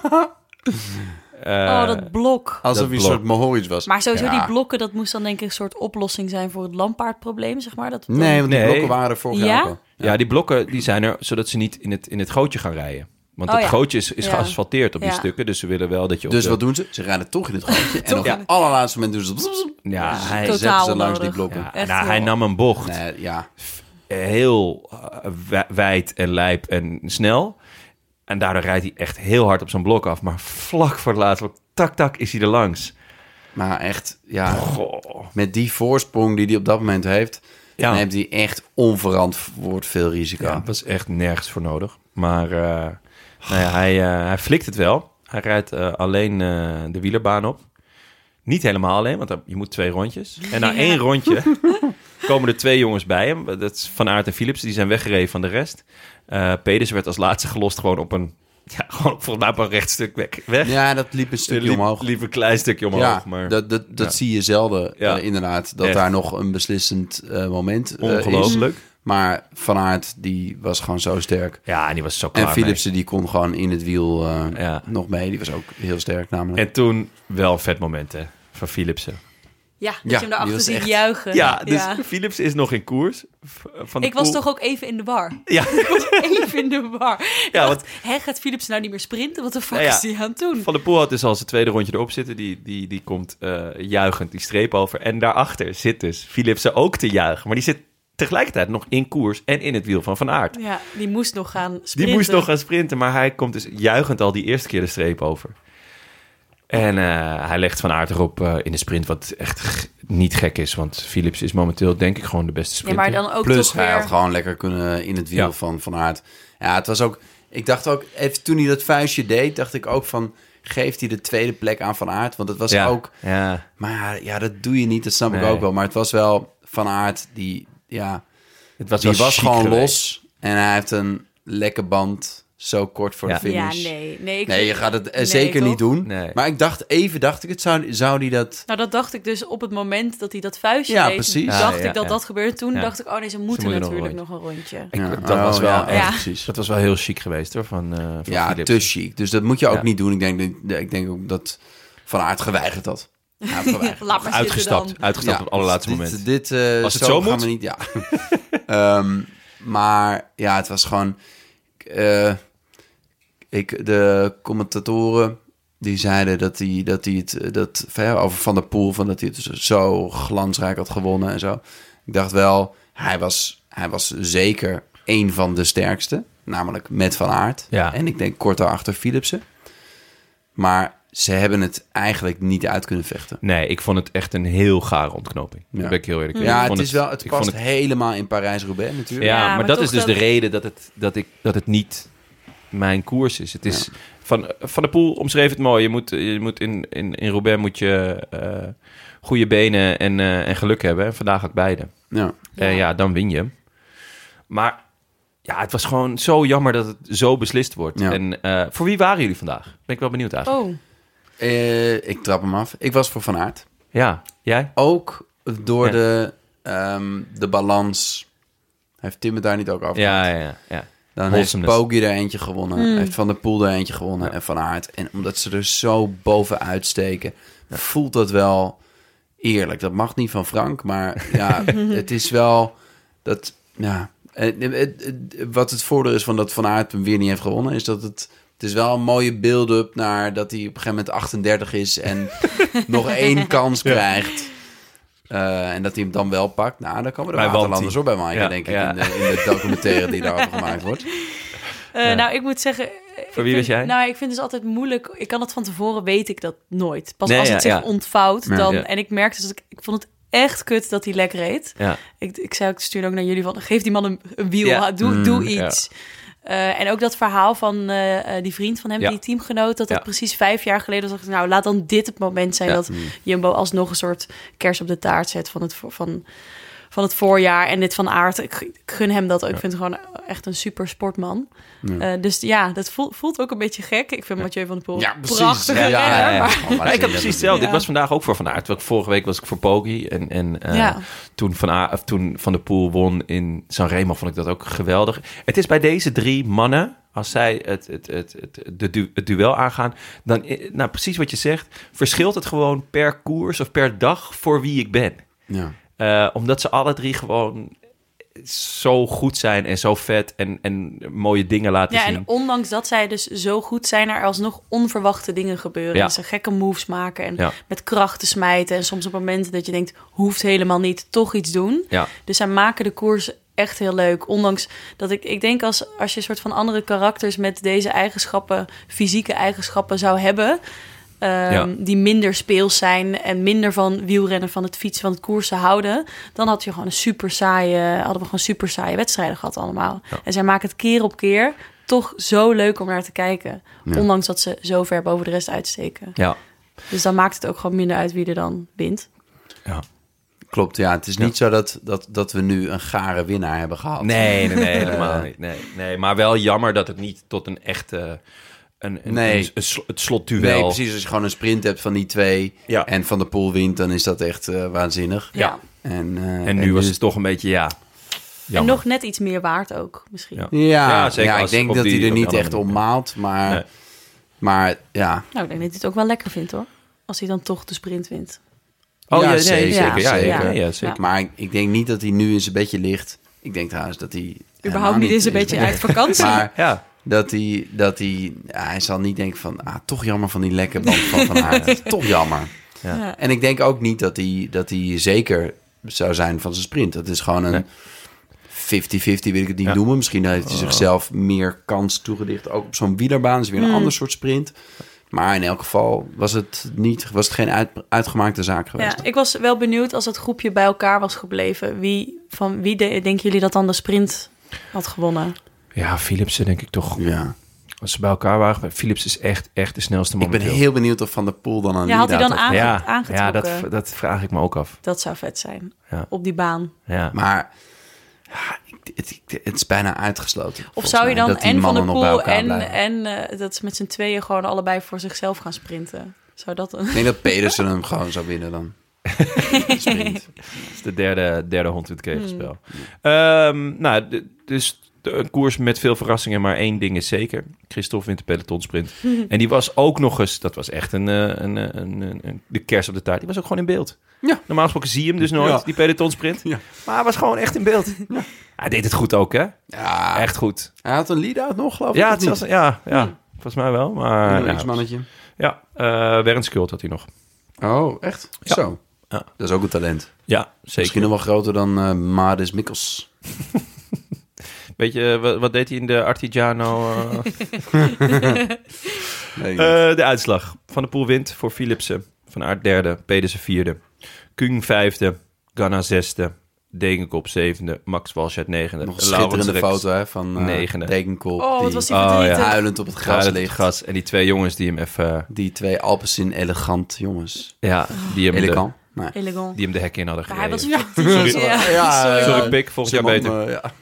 Oh, Eh, dat blok. Alsof Dat hij een blok. soort Mohoric was. Maar sowieso Ja. die blokken, dat moest dan denk ik een soort oplossing zijn voor het lampaardprobleem, zeg maar. Dat Nee, want die Nee. blokken waren er vorig Ja? jaar ook al. ja. die blokken die zijn er zodat ze niet in het, in het gootje gaan rijden. Want Oh, het ja. gootje is, is Ja. geasfalteerd op die Ja. stukken. Dus ze willen wel dat je op Dus de- wat doen ze? Ze rijden toch in het gootje. en op in het allerlaatste moment doen ze... bzz, bzz, Ja, hij, zetten Dus Totaal ze langs die onnodig. blokken. ja, Echt nou, wel. hij nam een bocht. Nee, ja. Heel eh, wij- wijd en lijp en snel. En daardoor rijdt hij echt heel hard op zijn blok af. Maar vlak voor het laatste blok, tak, tak, is hij er langs. Maar echt, ja, Goh. met die voorsprong die hij op dat moment heeft... Ja. neemt hij echt onverantwoord veel risico. Ja, dat was echt nergens voor nodig. Maar eh, nou ja, hij, eh, hij flikt het wel. Hij rijdt eh, alleen eh, de wielerbaan op. Niet helemaal alleen, want dan- je moet twee rondjes. En na één rondje komen er twee jongens bij hem. Dat is Van Aert en Philips. Die zijn weggereden van de rest. Eh Pedersen werd als laatste gelost gewoon op een... Ja, gewoon op- volgens mij op een rechtstuk weg. weg. Ja, dat liep een stukje Liep- omhoog. Liep een klein stukje omhoog. ja, maar dat, dat, dat ja. zie je zelden Ja. eh, inderdaad. Dat Echt. daar nog een beslissend eh, moment eh, is. ongelooflijk. Maar Van Aert, die was gewoon zo sterk. Ja, en die was zo klaar En mee. Philipsen, die kon gewoon in het wiel eh, Ja. nog mee. Die was ook heel sterk namelijk. En toen wel een vet moment hè, van Philipsen. Ja, dat Ja, je hem die daarachter was ziet echt- juichen. Ja, dus Eh, Ja. Philips is nog in koers. V- eh, Van de Ik was Poel- toch ook even in de war. Ja, Even in de war. Ja, Ja, want- want... Hè, gaat Philips nou niet meer sprinten? Wat de fuck Nou ja, is hij aan het doen? Van de Poel had dus al zijn tweede rondje erop zitten. Die, die, die komt eh, juichend die streep over. En daarachter zit dus Philipsen ook te juichen. Maar die zit tegelijkertijd nog in koers en in het wiel van Van Aert. Ja, die moest nog gaan sprinten. Die moest nog gaan sprinten, maar hij komt dus juichend al die eerste keer de streep over. En eh, hij legt Van Aert erop eh, in de sprint, wat echt g- niet gek is. Want Philips is momenteel denk ik gewoon de beste Ja, sprinter. maar dan ook Plus, toch hij weer... had gewoon lekker kunnen in het wiel Ja. van Van Aert. Ja, het was ook... Ik dacht ook, even toen hij dat vuistje deed, dacht ik ook van... Geeft hij de tweede plek aan Van Aert? Want het was ja, ook... Ja, Maar ja, dat doe je niet, dat snap ik Nee. ook wel. Maar het was wel Van Aert die, ja... Het was Die wel was chic gewoon geweest. los en hij heeft een lekke band zo kort voor Ja. de finish. Ja, nee. Nee, ik- Nee, je gaat het eh, Nee, zeker toch? niet doen. Nee. Maar ik dacht, even dacht ik het, zou, zou die dat... Nou, dat dacht ik dus op het moment dat hij dat vuistje Ja, deed, precies. dacht Ja, ja, ik dat ja. dat gebeurde. Toen Ja. dacht ik, oh nee, ze moeten, moeten nog een natuurlijk nog een rondje. Ik- Ja, dat, was oh, wel ja, echt- Ja. precies. dat was wel heel chic geweest hoor, van, eh van Ja, Philips. te chic. Dus dat moet je ook Ja. niet doen. Ik denk, dat- ik denk ook dat Van Aert geweigerd had. Hij had geweigerd. Laat maar Uitgestapt, zitten dan. uitgestapt op het allerlaatste dit, moment. Dit, eh, Als het zo gaan moet? we niet, ja. Ehm, maar ja, het was gewoon... eh, ik, de commentatoren die zeiden dat hij, dat hij het... eh, Dat, van, ja, over Van der Poel, van dat hij het zo glansrijk had gewonnen en zo. Ik dacht wel, hij was, hij was zeker één van de sterkste. Namelijk met Van Aert. Ja. En ik denk kort daarachter Philipsen. Maar ze hebben het eigenlijk niet uit kunnen vechten. Nee, ik vond het echt een heel gare ontknoping. Ja. Daar ben ik heel eerlijk in. Ik Ja, vond het, is wel, het ik vond past helemaal in Parijs-Roubaix Ja, natuurlijk. Ja, maar, maar dat toch is dus dat- de reden dat het, dat, ik, dat het niet mijn koers is. Het is van, van de Poel omschreef het mooi. Je moet, je moet in, in, in Roubaix moet je eh, goede benen en, eh, en geluk hebben. En vandaag had ik beide. Ja. Ja. ja, dan win je. Maar ja, het was gewoon zo jammer dat het zo beslist wordt. Ja. En eh, voor wie waren jullie vandaag? Ben ik wel benieuwd eigenlijk. Oh, Eh, ik trap hem af. Ik was voor Van Aert. Oh. Ja, jij? Ook door Ja. de, ehm, de balans. Heeft Tim het daar niet ook over? Ja, ja, ja. ja. Dan heeft Wholesomeness. Poggi er eentje gewonnen. Heeft Van der Poel er eentje gewonnen. En Van Aert. En omdat ze er zo bovenuit steken... voelt dat wel eerlijk. Dat mag niet van Frank. Maar ja, het is wel... Dat, ja, En het- het- het- wat het voordeel is van dat Van Aert hem weer niet heeft gewonnen... is dat het... Het is wel een mooie build-up naar dat hij op een gegeven moment 38 is... en nog één kans krijgt. Eh, en dat hij hem dan wel pakt. Nou, dan komen Bij er waterlanders Wanty. op bij Maaike, Ja, denk ik. ja. In, de, in de documentaire die daarover gemaakt wordt. Eh, Ja. nou ik moet zeggen... Voor wie was jij? Nou, ik vind het dus altijd moeilijk. Ik kan het van tevoren, weet ik dat nooit. Pas Nee, als ja, het zich ja. ontvouwt, Ja. dan... Ja. En ik merkte dus, dat ik, ik vond het echt kut dat hij lek reed. Ja. Ik, ik zei ook, ik stuurde ook naar jullie van, geef die man een, een wiel, Ja. ha, doe, Mm, doe ja. iets. Eh, en ook dat verhaal van eh, eh, die vriend van hem, Ja. die teamgenoot, dat dat Ja. precies vijf jaar geleden was. dacht ik, Nou, laat dan dit het moment zijn Ja. Mm. dat Jumbo alsnog een soort kers op de taart zet van het, vo- van, van het voorjaar. En dit van aard, ik, ik gun hem dat ook. Ik vind hem gewoon echt een super sportman. Eh, dus ja, dat voelt, voelt ook een beetje gek. Ik vind Mathieu van der Poel een prachtige Ja, ja, renner, ja, ja. maar- Oh, maar Ja, ik had dat- precies hetzelfde. Ja. Ik was vandaag ook voor Van Aert. Want vorige week was ik voor Poggi. En, en eh, Ja. toen, van A- of toen Van der Poel won in Sanremo vond ik dat ook geweldig. Het is bij deze drie mannen, als zij het, het, het, het, de du- het duel aangaan... dan, i- nou precies wat je zegt, verschilt het gewoon per koers of per dag voor wie ik ben. Ja. Eh, omdat ze alle drie gewoon zo goed zijn en zo vet en, en mooie dingen laten Ja, zien. en ondanks dat zij dus zo goed zijn, er alsnog onverwachte dingen gebeuren. Ja. Dat ze gekke moves maken en Ja. met krachten smijten. En soms op momenten dat je denkt, hoeft helemaal niet, toch iets doen. Ja. Dus zij maken de koers echt heel leuk. Ondanks dat ik, ik denk als, als je een soort van andere karakters met deze eigenschappen, fysieke eigenschappen zou hebben. ehm, Ja. Die minder speels zijn en minder van wielrennen, van het fietsen, van het koersen houden. Dan had je gewoon een super saaie, hadden we gewoon super saaie wedstrijden gehad allemaal. En zij maken het keer op keer toch zo leuk om naar te kijken. Ondanks dat ze zo ver boven de rest uitsteken. Ja, Dus dan maakt het ook gewoon minder uit wie er dan wint. ja. Klopt, ja. Het is niet zo dat, dat, dat we nu een gare winnaar hebben gehad. Nee, nee, nee, helemaal niet. Nee, nee, maar wel jammer dat het niet tot een echte... Een, een, Nee. een- een sl- het Nee, slotduel. precies. Als je gewoon een sprint hebt van die twee Ja. en Van der Poel wint, dan is dat echt eh, waanzinnig. Ja. En, eh, En nu was het toch een beetje, ja... En Jammer. nog net iets meer waard ook misschien. Ja. Ja, Ja, ja, zeker ik als- denk op dat die- hij er op die niet echt andere om manier. maalt, maar, Nee. maar ja. Nou, ik denk dat hij het ook wel lekker vindt hoor. Als hij dan toch de sprint wint. Oh ja, Ja, nee, zeker, zeker. Ja, ja, zeker. ja, ja, zeker. Maar ik, ik denk niet dat hij nu in zijn bedje ligt. Ik denk trouwens dat hij... helemaal Überhaupt niet eens een in beetje zijn uit vakantie. Maar Ja. dat hij, dat hij, ja, hij zal niet denken van, ah, toch jammer van die lekke band van Van Aert. toch jammer. Ja. En ik denk ook niet dat hij, dat hij zeker zou zijn van zijn sprint. Dat is gewoon een 50-50, wil ik het niet noemen. Misschien heeft Oh. hij zichzelf meer kans toegedicht. Ook op zo'n wielerbaan is weer Hmm. een ander soort sprint. Maar in elk geval was het, niet, was het geen uit- uitgemaakte zaak geweest. Ja, ik was wel benieuwd als dat groepje bij elkaar was gebleven. Wie, van wie de, denken jullie dat dan de sprint had gewonnen? Ja, Philipsen denk ik toch. Ja. Als ze bij elkaar waren. maar Philips is echt, echt de snelste Ik ben momenteel. heel benieuwd of Van der Poel dan aan Ja, had hij lead-out dan had. aange- ja, aangetrokken? ja dat, dat vraag ik me ook af. Dat zou vet zijn. Ja. Op die baan. Ja. Maar ja, het, het is bijna uitgesloten. Of volgens zou je mij, dan dat die en Van der mannen nog bij Poel elkaar en, blijven. en eh, dat ze met z'n tweeën gewoon allebei voor zichzelf gaan sprinten? Zou dat een... Ik denk dat Pedersen hem gewoon zou winnen dan. Sprint. is de derde, derde hond in het kegelspel. Hmm. Ehm, nou, d- dus de- een koers met veel verrassingen, maar één ding is zeker. Christophe wint de pelotonsprint. en die was ook nog eens, dat was echt een, eh, een, eh, een, een- een- de kers op de taart. Die was ook gewoon in beeld. Ja. Normaal gesproken zie je hem dus nooit, Ja. die pelotonsprint. Ja. Maar hij was gewoon echt in beeld. Hij deed het goed ook, hè? Ja, Echt goed. hij had een lead-out nog, geloof ik. Ja, Ah. of het niet? Hmm. was, ja, ja volgens mij wel. Maar, Een ja, X-mannetje. ja eh Wernskjöld had hij nog. Oh, echt? Zo. Ja. Dat is ook een talent. Ja, zeker. Misschien nog wel groter dan eh Maris Mikkels. Weet je, wat, wat deed hij in de Artigiano? eh, Nee, Eh, de uitslag. Van de Poel wint voor Philipsen. Van Aert derde, Pedersen vierde. Kung vijfde, Ganna zesde. Degenkop zevende, Max Walshert negende. nog een Laurens schitterende Rex foto hè, van eh negende. Degenkolb. Oh, wat die was die Oh, ja. verdrietig. huilend op het gras uit het ligt. Gras. En die twee jongens die hem even... eh, Die twee Alpecin elegant jongens. Ja, die hem, de, Elegant? Nee. Elegant. die hem de hek in hadden Maar hij gereden. was verdrietig. Ja. ja, ja. Sorry Pik, volgend jaar Zijn beter. man, eh, ja.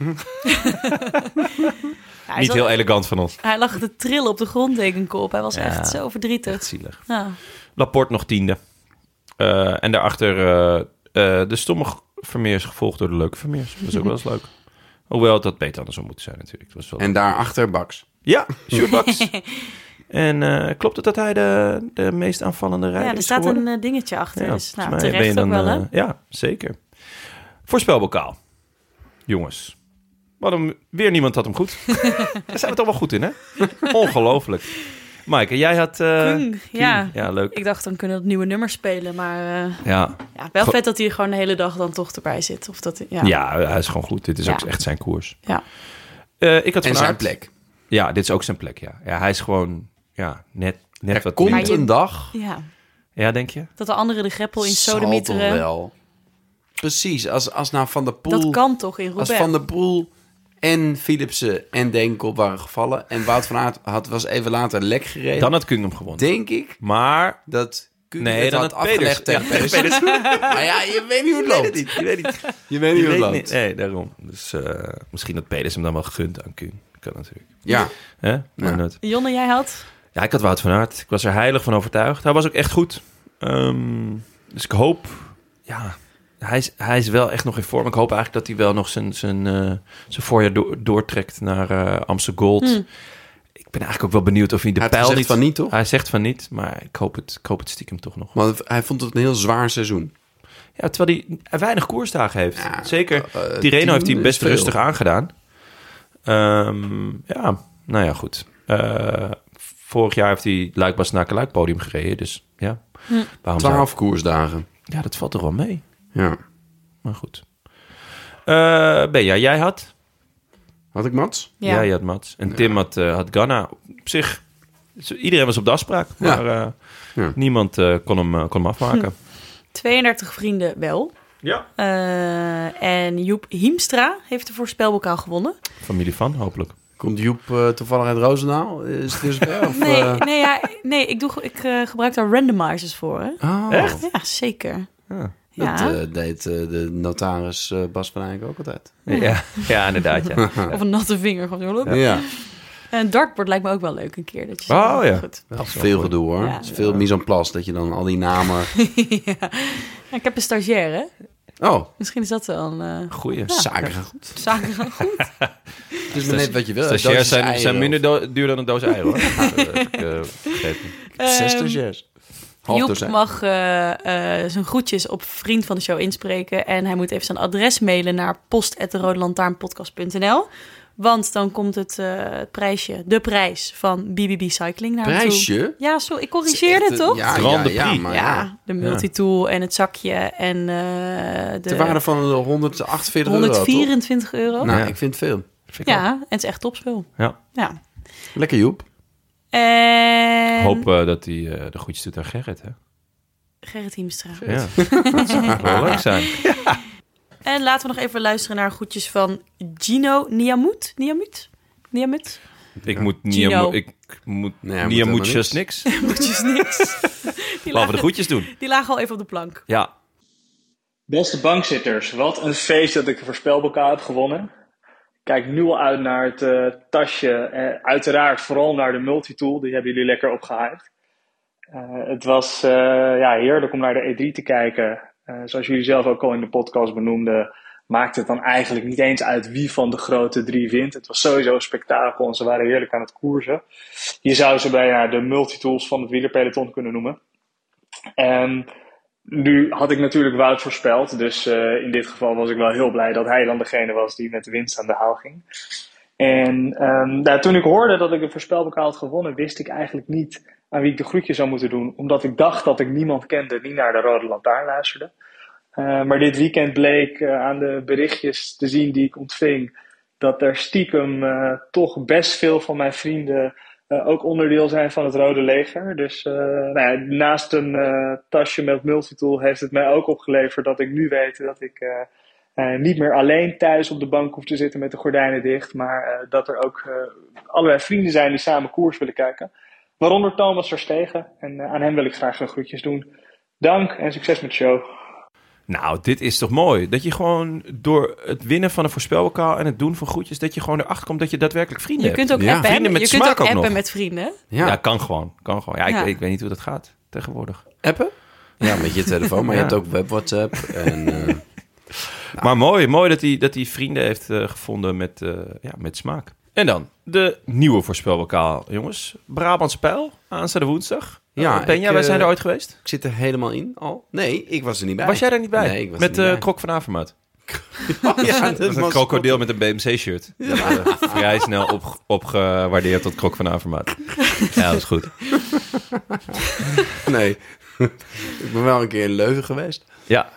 Hij Niet zat- heel elegant van ons. Hij lag te trillen op de grond, dekenkop. Hij was Ja. echt zo verdrietig. Echt zielig. Ja. Laporte nog tiende. Eh, en daarachter eh, eh, de stomme Vermeers gevolgd door de leuke Vermeers. Dat is ook wel eens leuk. Hoewel het dat beter andersom moeten zijn natuurlijk. Het was wel En daarachter Baks. Ja, Sjoerdbaks. en eh, klopt het dat hij de, de meest aanvallende rijder ja, er is staat geworden? een eh, dingetje achter. dus nou, volgens mij terecht ook wel, hè? eh, ja, zeker. Voorspelbokaal. Jongens. Wat hem, weer niemand had hem goed. Daar zijn we toch wel goed in, hè? Ongelooflijk. Maaike, jij had... eh, Kung, ja. Ja, leuk. Ik dacht, dan kunnen we dat nieuwe nummer spelen. Maar eh, Ja. ja, wel Go- vet dat hij gewoon de hele dag dan toch erbij zit. Of dat, ja. ja, hij is gewoon goed. Dit is Ja. ook echt zijn koers. Ja. Eh, ik had En Van zijn Aert- plek. Ja, dit is ook zijn plek, ja. ja hij is gewoon ja, net, net Er wat komt Maar minder. je- een dag. Ja, Ja, denk je? dat de anderen de greppel in zal toch sodemieteren. wel. Precies. Als, als nou Van der Poel... Dat kan toch in Als Roubaix? Van der Poel en Philipsen en Degenkolb waren gevallen... en Wout van Aert had, was even later lek gereden... Dan had Kung hem gewonnen. denk ik Maar dat Kuhn Nee, het dan had had afgelegd Peders. tegen Peders. Maar ja, je weet niet hoe het loopt. niet, je weet niet. Je Je weet niet hoe het weet loopt. niet. Nee, daarom. Dus eh, misschien dat Peders hem dan wel gunt aan Kuhn. Kan natuurlijk. Ja, Hè? Ja. Maar dat- Jonne, jij had? Ja, ik had Wout van Aert. Ik was er heilig van overtuigd. Hij was ook echt goed. Ehm, dus ik hoop... Ja, hij is, hij is wel echt nog in vorm. Ik hoop eigenlijk dat hij wel nog zijn, zijn, eh, zijn voorjaar do- doortrekt naar eh Amsterdam Gold. Hm. Ik ben eigenlijk ook wel benieuwd of hij de hij pijl zegt niet... van niet, toch? Hij zegt van niet, maar ik hoop het, ik hoop het stiekem toch nog. Want hij vond het een heel zwaar seizoen. Ja, terwijl hij weinig koersdagen heeft. Ja, Zeker. eh, eh, Die tien Reno heeft hij is best veel. rustig aangedaan. Ehm, ja, nou ja, goed. Eh, vorig jaar heeft hij luikbaar naar luik podium gereden. Dus ja, waarom zou... Twaalf koersdagen. Ja, dat valt toch wel mee. Ja. Maar goed. Eh Benja, jij had? Had ik Mats? Ja. Jij had Mats. En Tim had, eh, had Ghana. Op zich, iedereen was op de afspraak. Ja. Maar eh, Ja. niemand eh, kon, hem, eh, kon hem afmaken. 32 vrienden wel. Hm. Ja. Eh, en Joep Hiemstra heeft de voorspelbokaal gewonnen. Familie van, hopelijk. Komt Joep eh, toevallig uit Roosendaal? Is het dus wel? Of, Nee, eh, nee, ja, nee ik, doe, ik eh, gebruik daar randomizers voor. Hè? Oh, Echt? Ja, zeker. Ja. Ja. Dat eh, deed eh, de notaris eh, Bas van Eyck ook altijd. Ja, ja inderdaad. Ja. Of een natte vinger. Gewoon zo. Ja. Een dartboard lijkt me ook wel leuk een keer. Dat je zo- Oh, ja. Goed. Dat is veel gedoe hoor. Ja. Het is veel mise en place dat je dan al die namen... ja. Ja, Ik heb een stagiair, hè? Oh, Misschien is dat wel een eh Goeie. zaken. goed. zaak. Het is maar net wat je wil. Stagiairs Doosjes zijn, eieren zijn of- minder do- duur dan een doos eieren, hoor. Dat heb ik, eh, begrepen. Zes Ehm, stagiairs. Half Joep dozijn. mag eh, eh, zijn groetjes op vriend van de show inspreken. En hij moet even zijn adres mailen naar post.roodlantaarnpodcast.nl. Want dan komt het, eh, het prijsje, de prijs van BBB Cycling naar hem toe. Prijsje? eh, Ja, zo, ik corrigeerde het, toch? Ja, ja, Grand ja, Prix. maar ja. Ja, de multitool en het zakje en eh, Ter waarde de van de 148 euro, 124 euro. toch? Nou, Ja. ik vind het veel. Vind ik ja, ook. en het is echt topspul. Ja. ja. Lekker Joep. En... Ik hoop eh, dat hij eh, de goedjes doet aan Gerrit, hè? Gerrit Hiemstra. Ja. dat zou wel leuk zijn. En laten we nog even luisteren naar goedjes van Gino Niamut. Niamut? Niamut? Ik moet niet... Gino. aan- Ik moet, Nee, hij niet aan moet moet helemaal just niks. Goedjes niks. Die Laten we de lagen, goedjes doen. die lagen al even op de plank. Ja. Beste bankzitters, wat een feest dat ik een voorspelbokaal heb gewonnen. kijk nu al uit naar het eh, tasje. Eh, uiteraard vooral naar de multitool. Die hebben jullie lekker opgehyped. Eh, het was eh, ja, heerlijk om naar de E3 te kijken. Eh, zoals jullie zelf ook al in de podcast benoemden, maakte het dan eigenlijk niet eens uit wie van de grote drie wint. Het was sowieso een spektakel en ze waren heerlijk aan het koersen. Je zou ze bijna de multitools van het wielerpeloton kunnen noemen. En nu had ik natuurlijk Wout voorspeld, dus eh, in dit geval was ik wel heel blij dat hij dan degene was die met de winst aan de haal ging. En ehm, nou, toen ik hoorde dat ik een voorspelbokaal had gewonnen, wist ik eigenlijk niet aan wie ik de groetje zou moeten doen. Omdat ik dacht dat ik niemand kende die naar de Rode Lantaarn luisterde. Eh, maar dit weekend bleek eh, aan de berichtjes te zien die ik ontving, dat er stiekem eh, toch best veel van mijn vrienden eh, ook onderdeel zijn van het Rode Leger. Dus eh, nou ja, naast een eh, tasje met multitool heeft het mij ook opgeleverd dat ik nu weet dat ik eh, eh, niet meer alleen thuis op de bank hoef te zitten met de gordijnen dicht, maar eh, dat er ook eh, allerlei vrienden zijn die samen koers willen kijken. Waaronder Thomas Verstegen. En eh, aan hem wil ik graag een groetjes doen. Dank en succes met de show. Nou, dit is toch mooi? Dat je gewoon door het winnen van een voorspelbokaal en het doen van groetjes, dat je gewoon erachter komt dat je daadwerkelijk vrienden Je hebt. kunt ook Ja. appen, Vrienden met je kunt smaak ook ook appen nog. met vrienden. Ja, Ja, kan gewoon. Kan gewoon. Ja, ik, Ja. Ik, weet niet hoe dat gaat tegenwoordig. appen? Ja, met je telefoon, maar Ja. je hebt ook web WhatsApp. En, eh, Maar mooi, mooi dat hij, dat hij vrienden heeft eh, gevonden met, eh, ja, met smaak. En dan de nieuwe voorspelbokaal, jongens. Brabants Pijl, aanstaande woensdag. Ja, Ja, ben ik, jij? Wij eh, zijn er ooit geweest. ik zit er helemaal in al. Nee, ik was er niet bij. Was jij daar niet bij? Nee, ik was met er eh niet bij. Krok van Avermaat. ja, dat Dat is een was- krokodil met een BMC-shirt. Dat eh, vrij snel op, opgewaardeerd tot Krok van Avermaat. Ja, dat is goed. Nee. ik ben wel een keer in Leuven geweest. Ja,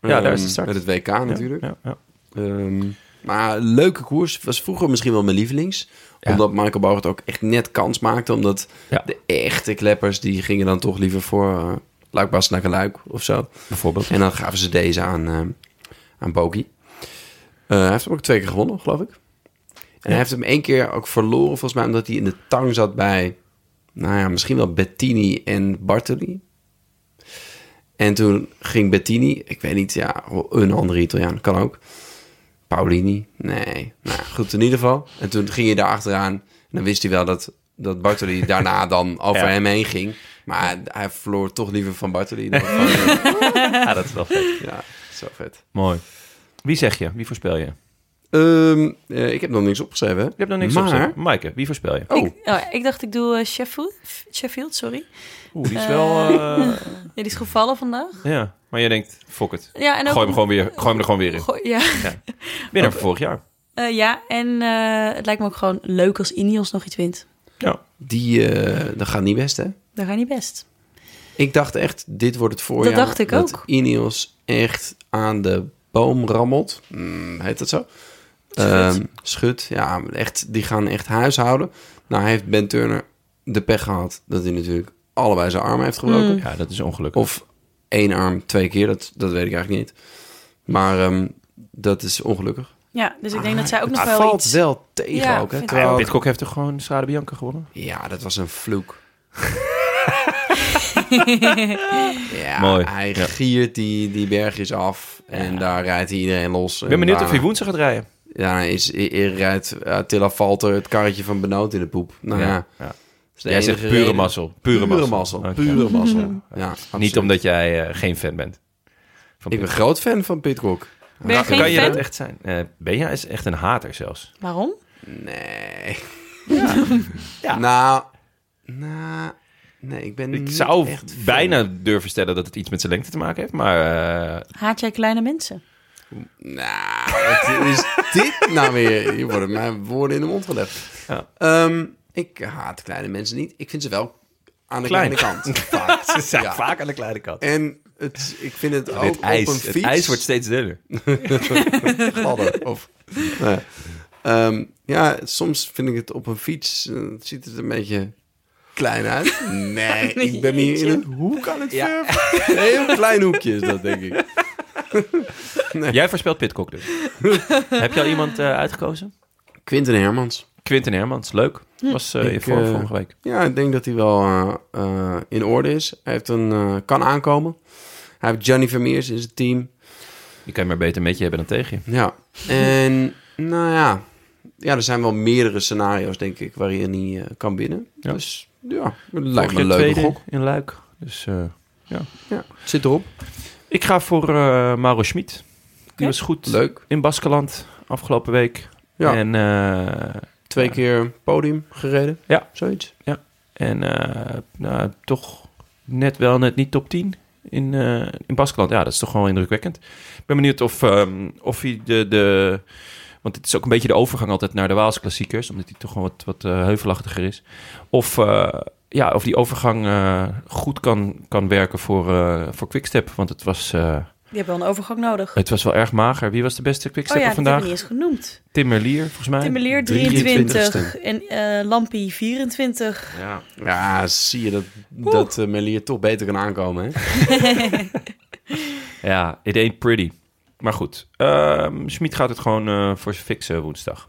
ja daar is de Ehm, start. Met het WK natuurlijk. Ja, ja. Ehm, maar leuke koers. Was vroeger misschien wel mijn lievelings. Ja. Omdat Michael Bogert ook echt net kans maakte. Omdat Ja. de echte kleppers, die gingen dan toch liever voor eh Luik Bas naar Luik of zo. Bijvoorbeeld. En dan gaven ze deze aan, ehm aan Bogie. Eh, hij heeft hem ook twee keer gewonnen, geloof ik. En hij heeft hem één keer ook verloren, volgens mij, omdat hij in de tang zat bij, nou ja, misschien wel Bettini en Bartoli. En toen ging Bettini, ik weet niet, ja, een andere Italiaan, kan ook. Paulini, nee. Nou, goed, in ieder geval. En toen ging je daar achteraan. En dan wist hij wel dat, dat Bartoli daarna dan over Ja. hem heen ging. Maar hij verloor toch liever van Bartoli dan van, Ja, dat is wel vet. ja, zo vet. Mooi. Wie zeg je? Wie voorspel je? Je Ehm, eh, ik heb nog niks opgeschreven. hè? hebt nog niks maar... op zeggen. Maaike, wie voorspel je? Oh, Ik, oh, ik dacht, ik doe eh, Sheffield, Sheffield, sorry. Oeh, die is wel... eh, Ja, die is gevallen vandaag. ja, maar jij denkt, fuck it. Ja, en ook, Gooi hem, gewoon weer, gooi hem er gewoon weer in. Gooi- ja. Winnaar van vorig jaar. Eh, ja, en eh, het lijkt me ook gewoon leuk als Ineos nog iets wint. die eh, dat gaat niet best, hè? Dat gaat niet best. Ik dacht echt, dit wordt het voorjaar. dacht ik dat ook. Ineos echt aan de boom rammelt. Hmm, heet dat zo? Schut. Ehm, schut, ja. Echt, die gaan echt huishouden. Nou, hij heeft Ben Turner de pech gehad dat hij natuurlijk allebei zijn armen heeft gebroken. Mm. Ja, dat is ongelukkig. Of één arm twee keer, dat, dat weet ik eigenlijk niet. Maar ehm, dat is ongelukkig. Ja, dus ik denk Ah, dat zij ook het nog wel valt iets... wel tegen ook, Ja, vind hè? ik Terwijl- Pitcock heeft toch gewoon Strade Bianca gewonnen? Ja, dat was een vloek. ja, Mooi, hij ja. giert die, die bergjes af en daar rijdt hij iedereen los. Ik ben benieuwd of hij woensdag gaat rijden. Ja, is, i- i- rijdt eh, Attila Valter het karretje van Benoot in de poep. Nou ja, Ja, ja. dat is de Jij enige zegt pure reden. mazzel. Pure, mazzel. Oké. Pure mazzel. Ja, absoluut. Niet omdat jij eh, geen fan bent. Van Ik ben Pitcock. groot fan van Pitcock. Ben je geen Nou, kan je fan? dat echt zijn? Eh Benja is echt een hater zelfs. Waarom? Nee. Ja. Nou, nou, nee, ik ben Ik niet zou echt fan. bijna durven stellen dat het iets met zijn lengte te maken heeft, maar eh, Haat jij kleine mensen? Nou, wat is dit nou weer? Je worden mijn woorden in de mond gelegd. Ja. Ehm, ik haat kleine mensen niet. Ik vind ze wel aan de Klein. kleine kant. Vaak. ze zijn Ja. vaak aan de kleine kant. En het, ik vind het ook Dit ijs, op een het fiets. ijs wordt steeds dunner. gladder. Of, nou ja. Ehm, ja, soms vind ik het op een fiets, eh, ziet het een beetje klein uit. Nee, ik ben hier in een hoek aan het verven. Een heel klein hoekje is dat, denk ik. Jij voorspelt Pitcock dus. Heb je al iemand eh, uitgekozen? Quinten Hermans. Quinten Hermans, leuk. Was eh, in Ik, vorm eh, vorige week. Ja, ik denk dat hij wel eh, eh, in orde is. Hij heeft een, eh, kan aankomen. Hij heeft Johnny Vermeers in zijn team. Je kan je maar beter met je hebben dan tegen je. Ja. En nou ja, ja, er zijn wel meerdere scenario's, denk ik, waarin hij eh, kan winnen. Ja. Dus ja, het Vorig lijkt me jaar een leuke tweede gok. in Luik. Dus eh, Ja, het zit erop. ik ga voor eh, Mauro Schmid. Die Oké. was goed Leuk. in Baskeland afgelopen week. Ja. En, eh, Twee Ja. keer podium gereden. Ja. Zoiets. en eh, nou, toch net wel net niet top 10 in, eh, in Baskeland. Ja, dat is toch gewoon indrukwekkend. Ik ben benieuwd of, ehm, of hij de, de... Want het is ook een beetje de overgang altijd naar de Waals klassiekers. Omdat hij toch gewoon wat, wat eh, heuvelachtiger is. Of, eh, ja, of die overgang eh, goed kan, kan werken voor, eh voor Quickstep. Want het was... eh, Je hebt wel een overgang nodig. Het was wel erg mager. Wie was de beste Oh quickstepper ja, dat hebben we vandaag? niet eens genoemd. Tim Merlier, volgens mij. Timmerleer 23 en eh, Lampie 24. Ja. Ja, zie je dat, dat eh, Melier toch beter kan aankomen, hè? ja, it ain't pretty. Maar goed, Ehm Schmid gaat het gewoon eh, voor zijn fixen woensdag.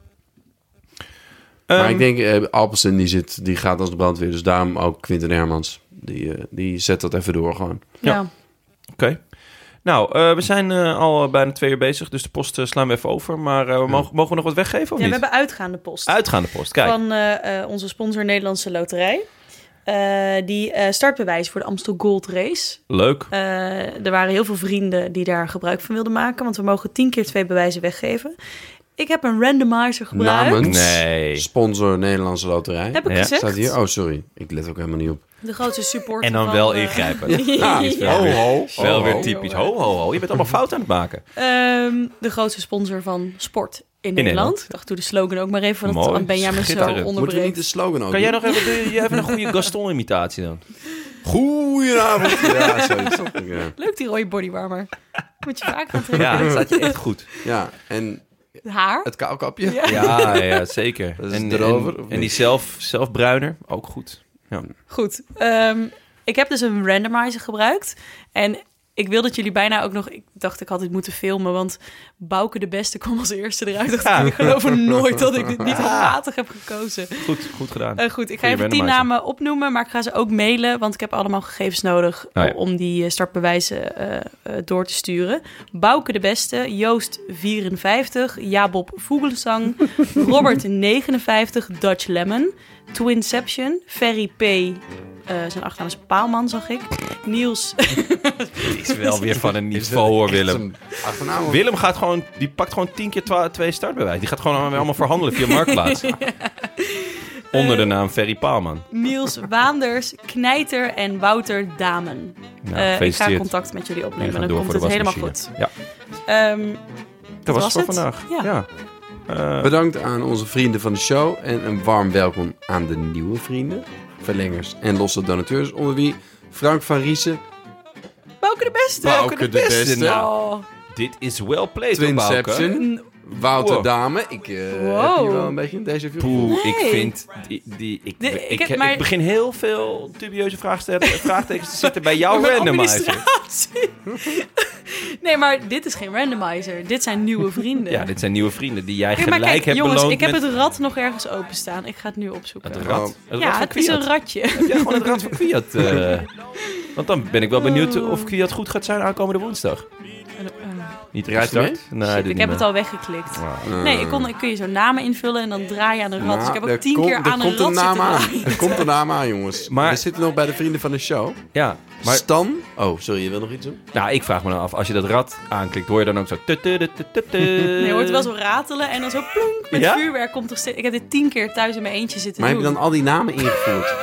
maar Ehm, ik denk, eh Alpelsen die, zit, die gaat als de brandweer. Dus daarom ook Quinten Hermans. Die, eh, die zet dat even door gewoon. Ja. Ja. Oké. Nou, eh, we zijn eh, al bijna twee uur bezig, dus de post eh, slaan we even over. Maar eh, we mogen, mogen we nog wat weggeven of Ja, we niet? hebben uitgaande post. Uitgaande post, kijk. van eh, eh, onze sponsor Nederlandse Loterij. Eh, die eh, startbewijs voor de Amstel Gold Race. Leuk. Eh, er waren heel veel vrienden die daar gebruik van wilden maken, want we mogen tien keer twee bewijzen weggeven. Ik heb een randomizer gebruikt. Namens Nee. sponsor Nederlandse Loterij. Heb ik Ja. gezegd? Staat hier? Oh, sorry. Ik let ook helemaal niet op. Oh, De grootste support. En dan van, wel eh, ingrijpen. Wel Ja. weer- Wel weer ho. typisch. Ho, ho, ho. Je bent allemaal fout aan het maken. Oh, Ehm, de grootste sponsor van sport in, Nederland. Nederland. Ik dacht, doe de slogan ook maar even, want Mooi. dan ben jij me zo Schitterend. Moeten we niet de onderbreekt. slogan ook Kan jij doen? nog even, de- jij even een goede Gaston-imitatie dan? Goedenavond. ja, zoiets. Ja. Leuk die rode bodywarmer. Moet je vaak gaan trekken. Ja, dat staat je echt goed. ja, en Haar. het kaalkapje. Ja. Ja, ja zeker. Dat is en, erover, en, of en die niet? zelf, zelfbruiner, ook goed. Goed. ehm, ik heb dus een randomizer gebruikt. En ik wil dat jullie bijna ook nog... Ik dacht, ik had dit moeten filmen, want Bouke de Beste kwam als eerste eruit. Ik dacht, Ik geloof nooit dat ik dit niet handmatig heb gekozen. Goed, goed gedaan. Eh, goed, ik ga Goeie even tien randomizer. namen opnoemen, maar ik ga ze ook mailen, want ik heb allemaal gegevens nodig Oh ja. om die eh, startbewijzen eh, eh, door te sturen. Bouke de Beste, Joost 54, Jabob Vogelsang, Robert 59, Dutch Lemon, Twinception, Ferry P. eh, zijn achternaam is Paalman, zag ik. Niels, is wel weer van een niveau hoor, Willem. Achternaam. Willem gaat gewoon, die pakt gewoon tien keer twa- twee startbewijs. Die gaat gewoon allemaal verhandelen via Marktplaats. Onder de Eh, naam Ferry Paalman. Niels Waanders, Knijter en Wouter Damen. Nou, Eh, ik ga gefeliciteerd. contact met jullie Jullie opnemen, gaan dan door komt voor de het helemaal goed. wasmachine. Ja, Ehm, dat was het voor was het. vandaag. Ja. Ja. Eh, Bedankt aan onze vrienden van de show en een warm welkom aan de nieuwe vrienden, verlengers en losse donateurs, onder wie Frank van Riesen, Bouke de Beste! Bouke de beste. Beste, Nou, Oh. dit is well played, hoor, Bouke. Twinception, Wouter Wow. Dame. Ik eh, Wow. heb hier wel een beetje een déjà vu. Poeh, ik Nee. vind die, die ik, De- ik ik, heb ik maar- begin heel veel dubieuze vraagstellen- vraagtekens te zitten bij jouw Met randomizer. administratie. nee, maar dit is geen randomizer. Dit zijn nieuwe vrienden. Ja, dit zijn nieuwe vrienden die jij Nee, maar gelijk kijk, hebt jongens, beloond ik heb met het rad nog ergens openstaan. Ik ga het nu opzoeken. het rad. Het ja, rad van het is Kwiat. een ratje. Heb jij gewoon het rad van Kwiat? eh? want dan ben ik wel benieuwd of Kwiat goed gaat zijn aankomende woensdag. Niet Draait hij gestart? Nee, Shit, dit eh, ik heb niet het al weggeklikt. Eh, Nee, ik kon, ik kun je zo'n namen invullen en dan draai je aan een rat. Dus ik heb nou, ook tien er keer komt- aan er een komt rat zitten naam aan. draaien. Er komt een naam aan, jongens. Maar- We zitten nog bij de vrienden van de show. meer. Ja, maar Stan. Oh, sorry, je wil nog iets doen? nou, ik vraag me dan af, als je dat rad aanklikt, hoor je dan ook zo... tut, tut, tut, tut, tut? Nee, je hoort Oh, wel zo ratelen en dan zo plonk met Ja? vuurwerk komt er steeds... Ik heb dit tien keer thuis in mijn eentje zitten Maar heb doen. je dan al die namen ingevoerd?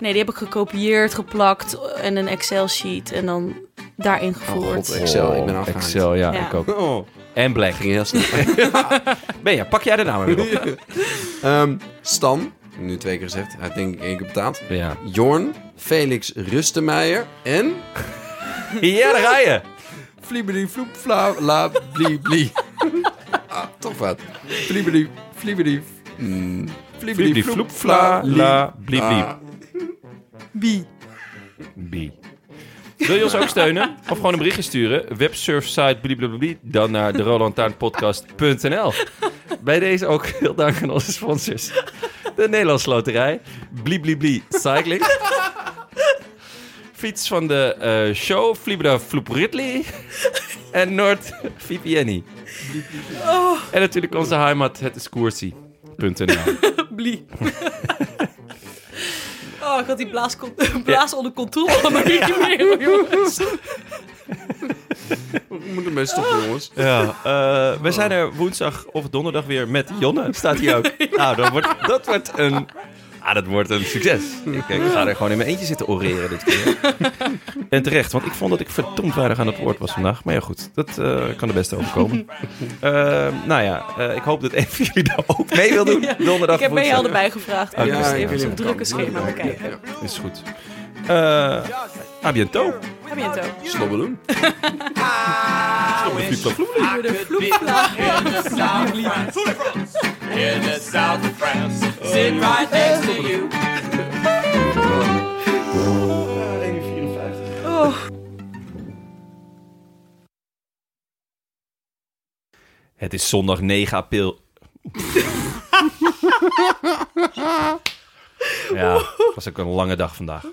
Nee, die heb ik gekopieerd, geplakt en een Excel-sheet en dan daarin Oh, gevoerd. god, Excel, ik ben Oh, afgehaakt. Excel, ja, Ja. ik ook. Oh, En Black. ging heel snel. Ben je, pak jij de naam weer op. Ehm, Stan, nu twee keer gezegd. Hij heeft denk ik één keer betaald. Ja, Jorn, Felix Rustemeijer en... ja daar ga je. Fliebeli floep fla la bli bli. ah, toch wat. Fliebeli fliebeli... Mm. Blieblie, floep, fla, la, bliep, bliep. Ah, Bie. Wil je ons ook steunen? Of gewoon een berichtje sturen? Websurfsite blablabla, dan naar de Bij deze ook heel dank aan onze sponsors. De Nederlandse Loterij, Bliblibli Cycling. Fiets van de eh, show, Flibra Floep Ridley. En Noord VPNI. En natuurlijk onze heimat, het is koersie.nl. Blie. Oh, ik had die blaas, con- blaas onder controle, maar niet meer, jongens. We moeten mee stoppen, jongens. Ja, eh, we zijn er woensdag of donderdag weer met Jonne. Staat hier ook. Nou, dat wordt, dat wordt een... Ah, dat wordt een succes. Ik, eh, ik ga er gewoon in mijn eentje zitten oreren dit keer. En terecht, want ik vond dat ik verdomd weinig aan het woord was vandaag. Maar ja, goed, dat eh, kan de beste overkomen. Eh, nou ja, eh, ik hoop dat een van jullie daar ook mee wil doen. Donderdag, Ik heb mij woensdag. al erbij gevraagd. Ja, Ik moest ja, even ja, zijn ja. drukke schema bekijken. Is goed. Eh à bientôt. Heb je het ook? Slobbeloen. in the south of France, sitting right next to you. Het is zondag 9 april. ja, het was ook een lange dag vandaag.